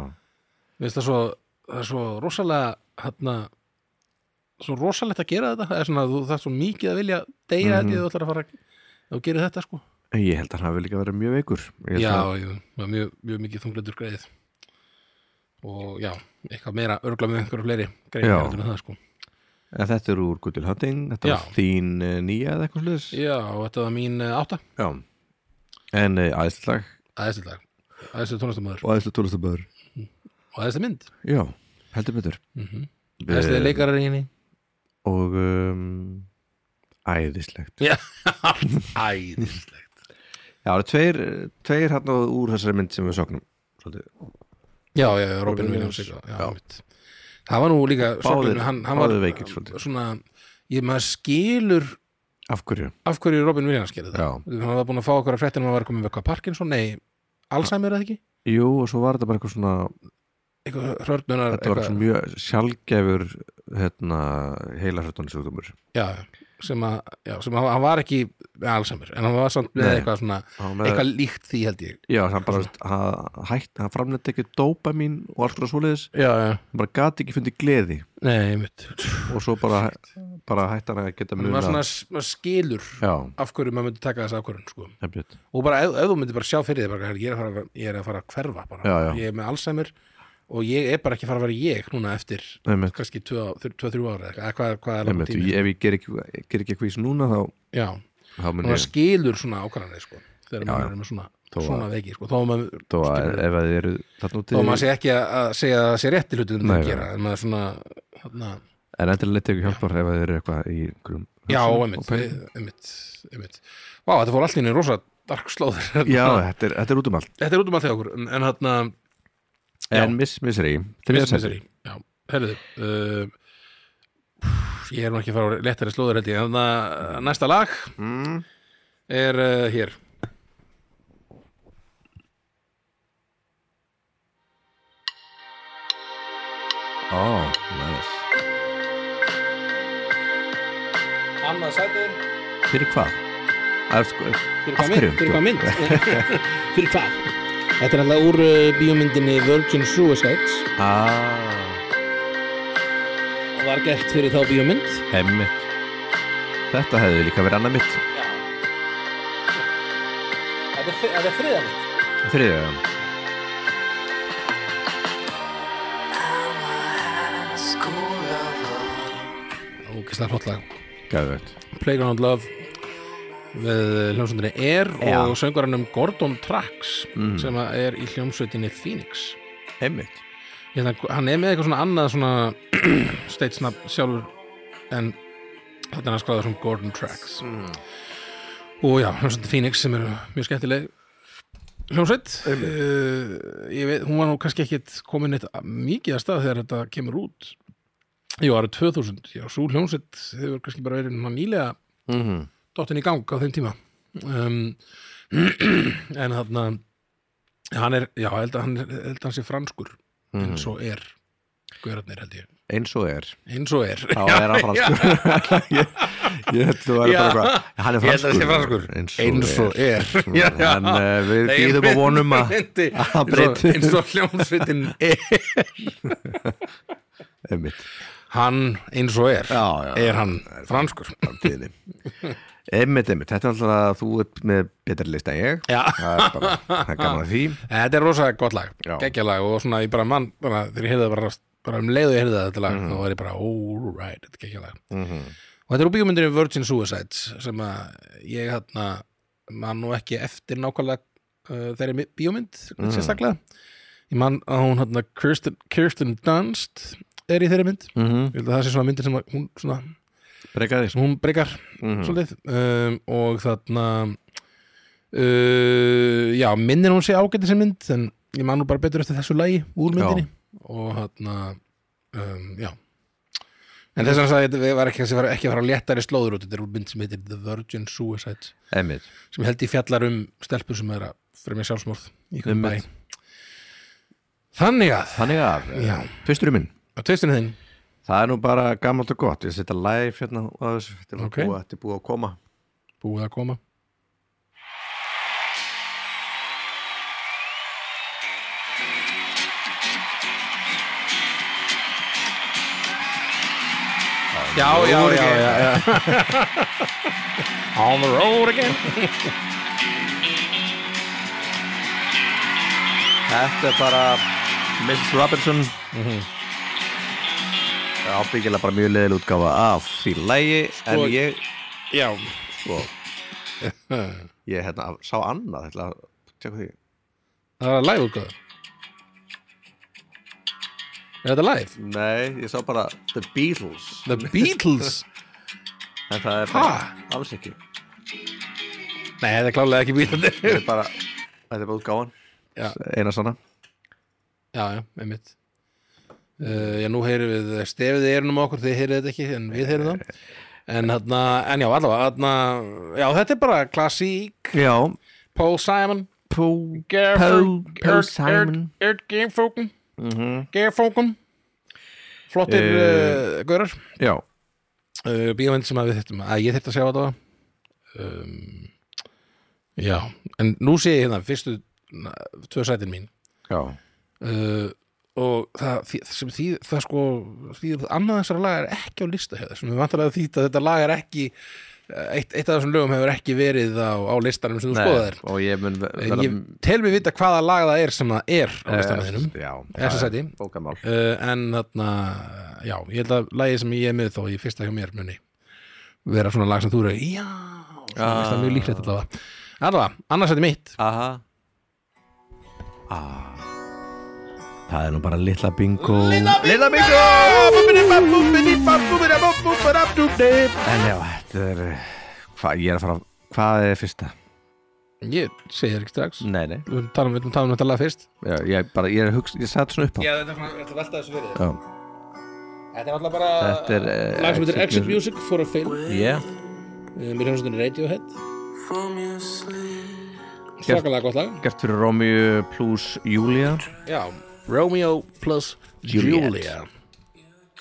B: Mér finnst það svo, það er svo rosalega hérna svo rosalegt að gera þetta, það er svona þú þarf svo mikið að vilja deyja mm -hmm. þú ætlar að fara að ef þú gerir þetta sko
A: En ég held að hann hafi líka verið mjög veikur Ég
B: Já,
A: held að-
B: jú, það var mjög, mjög mikið þunglendur greið og já, eitthvað meira örgla með einhverju fleiri greið
A: Já.
B: heldur en það sko
A: En þetta er úr Good Will Hunting Þetta
B: Já.
A: var þín eh, nýja eða eitthvað sliðis
B: Já, og þetta var mín eh, átta
A: Já En uh, æðslag
B: aðeinslega lag, aðeinslega tónlistamöður
A: Og æðslag tólastaböður
B: og aðeinslega mynd,
A: Já, heldur betur
B: Mhm.
A: Eh,
B: aðeinslega leikarar í henni
A: Og um, æðislegt
B: Já, æðislega
A: Já, það eru tveir, tveir hann úr þessari mynd sem við soknum Svolítið
B: Já, já, já, Robin
A: Robin
B: Williams
A: Williams.
B: eitthvað, já, einmitt. Það var nú líka sorglega, hann, hann var
A: báðir veikir svolítið.
B: svona, ég maður skilur
A: Af hverju?
B: af hverju Robin Williams gerði
A: Já.
B: það hann var búin að fá okkur að fréttina um að var komið með eitthvað Parkinson, nei, Alzheimer eða ekki
A: Jú, og svo var þetta bara eitthvað svona
B: eitthvað hörnunar
A: Þetta var eitthvað mjög sjálfgefur hérna, heilarhörtunni sjúkdómur
B: já, sem að, já, sem að hann var ekki með Alzheimer, en hann var samt með
A: Nei.
B: eitthvað svona,
A: Hann var með-
B: eitthvað líkt því held ég
A: Já, hann bara hann hætt, hann framleiti ekki dópa mín og alls konar svoleiðis
B: já, já,
A: hann bara gati ekki fundið gleði
B: nei, mitt
A: og svo bara, bara hætti hann að geta
B: hann
A: muna
B: var svona, maður skilur
A: Já,
B: af hverju maður myndi taka þessa ákvörðun sko.
A: nefnjöld
B: og bara ef, ef þú myndi bara sjá fyrir þig bara, "Herra, ég, er að fara, að- ég er að fara að hverfa bara.
A: Já, já.
B: ég er með Alzheimer og ég er bara ekki að fara að vera ég núna eftir
A: Einmitt.
B: kannski 2-3 ára eða hvað, hvað er langt
A: Nefnjöld,
B: tími
A: ef ég ger ekki, ger ekki eitthvað í þessu núna þá,
B: já,
A: þá mun
B: maður
A: ég
B: skilur svona ákvarðanir sko, þegar
A: Já,
B: maður
A: já.
B: er með svona,
A: Þó að-
B: svona veiki sko. þá er maður
A: þó að ef þið eru þarna úti
B: og maður hérna, sé ekki að að segja að það sé rétti hlutin
A: Nei,
B: að
A: nei.
B: gera en maður svona þarna,
A: en endilega leita ekki hjálpar ef þeir eru eitthvað í grum
B: Já, einmitt, við- einmitt, einmitt Vá, þetta fór allt í henni rosa darkslóður
A: Já, þetta er, þetta er út um allt
B: Þetta er út um allt hjá okkur En, en hann Já.
A: En Miss Misery,
B: Miss
A: þriðja
B: Misery Já, herriðu uh, Ég er nú ekki að fara á léttari slóður held ég En það næsta lag er uh, hér
A: sæti. Ó, nice
B: Annað sæti
A: Fyrir hvað? Af, sko,
B: Fyrir hvað mynd?
A: af
B: Fyrir hvað mynd? fyrir hvað? Þetta er alltaf úr uh, bíómyndinni Virgin Suicides
A: Ah,
B: og var gert fyrir þá bíómynd
A: emmitt Þetta hefði líka verið annað mitt
B: Þetta er friðanmynd
A: Þriðja
B: Ógislega flott lag
A: Gæðvögt
B: Playground Love við hljómsveitinni Air
A: Já.
B: og söngvaranum Gordon Trax sem að er í hljómsveitinni Phoenix
A: Emmitt
B: hérna, hann er með eitthvað svona annað svona stage snap sjálfur en þetta er hann skráður sem Gordon Trax og já, hljómsveitin Phoenix sem er mjög skemmtileg hljómsveit uh, ég veit, hún var nú kannski ekkit komin eitt mikið að stað þegar þetta kemur út jú, árið 2000 já, svo hljómsveit hefur kannski bara verið svona nýlega
A: mm -hmm.
B: dottin í gang á þeim tíma um, en þarna hann er, já, ég held að hann, ég held að hann sé franskur
A: Mhm.
B: eins og er guðrarnir held ég,
A: Eins og er
B: eins og er
A: Þá er hann franskur Ég, ég held þú væri
B: Já.
A: bara bara Hann er
B: Ég held að það
A: franskur
B: sé franskur.
A: Eins og er,
B: er Já, já.
A: En uh, við
B: Nei, ég
A: býðum og vonum að
B: myndi-
A: að hann breyti.
B: eins og- eins og hljómsveitin er
A: Emmitt
B: hann eins og er
A: Já, já.
B: er hann franskur
A: framtíðinni Einmitt, einmitt, þetta er alltaf að þú ert með betri list en ég
B: Já.
A: Það er bara, það er gaman að því
B: þetta er rosa gott lag,
A: Já.
B: geggjalag og svona ég bara mann, bara, þegar ég heyrði það bara, bara um leið og ég heyrði það þetta lag, þá var ég bara all right, þetta er geggjalag
A: Mhm.
B: og þetta er úr bíómyndinni Virgin Suicides sem að ég hérna man nú ekki eftir nákvæmlega uh, þeirri mi- bíómynd
A: Mhm.
B: sérstaklega ég man að hún hérna Kirsten, Kirsten Dunst er í þeirri mynd
A: Mhm.
B: ég held að það sé svona myndir sem að hún svona
A: Breka því
B: sem hún breykar
A: Mhm.
B: svolítið um, og þarna uh, já, minnir hún sé ágæti sem mynd en ég man nú bara betur eftir þessu lagi úr
A: Já.
B: myndinni og þarna um, já en þess vegna sagði ég, við var ekki, þessi var ekki að fara á léttari slóður út, þetta er úr mynd sem heitir The Virgin Suicides
A: Einmitt,
B: sem ég held ég fjallar um stelpur sem er að fremja sjálfsmorð í hvernig bæ
A: Einmitt.
B: þannig að,
A: þannig að
B: Já.
A: Fyrstur minn,
B: á tveistinu þinn
A: það er nú bara gamalt og gott Ég setja live hérna á þessu Þetta er nú
B: Ok.
A: búið, þetta er búið að koma
B: búið að koma Já, já, já, já, já. On the road again
A: Þetta er bara Mrs. Robinson mm
B: Mhm.
A: -hmm. Ábyggilega bara mjög leðil útgáfa af því lægi En
B: Sko-
A: ég,
B: Já,
A: sko Ég hérna, sá annað hérna, Tjekka því
B: það er að live útgáður Er þetta live?
A: Nei, ég sá bara The Beatles
B: The Beatles?
A: En það er bara,
B: Ha?
A: alls ekki
B: Nei, þetta er klálega ekki Beatles
A: Þetta er bara, þetta er bara útgáfan
B: Já.
A: Eina sanna
B: Já, já, einmitt uh, Já, nú heyrðum við stefið í eyrunum á okkur, þið heyrið þetta ekki en við heyrðum það En, hana, en já, allavega hana, Já, þetta er bara klassík
A: Já,
B: Paul Simon
A: Pú
B: Paul,
A: Paul Simon.
B: Erd Geirfókum Geirfókum Flottir uh,
A: Eh,
B: gaurar
A: Já,
B: uh, Bíómynd sem að við þyrftum að ég þyrfti að sjá þetta um, Já, en nú sé ég hérna fyrstu na, tvö sætin mín
A: já
B: uh, og það, því- sem því, það sko því annað þessara lag er ekki á lista hefur, sem við vantarlega því að þetta lag er ekki eitt, eitt af þessum lögum hefur ekki verið á, á listanum sem þú skoðaðir
A: Eh, Og ég mun ve-
B: en ég tel mér vita hvaða lag það er sem það er á listanum þínum
A: Eh, Já,
B: Efsta sæti.
A: bókamál
B: uh, en þarna, já, ég held að lagið sem ég er með þó í fyrsta hjá mér muni vera svona lag sem þú eru já, svona
A: Ah.
B: ah. mjög líklegt allavega
A: Ah.
B: allavega, annars þetta mitt
A: Aha Það er nú bara litla bingo
F: Lilla mig
A: En já, þetta er Hvað ég er að fara Hvað er fyrsta?
B: Ég segi þér ekki strax
A: Nei, nei
B: Við viljum tala um- við viljum tala um þetta lag fyrst
A: já, Ég, bara, ég er að hugsa Ég satt svona upp á
B: Já, þetta er alltaf velta þessu fyrir
A: Já.
B: Þetta er alltaf bara
A: Þetta er, eh,
B: Lag sem heitir
A: Exit
B: Exit Music for a Film
A: Yeah
B: eh, Mér hefum stundin Radiohead Svakalega gott lag
A: Gert fyrir Romeo plus Julia
B: Já, Romeo plus
A: Juliet.
B: Julia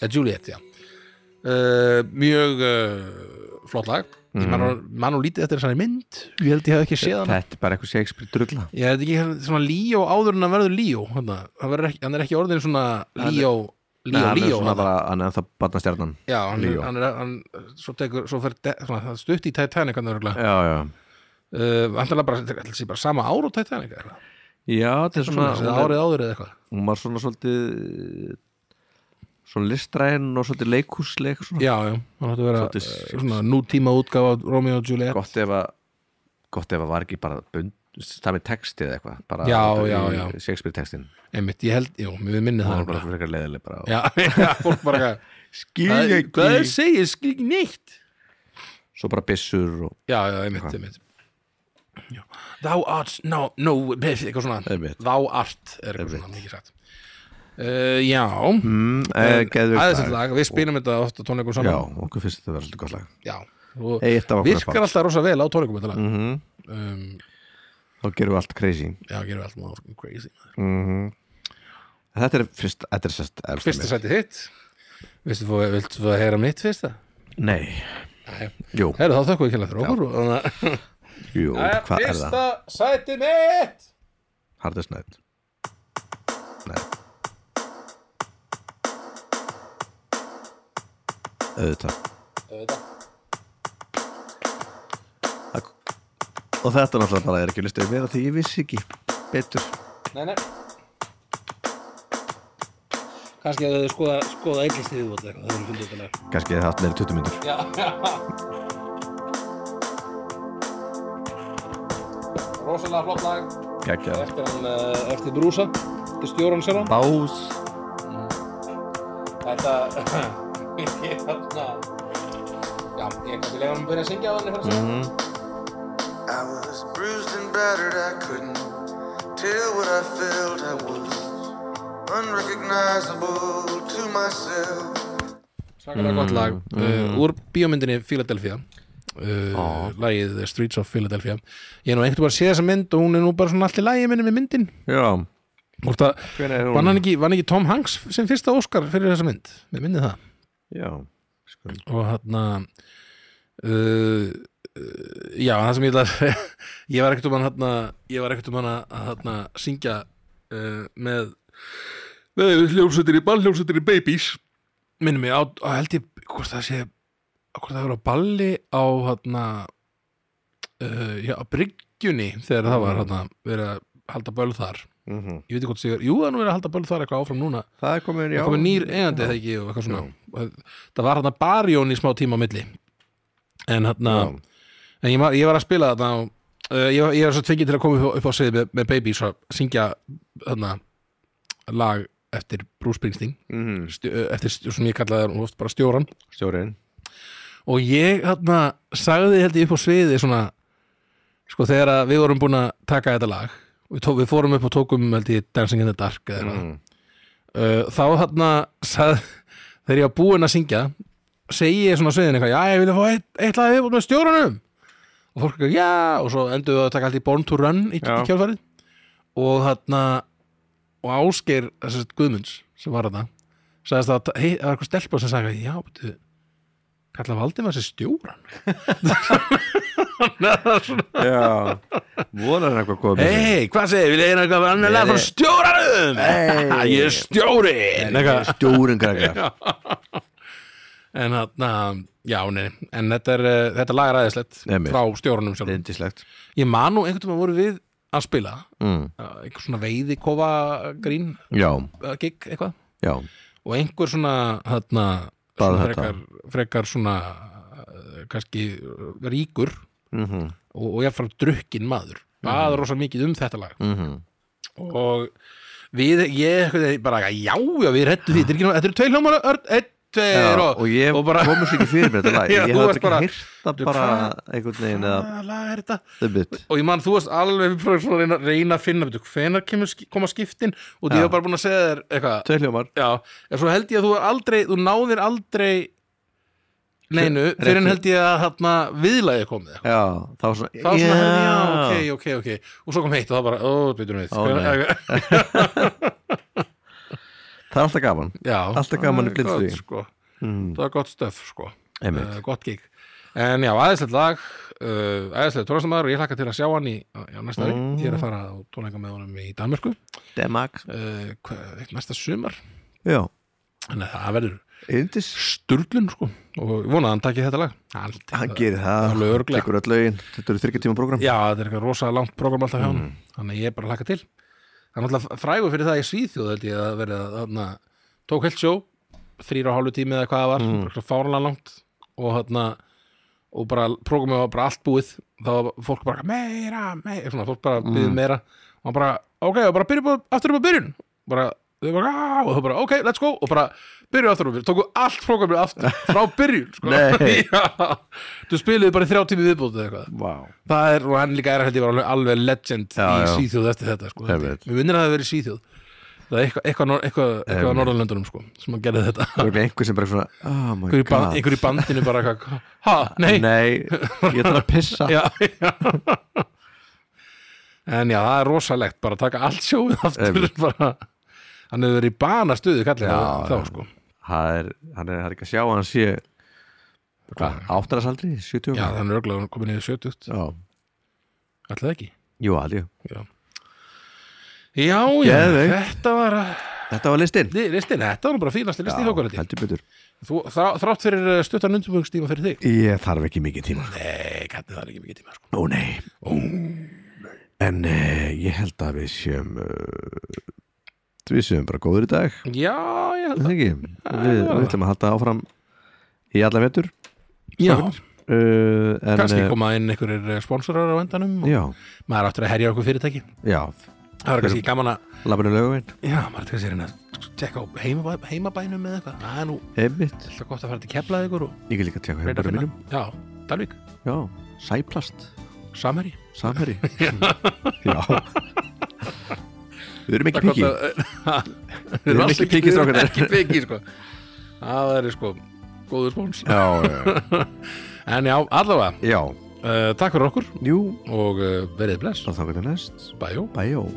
B: Eh, Juliet, já uh, Mjög uh, flott lag
A: Mhm.
B: Ég man nú- man og lítið eftir þessari mynd Ég held ég hef ekki séð hana
A: Þetta er bara eitthvað Shakespeare drulla
B: Ég hef ekki hérna, svona Líó áður en að verður Líó Hann hann verður ekki- hann er ekki orðin svona Líó
A: Nei,
B: Líó,
A: hann er
B: Líó
A: svona bara, hann er ennþá barnastjarnan
B: Já, hann,
A: Leo.
B: er, hann, er, hann svo, tekur, svo fer de, svona, það er stutt í Titanic hann er örgulega
A: Já, já
B: uh, hann er bara, ætli sé bara sama ár og Titanic eða eitthvað.
A: Já, þetta er
B: svona, eða
A: svona hún, er,
B: árið áður eða eitthvað
A: hún var svona svolítið Svona listræn og svolítið leikhúsleik svona.
B: Já, já, hann átti að vera
A: Svolítið
B: eh,
A: sýnt.
B: svona nútíma útgáfa af Romeo og Juliet
A: Gott ef að Gott ef að var ekki bara bund Stami texti eða eitthvað bara
B: Já,
A: þetta í
B: já, já.
A: Shakespeare textin
B: einmitt, ég held, jú, mér minni
A: Það
B: það
A: var bara
B: nefnilega.
A: fyrir eitthvað leðileg bara og-
B: Já, já, fólk bara
A: Skil
B: eitthvað Hvað er
A: ekki
B: segið, skil ekki neitt
A: Svo bara byssur og
B: Já, já, einmitt, einmitt Já. Thou art, no, no, eitthvað svona
A: Einmitt.
B: Thou art er eitthvað svona, mikið sagt uh, Já,
A: mm, eh, geðveikt
B: aðeins þetta lag, við spilum þetta ofta tónleikum saman
A: Já, okkur finnst þetta að vera svolítið gott lag
B: já og
A: Eitt af Mhm. okkur
B: virkar alltaf rosa vel á tónleikum þetta lag um,
A: Þá gerum við allt crazy
B: já, gerum við allt mjög fucking crazy maður.
A: Þetta er fyrst, þetta er sérst efst
B: fyrsta
A: mér.
B: sæti þitt viltu þú viltu þú að heyra mitt fyrsta?
A: Nei,
B: Nei.
A: jú,
B: Herru, þá þökkum við kjærlega fyrir okkur og þannig að-
A: jú, hvað er það?
B: sæti mitt
A: Hardest Night Nei Auðvitað Auðvitað Og þetta náttúrulega bara er ekki listið meira því ég vissi ekki betur
B: nei, nei kannski að þau skoða, skoða eitthvað stíðið út eitthvað, það er fundið þetta lag
A: Kannski ég haft meira en 20 myndur
B: rosalega flott lag
A: Kækja
B: eftir, hann, eh, eftir brúsa eftir stjóran sjálf
A: Bás
B: Þetta Ég þarna Já, ég kannski leiðum að byrja að syngja á henni fyrir að segja
G: I was bruised and battered, I couldn't tell what I felt. I was unrecognizable to myself.
B: Svakalega gott lag uh, Úr bíómyndinni Philadelphia uh, Lagið The Streets of Philadelphia Ég er nú einhvern bara að sé þessa mynd og hún er nú bara svona allt í lagi minni með myndin
A: Já
B: Hvort að,
A: Hvenær er hún?
B: vann hann ekki, vann ekki Tom Hanks sem fyrsta Óskar fyrir þessa mynd Mér myndi það
A: Já Skulum
B: og hann uh, uh, já, það sem ég ætla að segja ég var ekkert um hann hann ég var ekkert um hann að hann syngja uh, með með hljómsveitir í ball, hljómsveitir í babies minnum mig á, á held ég hvort það sé, hvort það var á balli á hann uh, já, á bryggjunni þegar það var hann verið að halda böl þar
A: Mhm.
B: ég veit ekki hvort sigur, jú það er nú verið að halda böl þar eitthvað áfram núna
A: Það er komin, já
B: það komið nýr eigandi eða ekki og eitthvað svona Og það var hann að barjón í smá tíma á milli en hann en ég, ma- ég var að spila þarna og uh, ég, var- ég var svo tvingið til að koma upp, upp á sviði með, með Baby svo að syngja þarna lag eftir Bruce Springsteen
A: Mhm.
B: stjó, eh, eftir stjó, sem ég kallaði hann oft bara stjóran
A: Stjórinn
B: og ég þarna sagði held ég upp á sviði svona sko þegar að við vorum búin að taka þetta lag við, tó, við fórum upp og tókum held ég Dancing in the Dark eða eitthvað uh, þá þarna sag, þegar ég var búin að syngja segi ég svona á sviðinu eitthvað já ég vilja fá eitt, eitt lag viðbúin með stjórunum og fólk eitthvað já og svo endur við að taka allt í Born to Run í, í
A: Já.
B: kjálfarið og þarna og Ásgeir þessast Guðmunds sem var þarna sagðist að hei, það var eitthvað stelpa sem sagði já, betur kalla Valdimar sér stjóran
A: Já Vonar eitthvað góð
B: hei, hvað segir, vil ég eina eitthvað annar lag frá stjóranum
A: Hey.
B: ég er stjórin
A: Stjórinn grækja
B: en þarna, já, nei en þetta, er, eh, þetta lag er aðeinslegt
A: Einmitt.
B: frá stjóranum sjálf
A: Indislegt
B: ég man nú einhvern veginn voru við að spila
A: mm.
B: eh, einhver svona veiðikofa grín
A: Já,
B: eh, gig eitthvað
A: já
B: og einhver svona þarna,
A: Bað
B: svona
A: þetta.
B: frekar, frekar svona eh, kannski eh, ríkur
A: Mhm.
B: og, og ég frá drukkin maður baður rosa mikið um þetta lag
A: Mhm.
B: og við, ég, einhvern veginn bara, já, já, við rettum því, þetta er ekki nú- þetta eru tveir hljómar, örn, einn, tveir og,
A: og ég
B: og bara,
A: komist ekki fyrir með þetta lag
B: Já,
A: ég
B: þú
A: hafði
B: varst
A: ekki
B: bara-
A: bara, hýrta
B: Þú,
A: bara
B: hvað-
A: einhvern veginn eða
B: hvaða Ah, lag er þetta?
A: the bit
B: og ég man, þú varst alveg við prófum svona að reyna, reyna að finna betur, hvenær kemur, sk- koma skiptin og því
A: Já.
B: ég var bara búin að segja þér eitthvað
A: tveir hljómar
B: já, en svo held ég að þú aldrei þú náðir aldrei neinu,
A: Rétt-
B: fyrir en held ég að þarna viðlagið komið eitthvað.
A: já, þá svona,
B: það var svona,
A: já,
B: já, ok, ok, ok og svo kom heitt og það bara, ó, byrjum við
A: Ó, nei. það er alltaf gaman
B: já,
A: Alltaf gaman í Mm.
B: það er
A: blindflugi.
B: gott, sko. það er gott stöf, sko
A: Einmitt.
B: Eh, gott gig en já, aðeinslega lag uh, aðeinslega tónastamæður og ég hlakka til að sjá hann í já, næsta ári, ég
A: Mm.
B: er að fara á tónleika með honum í Danmörku
A: demag
B: uh, hvað, næsta sumar
A: já,
B: þannig að það verður
A: yndis
B: sturlun sko og ég vona að hann takki þetta lag hann,
A: hann gerir það,
B: alveg örugglega.
A: tekur öll lögin þetta eru þryggja tíma program Mhm.
B: já þetta er eitthvað rosa langt program alltaf hjá hann þannig að ég er bara að hlaka til hann er alltaf frægur fyrir það í Svíþjóð held ég að verið að hann tók heilt sjó þrýra og hálfu tími eða hvað það
A: Mhm.
B: var mm. fárlega langt og hann og bara programmið var bara allt búið þá var fólk bara meira, meira svona, fólk
A: Mhm.
B: bara byggði meira og hann bara, ok, og bara byrjum bara aftur upp á byrjun bara, þau bara, "Ah," og þau bara, ok, let's go og bara byrjum aftur upp á byrjun, tóku allt programmið aftur frá byrjun, sko
A: Nei.
B: Já. þú spiliði bara í þrjá tími viðbútið eða eitthvað
A: wow.
B: það er, og hann líka er held ég var alveg, alveg legend
A: Já,
B: í
A: já.
B: Svíþjóð eftir þetta sko, held ég.
A: Einmitt.
B: mér minnir að það hafi verið í Svíþjóð það er eitthvað, eitthvað, nor- eitthvað, eitthvað á Norðurlöndunum sko, sem að gera þetta
A: það er einhver sem bara svona oh my
B: einhver í, ban,
A: god
B: einhver í bandinu bara eitthvað, ha, nei,
A: nei, ég þarf að pissa
B: já, já. en já, það er rosalegt bara að taka allt sjóið aftur
A: Einmitt.
B: bara, hann hefur verið í banastuði kallið
A: Já,
B: þá,
A: já.
B: þá sko
A: það er, hann er, hann er ekki að sjá að hann sé hvað, áttararsaldri, 70
B: já, þannig er örgulega komin niður 70
A: já,
B: alltaf ekki
A: jú, alveg
B: já, já, já
A: Geðveikt.
B: þetta var að-
A: þetta var listin
B: Li- listin, þetta var nú bara fínast listi í
A: Já,
B: hjókvarandi
A: heldur betur
B: þrátt fyrir eh, stuttan undirbúingstíma fyrir þig
A: ég þarf ekki mikið tíma
B: nei, kannið Eh, það er ekki mikið tíma sko.
A: Ó nei En uh, ég held að við séum uh, Við séum bara góður í dag
B: já, ég held
A: Það ekki Við, við ætlum að halda áfram Í alla vetur
B: að já,
A: uh, en,
B: Sko, kannski
A: eh,
B: koma inn einhverjir eh, sponsorar á endanum og
A: Já,
B: maður áttur að herja okkur fyrirtæki
A: já
B: það var kannski gaman að
A: Labinu löguminn
B: Já, maður tekur sér hérna að tjekka á heimabæ, heimabænum eða eitthvað Það er nú
A: Einmitt
B: alltaf gott að fara til keflaði ykkur og
A: Ég er líka að tjaka
B: reyna að
A: hefur
B: finna
A: mínum
B: Já, Dalvík,
A: Já, sæplast
B: Samherji
A: Samherji Já Við erum ekki
B: Það er gott að- Við
A: píki Við erum
B: erum alls
A: ekki
B: ekki
A: pikki,
B: við erum
A: strákarnir.
B: ekki piki sko. Það er sko góður spóns
A: Já, já,
B: En já, allavega,
A: já
B: uh, takk fyrir okkur
A: Jú,
B: og uh, verið bless
A: þá þá getur næst
B: Bæjó
A: Bæjó